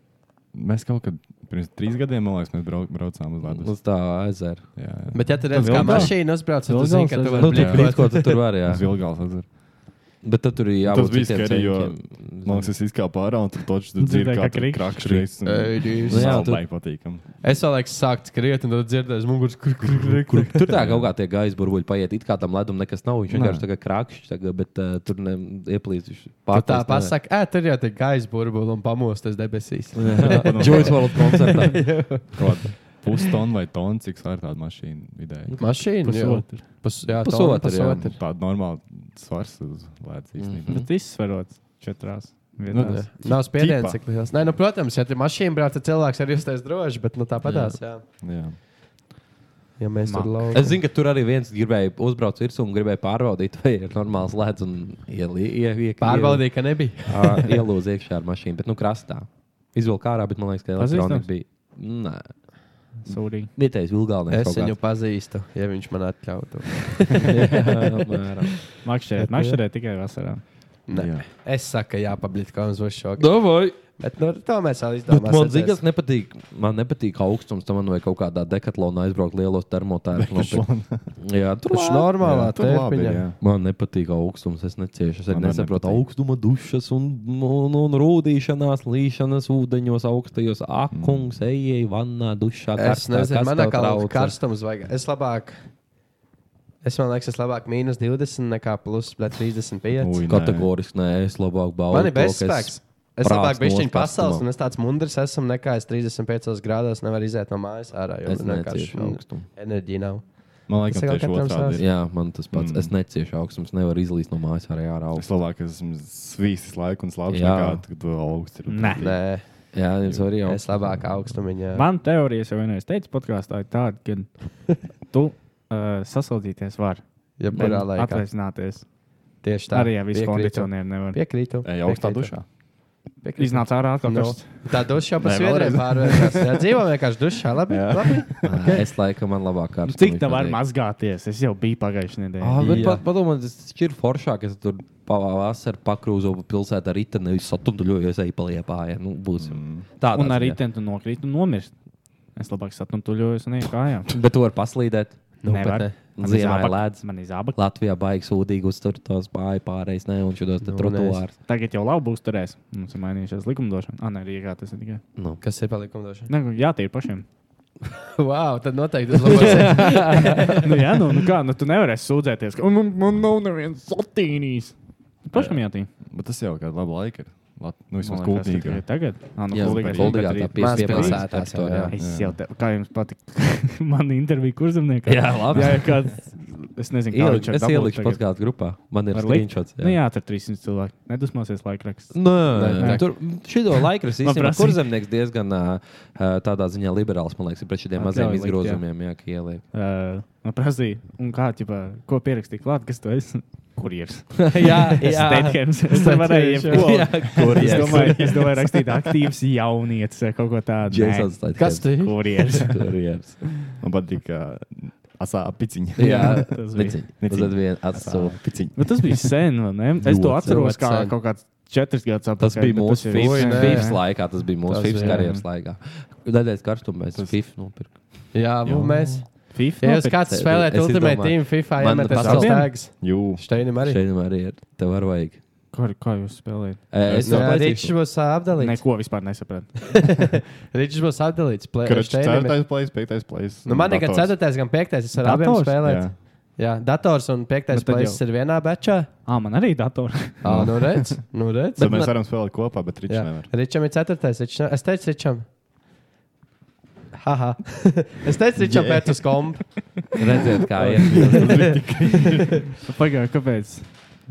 Mēs kaut kad pirms trīs gadiem, man liekas, mēs brau, braucām uz ledus.
Uz tā ezera.
Jā, jā.
Bet, ja tu redz, kā
Vilgā?
mašīna uzbrauc, tad tu
Vilgā
zini, ka tu
uz
vari
Nu, tik
blitko.
līdz ko tu tur var, jā.
Uz Vilgāls ezeru.
Bet tad tur ir jābūt
Tas bija
citiem
skeri, jo
ceļiem.
Man liekas, es izkāpu ārā un tur točs tur dzird,
Dzirdēju,
kā
kā
tur
krikšķi.
krakšķis.
Ei, Dievs.
Nu jā,
Jā,
tur-
tur bija patīkami.
Es vēl laiku sāku skriet, un tad dzirdēju, muguras
Kur,
krūtis.
tur tā kaut kā tie gaisa burbuļi paiet, it kā tam ledum nekas nav. Viņš vienkārši tagad krākšķis, tagad, bet uh, tur ne, ieplīst. viņš pārtaist
Tā
nevar.
pasaka, ā, tur jau ir gaisa burbulis un pamostas debesīs.
[laughs]
[laughs]
Joyce World koncertā.
Pustonu vai tonu, cik svara tāda mašīna vidēji.
Mašīna jau
Pusotru.
Pus, jā,
Pusotra,
tonu,
jā.
pusotra.
Tāda normāla svars uz lētas īstenībā.
Bet izsverots četrās.
Nu,
vietās.
Nav spiediens,
Tipā.
cik liels. Nē, nu, protams, ja tur mašīna brauc, tad cilvēks arī uztais droši, bet nu, tāpatās, jā.
Jā.
Ja mēs tur
Es
laukam.
zinu, ka tur arī viens gribēja uzbraukt virsū un gribēja pārbaudīt, vai ir normāls ledus un ielūzīt.
Pārbaudīju, ka nebija.
Ielūzīt iekšā ar mašīnu, bet nu krastā. Izvilka ārā, bet man liekas, ka
Pazīstams?
elektronika bija. Nē.
Sūdīgi.
Vietējais Vilgalnis.
Es viņu pazīstu, ja viņš man atļautu.
[laughs] paņēmu.
Makšķerēt, makšķerēt tikai vasarā.
Nē. Es saku, jā, pablīdkā mums būs šoks.
Davai!
Bet nu, to mēs vēl
Bet
izdomāsim.
man zināms, nepatīk. Man nepatīk augstums. Tam man vajag kaut kādā dekatlonā aizbraukt lielos termotērpos. [laughs] Jā, tur
Tas
labi.
ir normālā
Jā, tur labi ir,
tērpiņa.
jā.
Man nepatīk augstums. Es neciešu. Es arī
Man arī
nesaprotu
nepatīk.
augstuma dušas un, un, un rūdīšanās, līšanas ūdeņos, augstajos akungs, mm. ejai, vannā, dušā.
Es
karstā.
nezinu,
Kas
manā
tev
skatījumā
traucē?
karstums vajag. Es labāk, es man liekas, es labāk mīnus 20 nekā plus bļa, 35.
Ui, nē.
Kategoriski nē, es labāk baudu.
Man ir
to, ka es
bezspēks. Es
prāks
labāk
nost
bišķiņu pasaules,
karstumā.
un es tāds mundrs esmu, nekā es 35 grādos nevaru iziet no mājas ārā, jo
Es neciešu
vienkārši
augstumu.
enerģija nav. Tas
Man liekas,
ir
tieši
katram savs.
otrādi. ir.
Jā, man tas pats. Mm. Es neciešu augstums. Nevar izlīst no mājas arī ārā
Es
augstu.
labāk esmu svīstis laiku un slāpes
Jā.
nekā tad, kad vēl augsts ir.
Nē.
Nē,
Jā, jums arī
[laughs] es labāk augstumiņā.
Man teorijas jau vienreiz teica podkāstā, ir tāda, ka tu uh, sasaldīties vari.
Jebkurā laikā.
Atvaisināties.
Tieši tā.
Arī ar visu
Piekrītu.
kondicionieru nevar.
Piekrītu.
Ej, augstā
Piekrītu.
dušā.
Piekrītu.
Iznāca ārā atkal.
Nu,
karsts.
tā duša jau par
Nē,
sviedriem
vēlreiz.
pārvērtās. Jā, dzīvo vienkārši dušā. Labi,
Jā.
labi.
Okay. Es laikam man labāk
Nu,
kārtas.
Cik tā var mazgāties? Es jau biju pagājušajā nedēļā.
Ah, bet
Jā.
pat, padomā, tas ir foršāk, ja tu tur pavasarī pakrūzo pa pilsētu ar riteni, nevis satumtuļojos eju pa liepāju. Nu, būsim. Tādā
Un
ziņā.
arī ten tu nokrīt un nomirst. Es labāk satuntuļojos un eju kājām.
Bet tu vari paslīdēt.
Nu,
bet
[laughs] Nevar.
ne. Ziemā ir lēdz.
Man ir zābak.
Latvijā baigs sūdīgi uztur tos bāju pārējais, ne, un šādos nu,
Nu,
trotuārs.
Tagad jau labi būs turēs. Mums ir mainījušās likumdošana. Ah, nē, Rīgā tas ir tikai.
Nu.
Kas ir palikumdošana?
Nē, nu, jā, tie
[laughs]
ir pašiem.
Wow, tad noteikti
[laughs]
uzlabosies.
nu, jā, nu, nu kā, nu tu nevarēsi sūdzēties. ka, "Un Man, man nav nevienas satīnijas. Pašam jātī.
Bet tas jau kāda laba laika ir. Lat... Nu, vismaz
Man liekas, ka tikai
kūpīga.
Tagad. Ah, nu,
Jā,
kuldīgais,
Kuldīgā
bet
tā
rīt.
pie-
Mās
pie-
pilsētās jau, jā.
jā.
Es jau te, kā jums patīk, [laughs] man intervija kurzemniekā.
Jā, labi.
Jā, ja kāds, es nezinu, kā
Ieliku,
viņš
es ieliku podkāstu grupā. Man ir
Var likt?
skriņšots.
Nu, jā, tur 300 cilvēki. Nedusmosies laikraksts.
Nē,
Nē,
nē.
tā-
Tur šito laikrastu
Man
īstenībā
prasīja.
kurzemnieks diezgan ā, ā, tādā ziņā liberāls, man liekas, ir pret šiem
Atļauj
maziem
likt, jā.
izgrozījumiem, jā, ka ieliek.
Uh, man prasīja, un kā, ķipa, ko pierakstīt klāt, kas tu esi? Kurjers.
[laughs] jā,
Steithems. [laughs] Es te varēju
Jā,
jebko.
[laughs]
Es
kurjers.
domāju, es domāju, rakstīt aktīvs jaunietis vai kaut ko tādu.
Jasons Steithems.
Kas tu ir?
Kurjers.
[laughs]
[laughs]
Kurjers.
Man patīk uh, asā piciņa.
Jā,
tas
tas
bija.
bija.
Neciņ.
Tad vien atsūta.
piciņa.
Bet tas bija sen, vai ne? Es to
Ļoti,
atceros
ļoti
kā
sen.
kaut kāds četras gadus atpakaļ.
Tas bija
bet
mūsu
nu, ir-
Oi, nē.
FIFS laikā. Tas bija mūsu
Tas
FIFS
bija.
karjeras laikā. Daļais karstums, bet es FIFS nopirku.
Jā, un mēs.
FIFA.
Ja jūs kāds
Nu, Es
spēlējat
izdomāju.
Ultimate Team FIFA,
Man
iemetat
pasaule-
savus tēgus.
Jū.
Šteinim arī.
Šeit nu arī ir. Tev var vajag.
Kā, kā jūs spēlējat?
Eh, Es
Nu, Jā, Ričs
domāju,
būs ā, apdalīts.
Neko vispār nesapratu.
[laughs] Ričs būs apdalīts. play-
Kurš
Šteinim ir-
ceturtais plais, piektais plais?
Nu, man ir gan
dators.
4. gan 5. Es varu abiem
Dators?
spēlēt.
Jā.
Jā, dators un 5.
Bet tad
plaiss
jau-
ir vienā bečā.
Ah, man arī dators.
Ah.
Ā, nu redz, nu redz.
Tad mēs varam spēlēt kopā, bet Ričs
Jā.
nevar.
Ričam ir ceturtais. Ričs ne... Es teicu, Ričam, haha. [laughs] es teicu, Ričam,
Jē.
pēc uz kompu.
redziet, kā ir.
Pagaidā, kāpēc?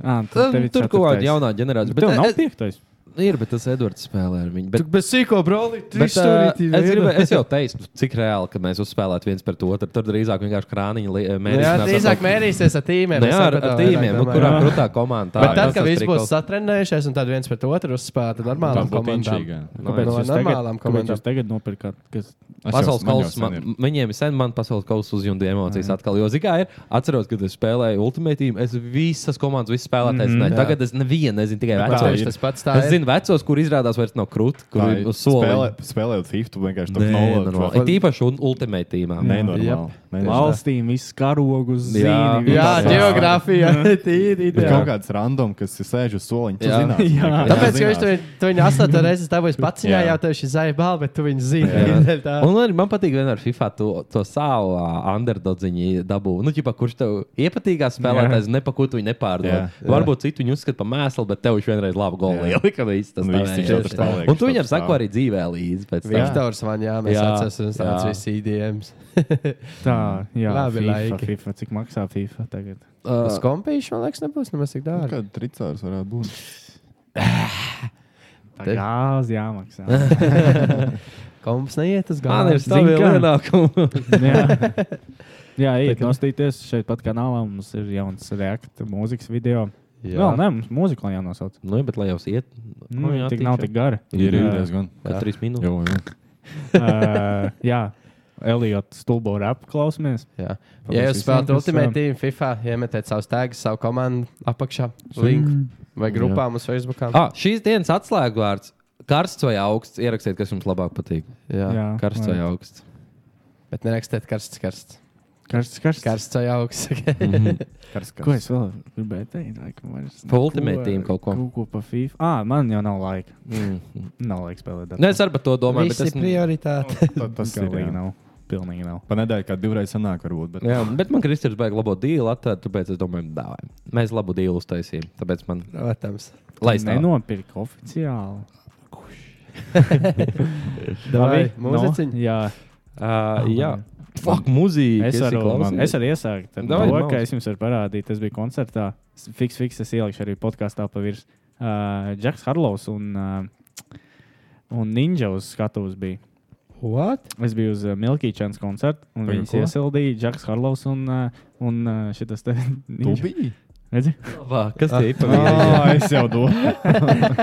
Ah,
Tur
tad tev ir
tur kaut kāda
ceturtais.
jaunā ģenerācija.
Bet tev nav
Bet eh,
piektais.
ir, bet tas Edvards spēlē ar viņu. Bet
bez sīko, broli,
Bet, uh, es, gribēju, es
[laughs]
jau teicu, cik reāli, ka mēs uzspēlējām viens pret otru. Tur drīzāk vienkārši krāniņa li- mērīšanās.
Jā,
ar
drīzāk
kaut-
mērīsies ar tīmiem.
Ne,
es
ar, ar
sapratu,
tīmiem,
vairāk
nu,
domāju.
kurā
Jā.
krūtā komandā.
Bet tad,
tas
kad
tas
viss būs
trikols.
satrenējušies un tad viens pret otru uzspēlē, tad normālām
Tā būtu
komandām.
inčīga.
Kāpēc
Nu, No
jūs
normālām
tagad, kāpēc
komandām.
jūs tagad nopirkat? Kas...
Es jau-
Pasaules
man jau
kausa,
sen ir.
man, viņiem ir sen, man pasaules kausa uzjūta
Mhm.
emocijas mm. atkal. Jo, zināmā mērā, ir, atceros, kad es spēlēju ultimātīvu, es visas komandas, visas spēlētājas, mm,
Mhm. jā.
tagad es nevienu, nezinu, tikai
Tā
vecos.
ir tas pats. Tā
Es
ir.
zinu, vecos, kur izrādās vairs nav krūtis, kur
Tā
ir
ir- Nu,
uz soli.
spēlē- Spēlējot FIFA, tu vienkārši tur
Nē, normāli.
nolaiž.
Ir īpaši un ultimātīvā.
Nenormāli. Nenormāli.
Valstīm viss karogus
Jā.
zīmi.
Jā,
visu-
ģeo-
geogrāfija. [laughs] Tīri.
Ir
ideāli.
kaut kāds random, kas ir sēž uz soliņa.
Jā.
Jā.
Tāpēc, ka viņš to viņu- tu viņu astoto reizi dabūjis pats, jā,
Jā.
jau tev šī zaļa balva, bet tu viņu zini. Tādēļ [laughs] tā.
Un arī man patīk, vienmēr FIFA to, to savu uh, underdodziņu dabū. Nu, ķipa, kurš tev iepatīkās spēlētājs, nepakūtu viņu nepārdod. Jā,
Jā,
jā. Varbūt citu viņu uzskata par mēslu, bet tev viņš vienreiz labu golu
Jā.
ielika. Viss tas
Un
tā
viss viņš
vienkārši.
tur paliek,
Un tu
viņš
viņam
tur
sako arī dzīvē līdzi. pēc tam.
Viktors man jā, mēs
Jā.
atceramies tāds
Jā.
viss IDMs.
Tā, jā,
Labi
FIFA,
laiki.
FIFA, cik maksā FIFA tagad?
Uh,
Uz kompīšu, man liekas, nebūs nemaz tik dārgi.
Kāda Nu, tricārs varētu būt?
Tā
Te-
gāze
[laughs]
jāmaksā.
Komps neiet uz
Man
galvu.
ir stabili
kā?
ienākumi.
jā, jā iet nostīties šeit pat kanālā. Mums ir jauns reakta mūzikas video. Jā, Vēl, ne, mums mūzika lai jānosauc.
Nu, bet lai jau iet,
Nu, jā, tik nav tik gara.
Ir, ir
Jā.
diezgan.
[laughs]
Kā trīs minūtes.
Jā, jā.
Uh, jā, Elija stulbo rapu klausāmies.
Jā,
Paldies
ja jūs
visiem,
spēlējat
kas,
Ultimate
ā,
Team, FIFA, iemetiet savus tagus, savu komandu apakšā,
Mm.
link vai grupā mums Facebook.
Ah, šīs dienas atslēgvārds - karsts vai augsts. Ierakstiet, kas jums labāk patīk.
jā.
Jā.
Karsts Ah, vai augsts.
Bet nerakstiet karsts, karsts.
Karsts, karsts.
Karsts Mhm. vai augsts.
Ko es vēl gribēju teikt? Laikam, vairs
Pa
neko,
Ultimate Team kaut ko.
Kaut ko pa FIFA. Ah, man jau nav laika.
Mm.
Nav laika spēlēt.
Nē, Nu, es arī par to domāju,
Domāju,
bet
tas
es
ir [laughs] prioritāte.
Tas, tas ir
galīgi
jā.
nav. Pilnīgi nav.
pa nedēļu, kā divreiz sanāk, varbūt. Bet...
Jā, bet man Kristers baigs labo dīlu atvērt, tāpēc es domāju, dāvāj. Mēs labu dīlu uztaisījām. Tāpēc man
[laughs] Protams.
lai
Es
stāv.
nenopirku oficiāli.
Davai,
Labi,
mūziciņu?
Jā,
Uh, jā, fuck, mūzika.
Ah, es varu, es
klausies?
varu iesākt. ar
Davai,
To,
mauz.
ka es jums varu parādīt, tas bija koncertā. S- Fiks, fiks, es ielikšu arī podkāstā pa virs. Uh, Džeks Harlovs un, uh, un Ninja uz skatuves bija.
What?
Es biju uz uh, Milky Chance koncertu, un
Tagad
viņas
ko?
iesildīja Džeks Harlovs un, uh, un uh, šitas te [laughs]
Tu
Ninja.
biji?
[laughs] Redzi?
Vā, Kas tie ir?
[laughs] Ah. Jā, es jau domāju.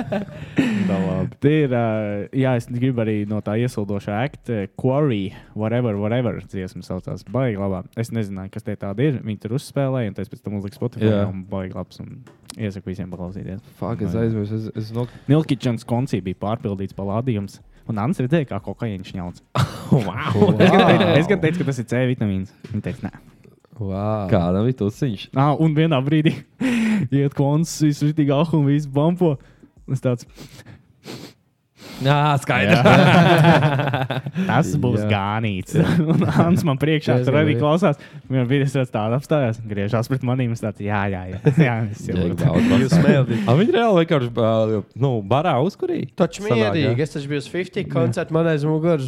Tā labi.
Tie ir, uh, jā, es gribu arī no tā iesildošā akta, Quarry, whatever, whatever, dziesma saucās. Baigi labā. Es nezināju, kas tie tādi ir. Viņi tur uzspēlēja, un tas pēc tam uzlika Spotify.
Jā.
Yeah. Un baigi labs, un iesaku visiem paklausīties.
Fuck, es aizmirsu. Es, es no...
Milkičans koncija bija pārpildīts palādījums, un Ants redzēja, kā kokaiņš ņauts.
wow.
Es gan teicu, es gan teicu, ka tas ir C vitamīns. Viņa teica, nē.
Wow.
Kāda bija tas viņš?
Ah, un vienā brīdī [laughs] iet koncis, viss ir tik ah, un viss bumpo. Es tāds,
Jā, [laughs] skaidrs.
Tas būs gānīts. [laughs] Un Ants man priekšā
Jā,
tur arī
jā.
klausās. Viņam bija tas tāds apstājās, griežās pret maniem. Es tāds, jā, jā, jā. [laughs] jā, es jau
Jūs
varu.
[laughs] smēlējat. Viņa reāli vienkārši ā, nu, barā uzkurīja.
Taču
Sanāk,
mierīgi,
jā.
es taču biju uz 50 koncertu, man aiz muguras,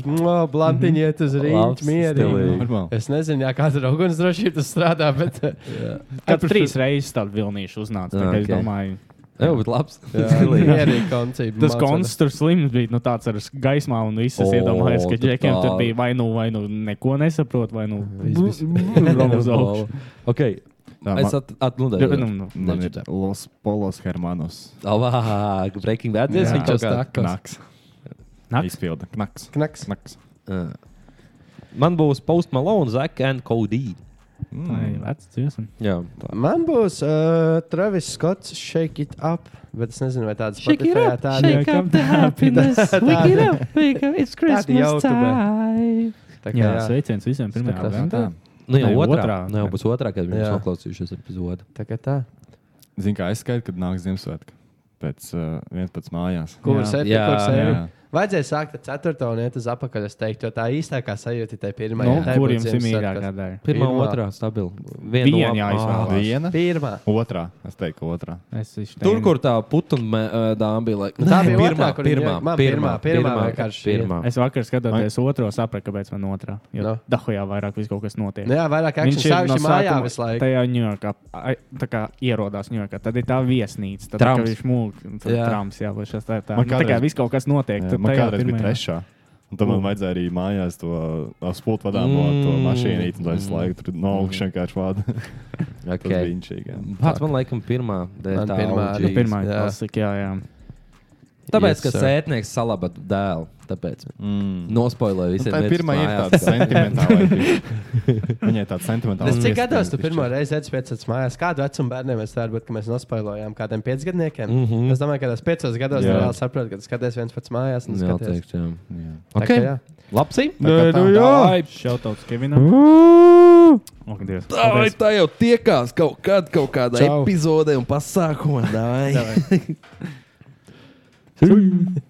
blantiņi iet uz
Labs,
rītu, mierīgi.
stilīgi.
Normāli.
Es nezinu, jā, kāda ir ugunsdrošība, tas strādā, bet [laughs]
Kad trīs reizes tāds vilnīšu uznāca, tad okay. es
Ah, Ok.
domāju,
Jā, bet labs.
jā,
[laughs]
mierīgi koncerti.
tas koncis tur slims bija. Nu, tāds ar gaismā un viss. Es
O,
iedomājos, ka
tu
džekiem tur
tā.
bija vai nu, vai nu neko nesaprot, vai nu [laughs]
Viss
brūzām uz augšu.
Okay.
Tā,
Es
man,
Jā, nu,
atnodēju.
nu.
man ir Los Polos Hermanos.
Labāk, Breaking Bad. Es
Jā.
viņu
Tas
kaut kā...
tā. Knaks.
Knaks?
Izpilda. Knaks.
Knaks.
Knaks.
Ā. Man būs Post Malone, Zack and Cody.
Mm.
Tā ir vecs dziesma.
Jā, tā.
Man būs uh, Travis Scotts, Shake It Up, bet es nezinu, vai tāds
Shake it
Spotify'ā
up,
tāda-
shake up the
[laughs]
happiness. Wake it up, wake up, it's
jau
Christmas
tu biji.
time.
Tā kā
Jā,
jā.
sveiciens visiem pirmajā
Skatās.
adventā.
Nu, jau
Nē,
otrā.
otrā.
Nu, jau būs otrā, kad viņš
Jā.
noklausīšos epizodi.
Tā kā tā.
Zini, kā es skaitu, kad nāk Ziemassvētka. Pēc uh, viens pēc mājās.
Kur
Jā.
sēdi,
Jā,
kur sēdi?
jā.
Vajadzēja sākt ar ceturto un iet uz apakaļ, es teiktu, jo tā īstākā sajūta ir tai pirmā.
Nu, Kur jums ir mīļākā daļa?
Pirmā,
Pirmā.
otrā, stabila.
Vienu jāizvēlās.
Viena.
Pirmā.
Otrā. Es teiktu, otrā.
Es izteinu.
Tur, kur tā putna uh, dāma bija. Like,
Tā
nē,
bija otrā, kur
pirmā,
viņa- man
pirmā,
pirmā, pirmā
pirmā,
vienkārši
pirmā.
Es vakar skatoties otro, sapratu, kāpēc man otrā. Jo no.
No.
Dahojā vairāk viss kaut kas notiek.
Nu, jā, vairāk akciju sāpēs mājā
sākuma
visu laiku.
Tajā Ņujorkā, ai, tā kā ierodās Ņujorkā, tad ir tā viesnīca, tad tā kā
Trumps.
viņš mūk, un tad
Jā.
trams, jā, vai šas tā ir tā.
Man
Nu, tā kā
kādreiz-
viss kaut kas notiek,
Jā,
tad
man
tajā
kādreiz bija
pirmajā.
trešā. Un tad man vajadzēja arī mājās to apspūlīt vadāmo mm. to
Mm.
mašīnu, un tā es laiku tur no augšas vienkārši vādu. [laughs] Tas bija
Okay.
inčīgi. jā.
Pats man laikam pirmā. dēļ
Man
tā
pirmā,
OGs.
nu,
Nu, pirmā
Jā.
klasika, jā, jā.
Tāpēc,
Yes,
ka
sir.
sētnieks salaba dēlu. Tāpēc
Mm.
nospoilēju
Nu,
visiem.
Tā ir
mērķus
pirmā ir
mājās.
tāda sentimentāla.
[laughs]
Viņai tāda sentimentāla.
Es cik gados tu pirmo reizi redzi piecas mājās? Kādu vecumu bērniem mēs tādu, ka mēs nospailojām kādiem piecgadniekiem? Mm -hmm. Es
Mhm.
domāju, ka tas piecos gados
Jā.
reāli saprot, ka tu skaties viens pats mājās. un
Jā,
skaties.
teikt, jā.
Jā.
Tā
Ok.
kā jā.
Lapsi?
Nē, nu
jā.
Šautauts Kevinam. Ok, Dievs.
Ai,
Paldies.
tā jau tiekās kaut kad, kaut kādā Čau. epizodē un pasākumā. Davai.
Davai.